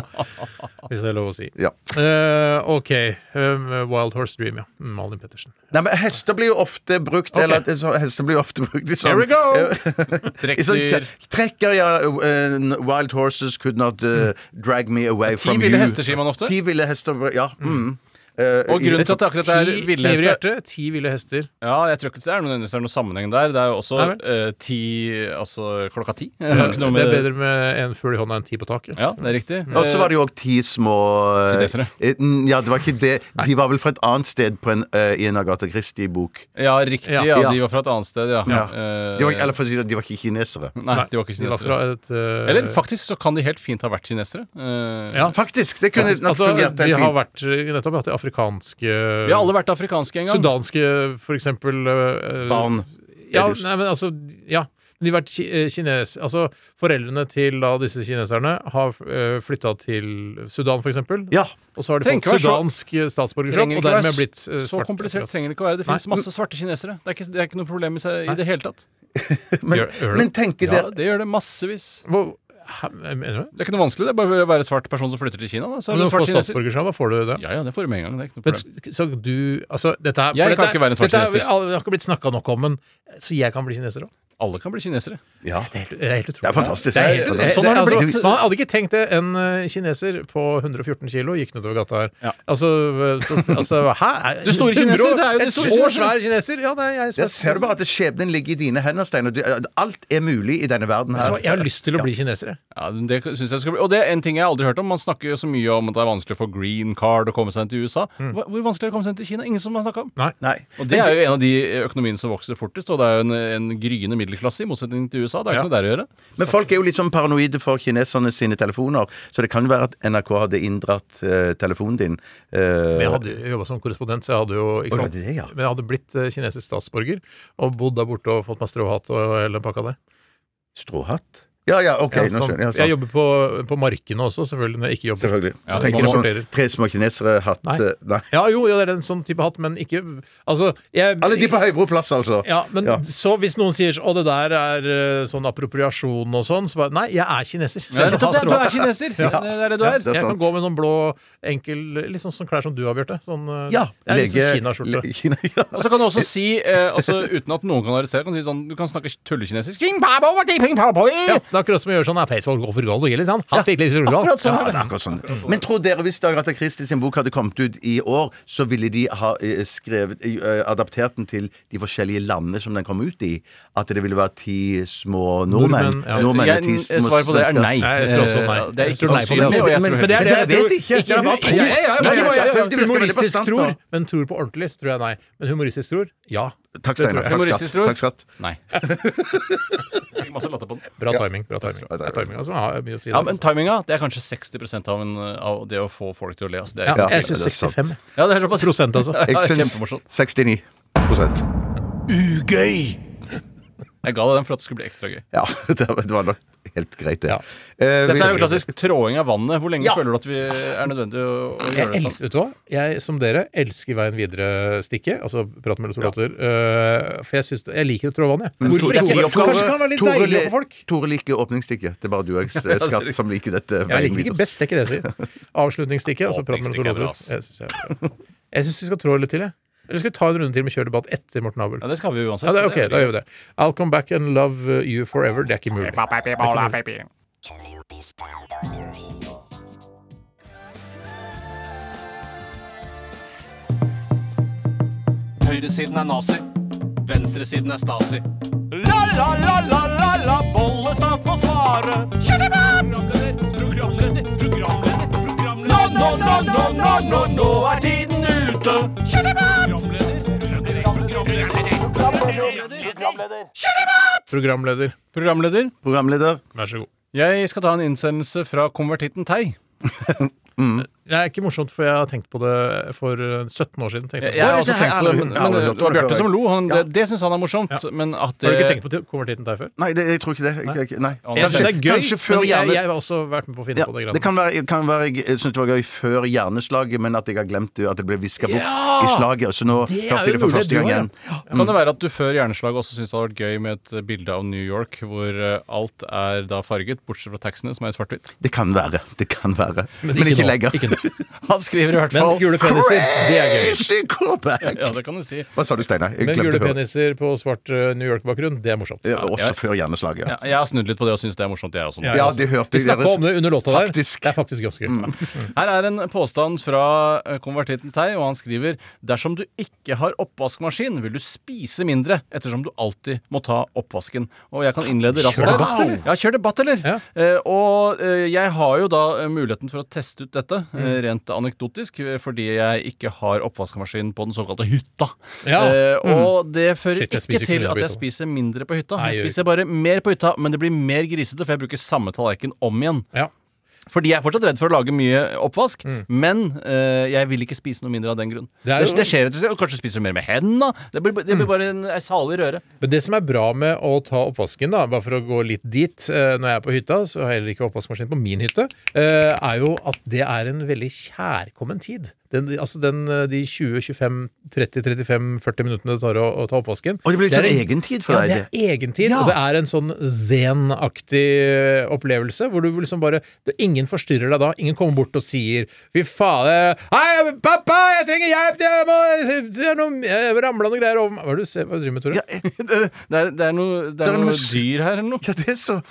Speaker 4: Hvis det er lov å si.
Speaker 6: Ja.
Speaker 4: Eh, OK. eh, Wild Horse Dream, ja. Mm, Malin Pettersen.
Speaker 6: Nei, men hester blir jo ofte brukt
Speaker 4: Ok.
Speaker 6: Eller så, hester blir jo ofte brukt i sånn
Speaker 4: Here we go!
Speaker 6: i sånn-
Speaker 5: Trekkdyr.
Speaker 6: Trekker, ja. uh, wild horses could not uh, drag me away
Speaker 5: Mm. Ti
Speaker 6: from you.
Speaker 5: ville hester, sier man ofte.
Speaker 6: Ti ville hester, ja. Mm. Eh,
Speaker 5: Og grunnen til at det akkurat er
Speaker 4: Ti
Speaker 5: ville
Speaker 4: kniver i
Speaker 5: hester
Speaker 4: hjertet, ti ville hester.
Speaker 5: Ja, jeg tror ikke det er noen, det er noen sammenheng der. Det er jo også
Speaker 4: Nei vel.
Speaker 5: eh, ti Altså klokka ti. Det
Speaker 4: Ja,
Speaker 5: er jo ikke
Speaker 4: det
Speaker 5: noe med
Speaker 4: er bedre med en fugl i hånda enn ti på taket.
Speaker 5: Ja, det er riktig.
Speaker 6: Og så var det jo òg ti små eh,
Speaker 5: Kinesere.
Speaker 6: eh, n- Ja, det var ikke det. De var vel fra et annet sted på en, eh, i en Agatha Christie-bok.
Speaker 5: Ja, riktig. Ja.
Speaker 6: Ja.
Speaker 5: De var fra et annet sted, ja.
Speaker 6: Ja.
Speaker 5: Eh,
Speaker 6: De var, eller for å si det, de var ikke kinesere.
Speaker 5: Nei, de var ikke
Speaker 4: De var
Speaker 5: kinesere.
Speaker 4: fra et, eh,
Speaker 5: Eller faktisk så kan de helt fint ha vært kinesere. Eh,
Speaker 4: Ja.
Speaker 6: Faktisk! Det kunne nok
Speaker 4: Altså,
Speaker 6: fungert
Speaker 4: de
Speaker 6: helt
Speaker 4: har
Speaker 6: fint.
Speaker 4: vært eh, nettopp hatt de afrikanske
Speaker 5: Vi har alle vært afrikanske en gang.
Speaker 4: Sudanske, for eksempel. eh,
Speaker 6: Barn.
Speaker 4: Ja,
Speaker 6: Ellers.
Speaker 4: nei, men altså Ja. Men De har vært ki eh, kines... Altså, foreldrene til da, disse kineserne har uh, flytta til Sudan, for eksempel.
Speaker 6: Ja.
Speaker 4: Og så har de
Speaker 5: Trenger
Speaker 4: fått
Speaker 5: ikke være så-
Speaker 4: sudansk eh, statsborgerskap,
Speaker 5: Trenger
Speaker 4: og
Speaker 5: ikke være
Speaker 4: dermed blitt eh,
Speaker 5: så
Speaker 4: svarte.
Speaker 5: komplisert trenger det ikke å være. Det finnes
Speaker 4: Nei.
Speaker 5: masse svarte kinesere. Det er ikke, det er ikke noe problem i, seg, i det hele tatt.
Speaker 6: Men,
Speaker 4: Gjør- gjør det.
Speaker 6: men tenker
Speaker 5: Ja,
Speaker 6: dere
Speaker 5: det gjør det massevis.
Speaker 4: Hvor- Hæ, Mener du det?
Speaker 5: Det er ikke noe vanskelig. Det er bare å være svart person som flytter til Kina. Da. Så er
Speaker 4: Når
Speaker 5: det
Speaker 4: du
Speaker 5: svart
Speaker 4: får
Speaker 5: kineser.
Speaker 4: statsborgerskap, da får du det.
Speaker 5: Ja, ja, det får du med en gang. Det er ikke noe
Speaker 4: Men,
Speaker 5: problem.
Speaker 4: s- så du Altså, dette her
Speaker 5: Jeg
Speaker 4: for dette
Speaker 5: kan
Speaker 4: er-
Speaker 5: ikke være en svart
Speaker 4: dette er-
Speaker 5: kineser.
Speaker 4: Det har ikke blitt snakka nok om, men så jeg kan bli kineser òg?
Speaker 5: Alle kan bli kinesere.
Speaker 6: Ja.
Speaker 4: Det er helt- det er helt utrolig.
Speaker 6: Det er fantastisk.
Speaker 4: Det er helt,
Speaker 6: Det er-
Speaker 4: sånn har det
Speaker 6: altså,
Speaker 4: blitt. Man hadde ikke tenkt det. En eh, kineser på 114 kilo gikk nedover gata her.
Speaker 5: Ja.
Speaker 4: Altså, eh, så- altså Hæ? Er-
Speaker 5: Du store
Speaker 4: 100
Speaker 5: kineser,
Speaker 4: år-
Speaker 5: det er jo de
Speaker 4: En
Speaker 5: store
Speaker 4: så
Speaker 5: kineserne.
Speaker 4: svær kineser? Ja, det er jeg som
Speaker 6: Der
Speaker 4: er
Speaker 6: ser
Speaker 4: kineser.
Speaker 6: du bare at skjebnen ligger i dine hender, Steinar. Du- Alt er mulig i denne verden
Speaker 4: Vet du
Speaker 6: her.
Speaker 4: hva, Jeg har lyst til å bli kineser, jeg.
Speaker 5: Ja, men det synes jeg skal bli Og det er en ting jeg aldri har hørt om. Man snakker jo så mye om at det er vanskelig å få green card og komme seg inn til USA. Hva- Hvor vanskelig er det å komme seg inn til Kina? Ingen som har snakka om.
Speaker 4: Mm. Nei.
Speaker 6: Nei.
Speaker 5: Og det er jo en av de økonomiene som vokser fortest, og det er jo en, en gryende middelklasse, i motsetning til USA. Det er
Speaker 4: Ja.
Speaker 5: ikke noe der å gjøre.
Speaker 6: Men folk er jo litt sånn paranoide for kineserne sine telefoner, så det kan jo være at NRK hadde inndratt eh, telefonen din. eh,
Speaker 4: Men jeg hadde jobba som korrespondent, så jeg hadde jo ikke
Speaker 6: Å,
Speaker 4: sant?
Speaker 6: det er det, ja.
Speaker 4: Men jeg hadde blitt eh, kinesisk statsborger og bodd der borte og fått meg stråhatt og hele den pakka der.
Speaker 6: Stråhatt? Ja, ja, OK.
Speaker 4: Ja,
Speaker 6: nå
Speaker 4: sånn.
Speaker 6: skjønner jeg.
Speaker 4: Jeg
Speaker 6: sånn.
Speaker 4: jobber på, på markene også, selvfølgelig, når jeg ikke jobber.
Speaker 6: Selvfølgelig.
Speaker 4: Ja,
Speaker 6: Tenker
Speaker 4: man
Speaker 6: du
Speaker 4: må-
Speaker 6: sånn tre små kinesere, hatt
Speaker 4: Nei.
Speaker 6: eh, Nei.
Speaker 4: Ja, jo, jo, det er en sånn type hatt, men ikke Altså, jeg
Speaker 6: Alle de på Høybro plass, altså.
Speaker 4: Ja, men
Speaker 6: Ja.
Speaker 4: så hvis noen sier Å, det der er eh, sånn appropriasjon og sånn, så bare Nei, jeg er kineser. Så jeg, får
Speaker 5: Det
Speaker 4: ta
Speaker 5: er- du er
Speaker 4: stråhatt.
Speaker 5: kineser! Det er det du er.
Speaker 6: det er
Speaker 4: jeg
Speaker 6: sant.
Speaker 4: kan gå med sånn blå, enkel Litt sånn som klær som du har, Bjarte. Sånn, eh,
Speaker 6: Ja,
Speaker 4: det er litt
Speaker 6: lege-
Speaker 5: liksom
Speaker 4: sånn Kina-skjorte.
Speaker 6: le- Kina, ja.
Speaker 5: Og så kan du også si, eh, altså, uten at noen kan arrestere, kan du si sånn Du kan snakke tullekinesisk. King pabo, ting ping pabo.
Speaker 4: Ja, det er akkurat som å gjøre sånn Facebook går for gold og gillig, sant? Han fikk litt rullgall.
Speaker 5: akkurat sånn er
Speaker 4: Ja,
Speaker 5: det.
Speaker 4: da.
Speaker 6: Akkurat sånn. Men tror dere hvis Agatha Christie sin bok hadde kommet ut i år, så ville de ha eh, skrevet, eh, adaptert den til de forskjellige landene som den kom ut i? At det ville være ti små nordmenn?
Speaker 4: Nordmenn, ja.
Speaker 6: og ti
Speaker 5: Jeg, eh,
Speaker 6: små
Speaker 5: svaret på det er
Speaker 6: svensker.
Speaker 5: nei.
Speaker 4: Nei, jeg tror også nei.
Speaker 5: Eh, Det er
Speaker 4: Jeg tror nei på det,
Speaker 5: ikke sannsynlig.
Speaker 4: altså.
Speaker 5: og jeg tror
Speaker 4: Men det er
Speaker 5: heller
Speaker 6: Men
Speaker 4: det
Speaker 6: jeg
Speaker 4: jeg tror.
Speaker 6: vet ikke.
Speaker 4: Ikke
Speaker 6: Jeg bare tror.
Speaker 4: ikke-
Speaker 5: Ja,
Speaker 4: ikke
Speaker 5: ja, ja, ja, ja, ja.
Speaker 4: bare jeg
Speaker 6: Det virker veldig
Speaker 4: humoristisk
Speaker 6: bastant nå.
Speaker 4: tror, men tror på ordentlig, så tror jeg nei. Men humoristisk tror, ja.
Speaker 6: Takk,
Speaker 4: Det tror
Speaker 6: Steinar.
Speaker 4: jeg.
Speaker 6: Takk,
Speaker 5: Humoristisk,
Speaker 6: skatt.
Speaker 5: tror jeg.
Speaker 6: Takk, skatt.
Speaker 5: Nei. Fikk masse latter på den.
Speaker 4: Bra timing. bra timing. Det er timing altså, har mye å si
Speaker 5: Ja,
Speaker 4: der,
Speaker 5: men
Speaker 4: altså.
Speaker 5: timinga det er kanskje 60 av, en, av det å få folk til å le. Altså. Det er,
Speaker 4: ja, jeg
Speaker 6: det er
Speaker 4: syns
Speaker 6: sant.
Speaker 4: 65
Speaker 5: ja, det er såpass.
Speaker 4: prosent, altså.
Speaker 5: Ja, det
Speaker 6: Jeg
Speaker 5: er
Speaker 6: syns
Speaker 5: kjempemorsomt.
Speaker 6: 69 prosent.
Speaker 5: Jeg ga deg den for at det skulle bli ekstra gøy.
Speaker 6: Ja, det var- det var nok helt greit, det.
Speaker 4: Ja.
Speaker 6: Eh,
Speaker 5: Dette er jo
Speaker 6: vi-
Speaker 5: klassisk tråing av vannet. Hvor lenge
Speaker 6: Ja.
Speaker 5: føler du at vi er nødvendig å, å
Speaker 4: Jeg
Speaker 5: gjøre det sånn?
Speaker 4: elsker, vet du hva? Jeg, som dere, elsker Veien videre-stikket. Altså praten mellom to låter. Eh, for jeg, syns, jeg liker å trå vann, jeg. Hvorfor
Speaker 6: Tore-
Speaker 4: ikke?
Speaker 6: Tore-
Speaker 4: Kanskje det kan være litt
Speaker 6: Tore-
Speaker 4: deilig overfor folk?
Speaker 6: Tore liker åpningsstikket. Det er bare du og jeg, Skatt, som liker dette.
Speaker 4: Jeg liker ikke best, det er ikke det jeg sier. Avslutningsstikket. Altså praten mellom to
Speaker 5: Åpningsstikket er
Speaker 4: låter.
Speaker 5: bra, ass.
Speaker 4: Jeg syns jeg- jeg syns vi skal trå litt til, jeg. Eller skal vi ta en runde til med kjørdebatt etter Morten Abel?
Speaker 5: Ja, det skal vi jo uansett.
Speaker 4: Ja, det, er
Speaker 5: så
Speaker 4: ok,
Speaker 5: det er-
Speaker 4: da gjør vi det. I'll come back and love you forever. Det er ikke mulig.
Speaker 13: Høyresiden er nazi. Venstresiden er Stasi.
Speaker 3: La, la, la, la, la, la Bollestad får svare. Programleder, programleder, programleder, programleder. Nå, nå, nå, nå, nå, nå, nå er tiden ute. Programleder, programleder, programleder, programleder.
Speaker 5: Programleder. Programleder.
Speaker 6: Programleder.
Speaker 4: Vær så god.
Speaker 5: Jeg skal ta en innsendelse fra konvertitten Tei.
Speaker 4: Det er ikke morsomt, for jeg har tenkt på det for eh, 17 år siden. tenkte
Speaker 5: Jeg, jeg har også tenkt på det, men, men det var Bjarte som lo. Han,
Speaker 4: Ja.
Speaker 5: det det syns han er morsomt, men at
Speaker 4: Har du ikke
Speaker 5: det-
Speaker 4: tenkt på det? konvertitten der før?
Speaker 6: Nei, det, jeg tror ikke det. Jeg, jeg, nei.
Speaker 4: Jeg syns det er gøy,
Speaker 6: Kanskje før
Speaker 4: men jeg,
Speaker 6: hjerne-
Speaker 4: jeg har også vært med på å finne
Speaker 6: Ja,
Speaker 4: på det.
Speaker 6: det kan være, kan være jeg syntes det var gøy før hjerneslaget, men at jeg har glemt det, at det ble viska bort
Speaker 5: Ja!
Speaker 6: i slaget. Så nå
Speaker 5: Det er
Speaker 6: hørte jeg det
Speaker 5: jo
Speaker 6: for
Speaker 5: mulig,
Speaker 6: første gang
Speaker 5: du har
Speaker 6: igjen.
Speaker 5: det. eh, Kan det være at du før hjerneslag også syntes det hadde vært gøy med et eh, bilde av New York hvor eh, alt er da farget, bortsett fra taxiene, som er i svart-hvitt?
Speaker 6: Det kan være. Det kan være. Men
Speaker 5: ikke
Speaker 6: ikke,
Speaker 5: nå,
Speaker 6: lenger.
Speaker 5: Han skriver i hvert
Speaker 4: Men
Speaker 5: fall
Speaker 4: gule peniser, det er gøy.
Speaker 6: Crazy comeback!
Speaker 5: Ja, det kan du si.
Speaker 6: Hva sa du, Steinar? Jeg
Speaker 4: Men gule
Speaker 6: glemte å høre.
Speaker 4: peniser på svart eh, New York-bakgrunn, det er morsomt.
Speaker 6: Ja, Også før hjerneslaget.
Speaker 5: Ja, jeg har snudd litt på det og syns det er morsomt, jeg også.
Speaker 4: Ja, ja.
Speaker 6: de hørte
Speaker 4: Vi snakka
Speaker 6: deres-
Speaker 4: om det under låta der. Det er faktisk ganske gøy.
Speaker 6: Mm.
Speaker 5: Her er en påstand fra eh, konvertitten Tei, og han skriver Dersom du ikke har oppvaskmaskin, vil du spise mindre, ettersom du alltid må ta oppvasken. Og jeg kan innlede raskt
Speaker 6: Kjør
Speaker 5: der.
Speaker 6: debatt, eller?
Speaker 5: Ja, kjør debatt, eller? Eh, og eh, jeg har jo da eh, muligheten for å teste ut dette,
Speaker 4: Mm.
Speaker 5: eh, rent anekdotisk, eh, fordi jeg ikke har oppvaskmaskin på den såkalte hytta.
Speaker 4: Ja.
Speaker 5: Eh, og
Speaker 4: Mm.
Speaker 5: det fører
Speaker 4: Shit, jeg spiser
Speaker 5: ikke
Speaker 4: ikke
Speaker 5: til
Speaker 4: mindre på
Speaker 5: at jeg
Speaker 4: hytta.
Speaker 5: spiser mindre på hytta.
Speaker 4: Nei,
Speaker 5: Jeg
Speaker 4: jeg gjør
Speaker 5: spiser bare mer på hytta, men det blir mer grisete, for jeg bruker samme tallerken om igjen. Fordi jeg er fortsatt redd for å lage mye oppvask, men eh, jeg vil ikke spise noe mindre av den grunn.
Speaker 4: Det
Speaker 5: Mm. Det, Mm.
Speaker 4: er-
Speaker 5: det skjer etter og Kanskje spiser du mer med hendene. Det blir, det blir bare en, ei salig røre.
Speaker 4: Men det som er bra med å ta oppvasken, da, bare for å gå litt dit eh, Når jeg er på hytta, så har jeg heller ikke oppvaskmaskin på min hytte, eh, er jo at det er en veldig kjærkommen tid. Den, altså den, eh, de 20, 25, 30, 35, 40 minuttene det tar å, å ta oppvasken.
Speaker 6: Og det blir litt
Speaker 4: er
Speaker 6: sånn
Speaker 4: en-
Speaker 6: egen tid for
Speaker 4: ja,
Speaker 6: deg,
Speaker 4: det
Speaker 6: det.
Speaker 4: er egen tid,
Speaker 6: Ja.
Speaker 4: og det er en sånn zen-aktig eh, opplevelse, hvor du liksom bare det, Ingen forstyrrer deg da. Ingen kommer bort og sier 'fy faen, eh, hei, pappa, jeg trenger hjelp', jeg må, det er noe eh, ramlende greier over meg Hva er det du ser- hva er det du driver med, Tore?
Speaker 5: Det, det er, det er noe, det er noe dyr her eller noe.
Speaker 6: Ja, det er så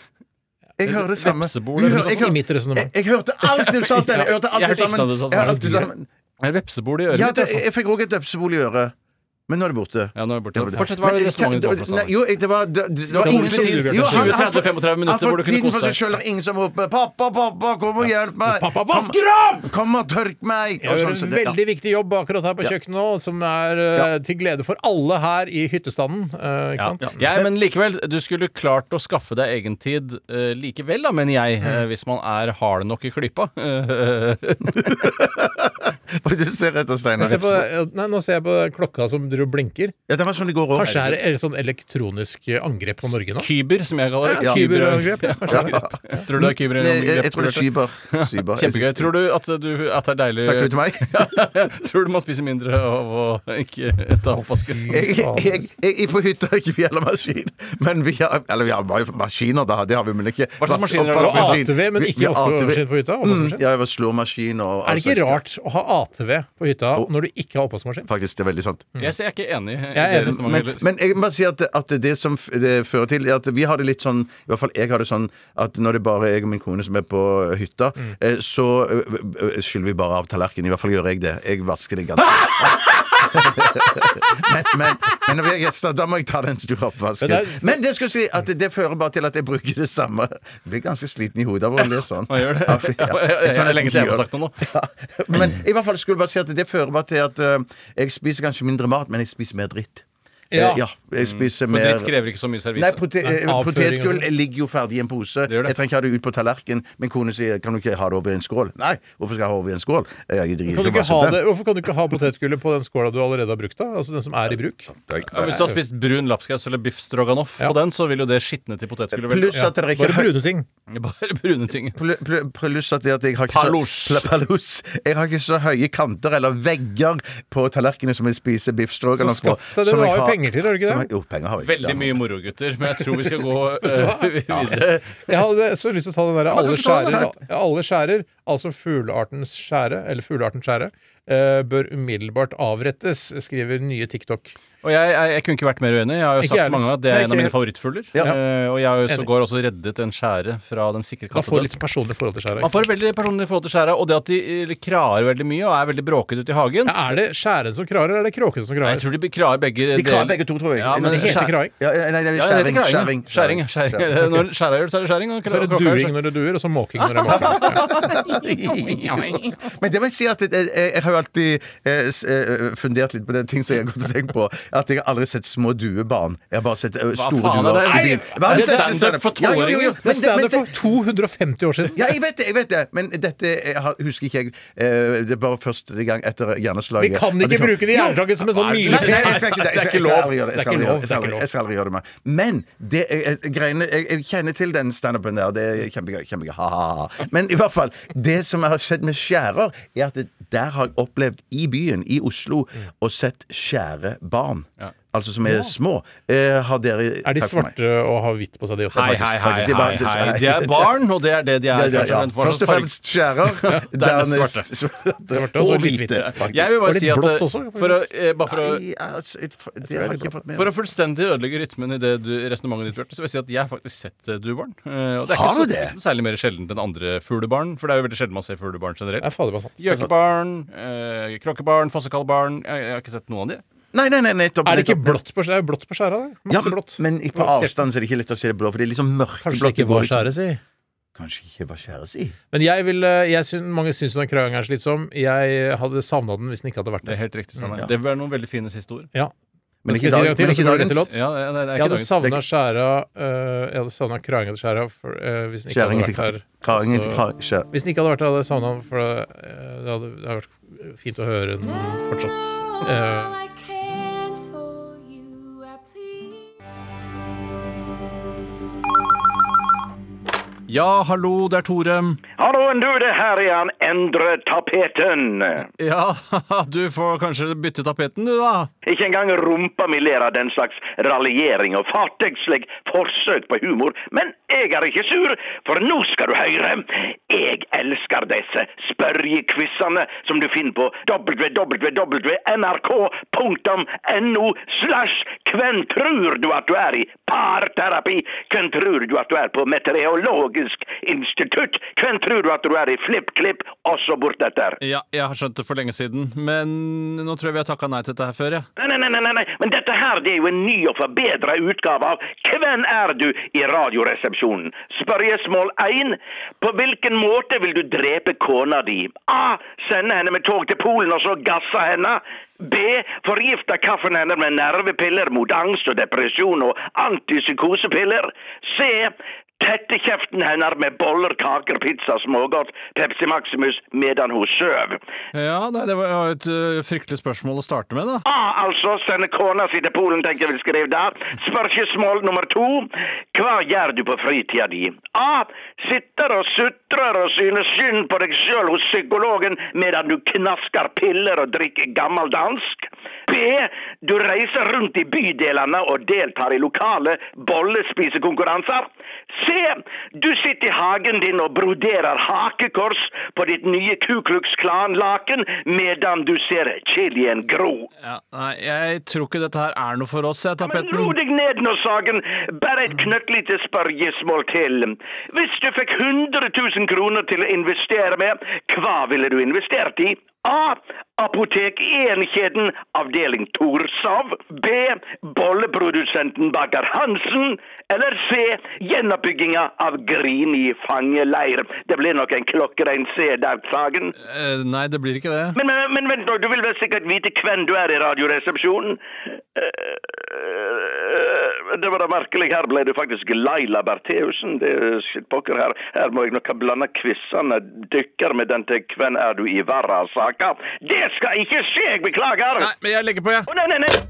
Speaker 6: Jeg hører det samme.
Speaker 5: Vepsebol
Speaker 6: Du
Speaker 5: eller noe
Speaker 6: hører-
Speaker 5: sånt.
Speaker 6: jeg hører-
Speaker 5: I mitt resonemang.
Speaker 6: Jeg, jeg hørte alt du sa, Steinar. Jeg hørte alt
Speaker 5: Jeg
Speaker 6: det
Speaker 5: hørte ikke
Speaker 6: sammen.
Speaker 5: alt du sa,
Speaker 6: Jeg hørte alt det
Speaker 5: Steinar.
Speaker 6: sammen.
Speaker 5: Er det vepsebol i øret
Speaker 6: Ja,
Speaker 5: mitt, i
Speaker 6: det,
Speaker 5: hvert fall?
Speaker 6: jeg fikk òg et vepsebol i øret. Men nå er det borte.
Speaker 5: Ja, nå er det borte.
Speaker 6: Nå er det
Speaker 5: Fortsett, hva er det
Speaker 6: Men-
Speaker 5: resonnementet du har for oss,
Speaker 6: Nei, Jo, jeg- det var det, det var
Speaker 5: Det
Speaker 6: ingen
Speaker 5: tok
Speaker 6: som
Speaker 5: tid, Bjørte.
Speaker 6: Jo,
Speaker 5: 20,
Speaker 6: han- han
Speaker 5: 30, 35 minutter
Speaker 6: han
Speaker 5: hvor du kunne
Speaker 6: får tiden
Speaker 5: kose
Speaker 6: for seg
Speaker 5: deg.
Speaker 6: sjøl, og ingen som roper 'pappa, pappa, kom og hjelp meg'.
Speaker 4: Pappa,
Speaker 6: Kom-
Speaker 4: vasker opp!
Speaker 6: Kom og tørk meg!
Speaker 4: Jeg
Speaker 6: Og
Speaker 4: gjør
Speaker 6: sånn, så
Speaker 4: en
Speaker 6: det- ja.
Speaker 4: veldig viktig jobb akkurat her på
Speaker 6: Ja.
Speaker 4: kjøkkenet nå, som er eh, til glede for alle her i hyttestanden. eh, ikke
Speaker 5: Ja.
Speaker 4: sant?
Speaker 5: Jeg, men likevel, du skulle klart å skaffe deg egen tid eh, likevel, da, mener jeg, eh, hvis man er hard nok i klypa. Eh,
Speaker 6: Oi, Du ser etter Steinar.
Speaker 4: Jeg ser på, eh, nei, nå ser jeg på klokka som driver og blinker.
Speaker 6: Ja, det var sånn det går òg.
Speaker 4: Kanskje er det et sånn elektronisk eh, angrep på Norge nå?
Speaker 5: Kyber, som jeg kaller det.
Speaker 4: Ja, kyberangrep, ja, kanskje.
Speaker 5: Tror du det er kyber?
Speaker 6: Nei, jeg- jeg tror det er kyber. Cyber.
Speaker 5: Kjempegøy. Tror du at, du at det er deilig
Speaker 6: Snakker du til meg?
Speaker 5: Ja, tror du man spiser mindre av å ikke ta oppvasken?
Speaker 6: Jeg, jeg, jeg, jeg på hytta har ikke vi heller maskin. Men vi har, eller vi har bare maskiner, da. Det har vi, men ikke
Speaker 4: Hva slags maskiner er det? ATV, men ikke vaskemaskin på hytta,
Speaker 6: Mm,
Speaker 4: oppvaskmaskin?
Speaker 6: ja, jeg var slåmaskin og
Speaker 4: Er det ikke rart å ha ATV på hytta når du ikke har oppvaskmaskin?
Speaker 6: Faktisk, det er veldig sant.
Speaker 5: Jeg er ikke enig i
Speaker 6: Jeg
Speaker 5: det
Speaker 6: er enig,
Speaker 5: resonnementet
Speaker 6: men,
Speaker 5: heller.
Speaker 6: men jeg må bare si at, at det som f- det fører til, er at vi har det litt sånn I hvert fall jeg har det sånn at når det bare er jeg og min kone som er på hytta,
Speaker 5: Mm.
Speaker 6: eh, så ø, ø, ø, skyller vi bare av tallerkenen. I hvert fall gjør jeg det. Jeg vasker det ganske men, men, men når vi er gjester, da må jeg ta den store oppvasken.
Speaker 4: Men det
Speaker 6: Men,
Speaker 4: er-
Speaker 6: det skal jeg si at det fører bare til at jeg bruker det samme. Jeg blir ganske sliten i hodet av å le sånn.
Speaker 5: Man gjør det.
Speaker 6: Ja, fy- ja.
Speaker 5: Jeg, jeg, jeg, jeg,
Speaker 6: tar nesten
Speaker 5: lenge til jeg
Speaker 6: gjør-
Speaker 5: får sagt noe nå.
Speaker 6: men i hvert fall skulle jeg bare si at det fører bare til at eh, jeg spiser kanskje mindre mat, men jeg spiser mer dritt. Eh,
Speaker 5: Ja.
Speaker 6: ja
Speaker 4: Mm.
Speaker 6: jeg spiser
Speaker 5: For
Speaker 6: mer
Speaker 5: dritt krever ikke så mye servise.
Speaker 6: Nei, prote eh,
Speaker 5: Avføring og
Speaker 6: Potetgull
Speaker 4: sånn.
Speaker 5: sånt.
Speaker 6: ligger jo ferdig i en pose.
Speaker 5: gjør det.
Speaker 6: Jeg trenger ikke ha det ut på tallerken. Min kone sier 'kan du ikke ha det over i en skål'? Nei, hvorfor skal jeg ha det over i en skål? Eh, Jeg driter
Speaker 4: Kan du
Speaker 6: jo
Speaker 4: ikke
Speaker 6: masse
Speaker 4: ha
Speaker 6: om
Speaker 4: det, hvorfor kan du ikke ha potetgullet på den skåla du allerede har brukt? da? Altså den som er i bruk?
Speaker 5: Ja, hvis du har spist brun lapskaus eller biff stroganoff på den, så vil jo det skitne til potetgullet. veldig.
Speaker 6: Pluss at det er ikke
Speaker 4: Bare brune ting.
Speaker 5: Bare brune ting.
Speaker 6: Pl- pl- Pluss at det at jeg har ikke
Speaker 5: Palos.
Speaker 6: Så, Pl- palos. Jeg har ikke så høye kanter eller vegger på tallerkenene som jeg spiser biff stroganoff
Speaker 4: Så skaff deg det. Du har jo penger til det, har du ikke det?
Speaker 6: Jo, penger har jeg.
Speaker 5: Veldig mye moro, gutter, men jeg tror vi skal gå eh, videre.
Speaker 4: Jeg hadde så lyst til å ta den der
Speaker 5: men
Speaker 4: alle
Speaker 5: kan du ta den
Speaker 4: skjærer, alle skjærer. altså fugleartens skjære, eller fugleartens skjære, eh, bør umiddelbart avrettes, skriver nye TikTok.
Speaker 5: Og jeg, jeg, jeg kunne ikke vært mer uenig. Jeg har jo
Speaker 4: Ikke
Speaker 5: sagt
Speaker 4: jeg
Speaker 5: mange ganger at det
Speaker 4: Nei,
Speaker 5: er en
Speaker 4: ikke
Speaker 5: av mine
Speaker 4: jeg.
Speaker 5: favorittfugler.
Speaker 4: Ja.
Speaker 5: Eh, og jeg har jo
Speaker 4: Enig.
Speaker 5: sågar også reddet en skjære fra den sikre
Speaker 4: Man får
Speaker 5: kattedød.
Speaker 4: litt personlig forhold til skjæra.
Speaker 5: Man får et veldig personlig forhold til skjæra, og det at de eh, kraer veldig mye og er veldig bråkete ute i hagen
Speaker 4: Er det skjæren som kraer, eller er det kråken som kraer?
Speaker 5: Jeg tror de be- kraer begge
Speaker 6: De kraer
Speaker 5: deler.
Speaker 6: begge to, tror jeg.
Speaker 5: Ja, men
Speaker 6: Eller
Speaker 5: skjæ-
Speaker 6: skjæ- Ja, nei, det
Speaker 5: Ja,
Speaker 6: er
Speaker 5: det heter
Speaker 6: skjæring.
Speaker 5: kraing, ja. Skjæring. ja, skjæring. Når skjæra gjør det, så er det skjæring. og
Speaker 4: Så er det
Speaker 5: kråka gjør
Speaker 4: duing når det duer, og så måking når det måker.
Speaker 6: Men det vil si at jeg, jeg, jeg har jo alltid eh, s- eh, fundert litt på det ting som jeg har gått og tenkt på. At jeg har aldri sett små duebarn. Jeg har bare sett eh, store
Speaker 5: faen er
Speaker 6: duer.
Speaker 5: det?
Speaker 6: Nei,
Speaker 5: Er
Speaker 6: hva er
Speaker 5: det
Speaker 6: det?
Speaker 5: standup for
Speaker 6: Ja, jo, jo, jo.
Speaker 5: toåringer?
Speaker 4: Det
Speaker 6: Men det- men
Speaker 4: standup
Speaker 6: det-
Speaker 4: for 250 år siden.
Speaker 6: Ja, jeg vet det, jeg vet det men dette jeg har- husker ikke jeg. Eh, Det er bare første gang etter hjerneslaget.
Speaker 4: Vi kan ikke
Speaker 6: At jeg
Speaker 4: bruke det jerntaket som en sånn
Speaker 6: Nei,
Speaker 4: milepæl.
Speaker 6: Nei, nei, jeg skal ikke det.
Speaker 4: Det er
Speaker 6: Jeg skal-
Speaker 4: ikke
Speaker 6: jeg skal
Speaker 4: lov.
Speaker 6: aldri gjøre det. Jeg skal
Speaker 4: Det er ikke
Speaker 6: aldri
Speaker 4: lov.
Speaker 6: gjøre det. Jeg skal
Speaker 4: Det er ikke
Speaker 6: aldri- Jeg skal aldri gjøre det mer. Men det er- er- greiene jeg, jeg kjenner til den standupen der. Det er kjempegøy. kjempegøy. Ha, ha, ha. Men i hvert fall, det som jeg har sett med skjærer, er at det, der har jeg opplevd i byen, i Oslo, og sett skjære barn. Altså som er
Speaker 4: Ja.
Speaker 6: små. Eh, har dere
Speaker 4: Er de
Speaker 6: takk for meg.
Speaker 4: svarte og har hvitt på seg, de også?
Speaker 5: Hei, hei,
Speaker 6: Faktisk,
Speaker 5: hei,
Speaker 6: faktisk, de er
Speaker 5: hei,
Speaker 6: bare-
Speaker 5: hei. De er barn, og det er det de er.
Speaker 6: Det er det, ja.
Speaker 5: fremst. Fortsatt
Speaker 6: Først og
Speaker 5: farg-
Speaker 6: fremst skjærer,
Speaker 5: Ja, dernest
Speaker 6: dernest
Speaker 5: svarte. altså
Speaker 6: svarte.
Speaker 4: Svarte og så
Speaker 6: Og
Speaker 4: litt
Speaker 6: hvite,
Speaker 4: hvitt.
Speaker 6: faktisk.
Speaker 5: Jeg vil
Speaker 4: Var
Speaker 5: bare
Speaker 4: det
Speaker 5: si at
Speaker 4: blått
Speaker 5: eh,
Speaker 4: også,
Speaker 5: for å, eh, bare for å
Speaker 6: Nei, altså, it- for- det har jeg ikke fått med
Speaker 5: For å fullstendig ødelegge rytmen i det du, resonnementet ditt, Bjarte, så vil jeg si at jeg har faktisk sett eh, duebarn. Eh, og det er
Speaker 6: Har
Speaker 5: ikke så,
Speaker 6: du det?
Speaker 5: ikke noe særlig mer sjeldent enn andre fuglebarn, for det er jo veldig sjelden man ser fuglebarn
Speaker 4: Ja,
Speaker 5: generelt.
Speaker 4: fader, det var sant.
Speaker 5: Gjøkebarn, eh, kråkebarn, fossekallbarn jeg, jeg har ikke sett noen av de.
Speaker 6: Nei, nei, nei, nettopp.
Speaker 4: Er det ikke
Speaker 6: nettopp.
Speaker 4: blått på, det er jo blått på skjæra? det.
Speaker 6: Ja,
Speaker 4: Masse
Speaker 6: men-
Speaker 4: blått.
Speaker 6: Men i- på avstand så er det ikke lett å se det blå, for det er liksom mørkeblått.
Speaker 4: Kanskje det
Speaker 6: Det
Speaker 4: ikke
Speaker 6: går
Speaker 4: var
Speaker 6: liksom-
Speaker 4: skjæret, si.
Speaker 6: Kanskje ikke var skjæret si.
Speaker 4: Men jeg vil, eh, jeg syn, mange syns den kraingen er slitsom. Jeg hadde savna den hvis den ikke hadde vært
Speaker 5: Det er
Speaker 4: der.
Speaker 5: helt riktig, Steinar.
Speaker 6: Ja.
Speaker 5: Det var noen veldig fine siste ord.
Speaker 4: Ja.
Speaker 6: Men
Speaker 4: Men
Speaker 6: ikke
Speaker 4: skal jeg si det
Speaker 6: dag-
Speaker 4: en gang til,
Speaker 6: men
Speaker 4: og så
Speaker 6: ikke
Speaker 4: går det rett til
Speaker 6: dagens.
Speaker 4: låt?
Speaker 5: Ja, det, det er
Speaker 4: Jeg
Speaker 5: ikke
Speaker 4: hadde
Speaker 5: dagens.
Speaker 4: savna skjæra øh, Jeg hadde savna kraingen til skjæra for, øh, hvis den ikke
Speaker 6: Skjæringen
Speaker 4: hadde
Speaker 6: til
Speaker 4: vært her.
Speaker 6: Kraingen til
Speaker 4: Så-
Speaker 6: kra- skjæ-
Speaker 4: Hvis den ikke hadde vært her, hadde jeg savna den, for øh, det hadde, det hadde vært fint å høre den fortsatt. Eh,
Speaker 5: Ja, hallo, det er Tore.
Speaker 12: Halloen, du, det her er han. Endre tapeten.
Speaker 5: Ja, du får kanskje bytte tapeten, du, da.
Speaker 12: Ikke engang rumpa mi ler av den slags raljering og fartegslig forsøk på humor, men jeg er ikke sur, for nå skal du høre. Jeg elsker disse spørjequizene som du finner på www.nrk.no slash Hvem tror du at du er i parterapi? Hvem tror du at du er på meteorologisk institutt? Hvem tror du at du er i flipp-klipp? Og så bortetter.
Speaker 5: Ja, jeg har skjønt det for lenge siden, men nå tror jeg vi har takka nei til dette her før, jeg.
Speaker 12: Nei, nei, nei, nei, nei, nei, men dette her det er jo en ny og forbedra utgave av Hvem er du i Radioresepsjonen? Spørsmål 1. På hvilken måte vil du drepe kona di? A. Sende henne med tog til Polen og så gasse henne. B. Forgifte kaffen hennes med nervepiller mot angst og depresjon og antipsykosepiller. C. Tette kjeften hennes med boller, kaker, pizza, smågodt, Pepsi Maximus medan hun søv.
Speaker 5: Ja, nei, det var jo et ø, fryktelig spørsmål å starte med, da.
Speaker 12: A, altså sende kona si til Polen, tenker jeg vil skrive der. Spørsmål nummer to. Hva gjør du på fritida di? A. Sitter og sutrer og synes synd på deg sjøl hos psykologen medan du knasker piller og drikker gammeldansk. B. Du reiser rundt i bydelene og deltar i lokale bollespisekonkurranser. C. Du sitter i hagen din og broderer hakekors på ditt nye Ku Klux Klan-laken medan du ser chilien gro.
Speaker 5: Ja, nei, jeg tror ikke dette her er noe for oss, jeg,
Speaker 12: Men
Speaker 5: tapeten.
Speaker 12: ro deg ned nå, Sagen. Bare et knøttlite spørsmål til. Hvis du fikk 100 000 kroner til å investere med, hva ville du investert i? A. Apotek 1-kjeden, avdeling Torshov. B. Bolleprodusenten Baker Hansen. Eller C. Gjenoppbygginga av Grini fangeleir. Det blir nok en klokkerein C der, Sagen.
Speaker 5: Eh, nei, det blir ikke det.
Speaker 12: Men, men, men vent nå, du vil vel sikkert vite hvem du er i Radioresepsjonen? Eh, Det var da merkelig, her ble det faktisk Laila Bertheussen. Det er sitt pokker her. Her må jeg nok ha blanda quizene dykker med den til Hvem er du i verra-saka. Det skal ikke skje, jeg beklager!
Speaker 5: Nei, men jeg legger på, jeg.
Speaker 12: Å, nei, nei, nei.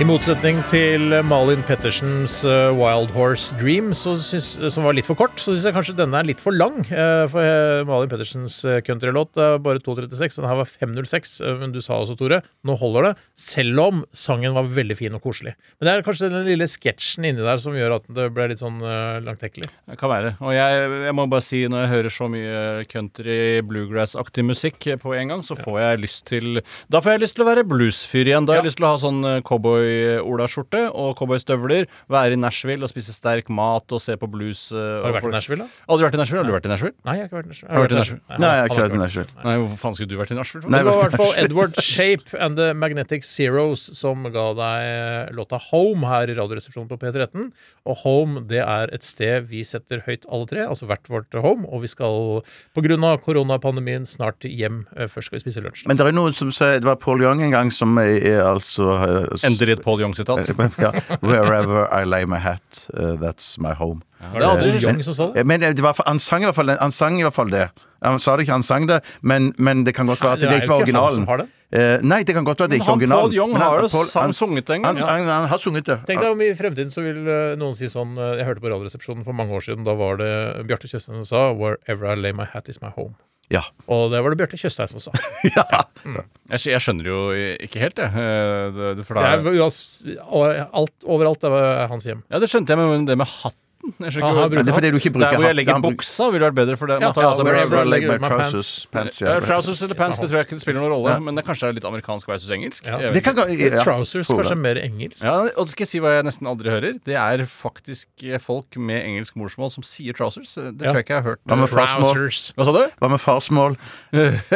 Speaker 4: I motsetning til Malin Pettersens eh, Wild Horse Dream, så syns, som var litt for kort, så syns jeg kanskje denne er litt for lang. eh, For eh, Malin Pettersens eh, countrylåt er bare 2.36, og den her var 5.06. eh, Men du sa også, Tore, nå holder det. Selv om sangen var veldig fin og koselig. Men det er kanskje den lille sketsjen inni der som gjør at det ble litt sånn eh, langtekkelig.
Speaker 5: Det kan være. Og jeg, jeg må bare si, når jeg hører så mye country, bluegrass-aktig musikk på en gang, så får jeg lyst til Da får jeg lyst til å være bluesfyr igjen. Da har jeg lyst til å ha sånn cowboy-olaskjorte og cowboystøvler, være i Nashville og spise sterk mat og se på blues. Har
Speaker 4: du vært i Nashville, da?
Speaker 5: Aldri vært i Nashville? Har du vært i Nashville?
Speaker 4: Nei, jeg har ikke vært i Nashville.
Speaker 5: Har du vært i Nashville?
Speaker 6: Nei, jeg har ikke vært i Nashville.
Speaker 5: Nei, hvorfor faen skulle du vært i Nashville?
Speaker 4: det var i hvert fall Edward Shape and The Magnetic Zeros som ga deg låta Home her i Radioresepsjonen på P13. Og Home det er et sted vi setter høyt alle tre, altså hvert vårt home. Og vi skal pga. koronapandemien snart hjem. Eh, Først skal vi spise lunsj.
Speaker 6: Men det er noen som sier Det var Paul Young en gang som er, er altså eh, s-
Speaker 5: Endelig et Paul
Speaker 6: Eh,
Speaker 5: Young-sitat.
Speaker 6: ja. Wherever I lay my hat, eh, that's my home.
Speaker 5: det er aldri Young som sa det.
Speaker 6: Men eh, det var, han, sang i hvert fall, den- han sang i hvert fall det. Han sa det ikke, han sang det, men, men det kan godt være at
Speaker 5: Nei, det
Speaker 6: det,
Speaker 5: er
Speaker 6: ikke
Speaker 5: jo
Speaker 6: var
Speaker 5: ikke han
Speaker 6: originalen.
Speaker 5: som har det.
Speaker 6: Eh, nei, det kan godt være at det
Speaker 5: Men
Speaker 6: ikke er
Speaker 5: han
Speaker 6: originalen.
Speaker 5: Paul Young
Speaker 6: Men
Speaker 5: har jo
Speaker 6: Paul-
Speaker 5: sang- sunget det en gang,
Speaker 6: Han,
Speaker 5: ja.
Speaker 6: han, han har sunget det.
Speaker 4: Tenk deg om i fremtiden så vil eh, noen si sånn eh, Jeg hørte på Radioresepsjonen for mange år siden. Da var det Bjarte Tjøstheim som sa 'Wherever I lay my hat is my home'.
Speaker 6: Ja.
Speaker 4: Og det var det Bjarte Tjøstheim som sa.
Speaker 5: Jeg, skj- jeg skjønner jo ikke helt, jeg. Eh, det- det- For
Speaker 4: Det
Speaker 5: da
Speaker 4: er, uas- alt, overalt er hans hjem.
Speaker 5: Ja, det skjønte jeg, men det med hatten jeg skjønner
Speaker 4: Ah,
Speaker 5: ikke
Speaker 4: han
Speaker 5: hvor-
Speaker 4: bruker Det er fordi du ikke bruker
Speaker 5: Der hvor jeg
Speaker 6: hatt.
Speaker 5: legger
Speaker 6: Han bruk-
Speaker 5: buksa, ville vært bedre for det.
Speaker 4: Ja,
Speaker 5: Man tar
Speaker 4: ja,
Speaker 5: av
Speaker 6: Altså,
Speaker 5: seg
Speaker 4: wherever I
Speaker 5: buksa.
Speaker 4: leg my pants.
Speaker 6: Pants, ja.
Speaker 5: Ja, trousers eller pants, det tror jeg ikke det spiller noen rolle.
Speaker 6: Ja.
Speaker 5: Men det kanskje er litt amerikansk versus engelsk.
Speaker 4: Ja.
Speaker 5: Jeg vet
Speaker 6: Det kan
Speaker 5: ikke.
Speaker 6: gå- ja,
Speaker 4: Trousers
Speaker 6: tror
Speaker 4: kanskje
Speaker 6: det.
Speaker 4: er mer engelsk.
Speaker 5: Ja, og det skal jeg si hva jeg nesten aldri hører. Det er faktisk eh, folk med engelsk morsmål som sier trousers. Det
Speaker 4: Ja.
Speaker 5: tror jeg ikke jeg har hørt.
Speaker 6: Hva med farsmål?
Speaker 5: Hva sa du?
Speaker 6: Hva med farsmål?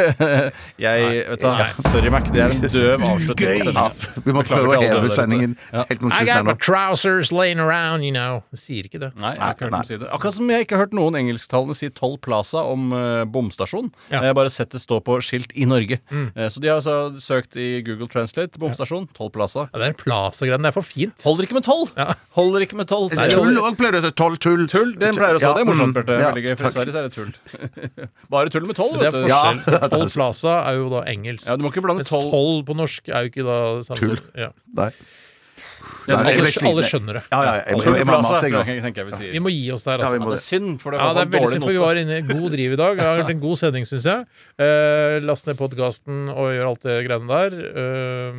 Speaker 5: Jeg, vet du, hva, sorry, Mac. Det er en døv avslutning. på
Speaker 6: Ja,
Speaker 5: sendingen.
Speaker 6: vi må
Speaker 5: Beklager
Speaker 6: prøve å
Speaker 5: til alle
Speaker 6: heve
Speaker 5: der ute.
Speaker 6: sendingen
Speaker 5: Ja.
Speaker 6: helt mot
Speaker 4: I
Speaker 6: slutten her
Speaker 4: got my
Speaker 6: nå.
Speaker 4: trousers laying around, you know. Jeg sier ikke det.
Speaker 5: Nei, jeg har ikke hørt
Speaker 4: Nei.
Speaker 5: dem si det. Akkurat som jeg ikke har hørt noen engelsktalende si Toll Plaza om eh, bomstasjon.
Speaker 4: Ja. Mm.
Speaker 5: Jeg har bare sett det stå på skilt i Norge. Eh, så de har altså søkt i Google Translate bomstasjon, Toll Plaza.
Speaker 4: Ja, det er plaza-greiene. Det er for fint.
Speaker 5: Holder ikke med toll! Holder ikke med toll. sier
Speaker 6: Tull
Speaker 5: de.
Speaker 6: òg pleier du å si. Toll, tull.
Speaker 5: Tull, den pleier også.
Speaker 6: Ja,
Speaker 5: det er morsomt,
Speaker 6: mm,
Speaker 5: Bjarte.
Speaker 6: ja,
Speaker 5: Veldig gøy. For
Speaker 6: takk.
Speaker 5: i Sverige så er det tull. Bare tull med toll,
Speaker 4: Det er
Speaker 5: vet du.
Speaker 4: forskjell. Toll plaza er jo da engelsk.
Speaker 5: Ja, du må ikke blande
Speaker 4: Mens
Speaker 5: toll-
Speaker 4: toll på norsk er jo ikke da det samme.
Speaker 6: Tull.
Speaker 4: Ja.
Speaker 6: Nei.
Speaker 5: Ja,
Speaker 6: Nei, jeg
Speaker 4: alle,
Speaker 6: ble sliten.
Speaker 4: alle skjønner det.
Speaker 6: Ja, ja, jeg- jeg-
Speaker 5: Toll
Speaker 6: jeg- jeg-
Speaker 5: Plaza,
Speaker 6: jeg- jeg-
Speaker 5: tror jeg, tenker jeg vi sier.
Speaker 4: Vi må gi oss der,
Speaker 6: Ja,
Speaker 4: altså.
Speaker 6: vi må
Speaker 5: det er synd, for det
Speaker 4: Ja,
Speaker 5: var
Speaker 4: det er veldig
Speaker 5: dårlig
Speaker 4: synd, for vi
Speaker 5: note.
Speaker 4: var inne i god driv i dag. Det har vært en god sending, syns jeg. Eh, last ned podkasten og gjør alt det greiene der. Eh,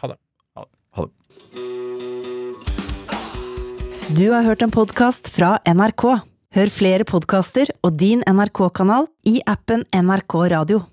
Speaker 4: ha det.
Speaker 1: Du har hørt en podkast fra NRK. Hør flere podkaster og din NRK-kanal i appen NRK Radio.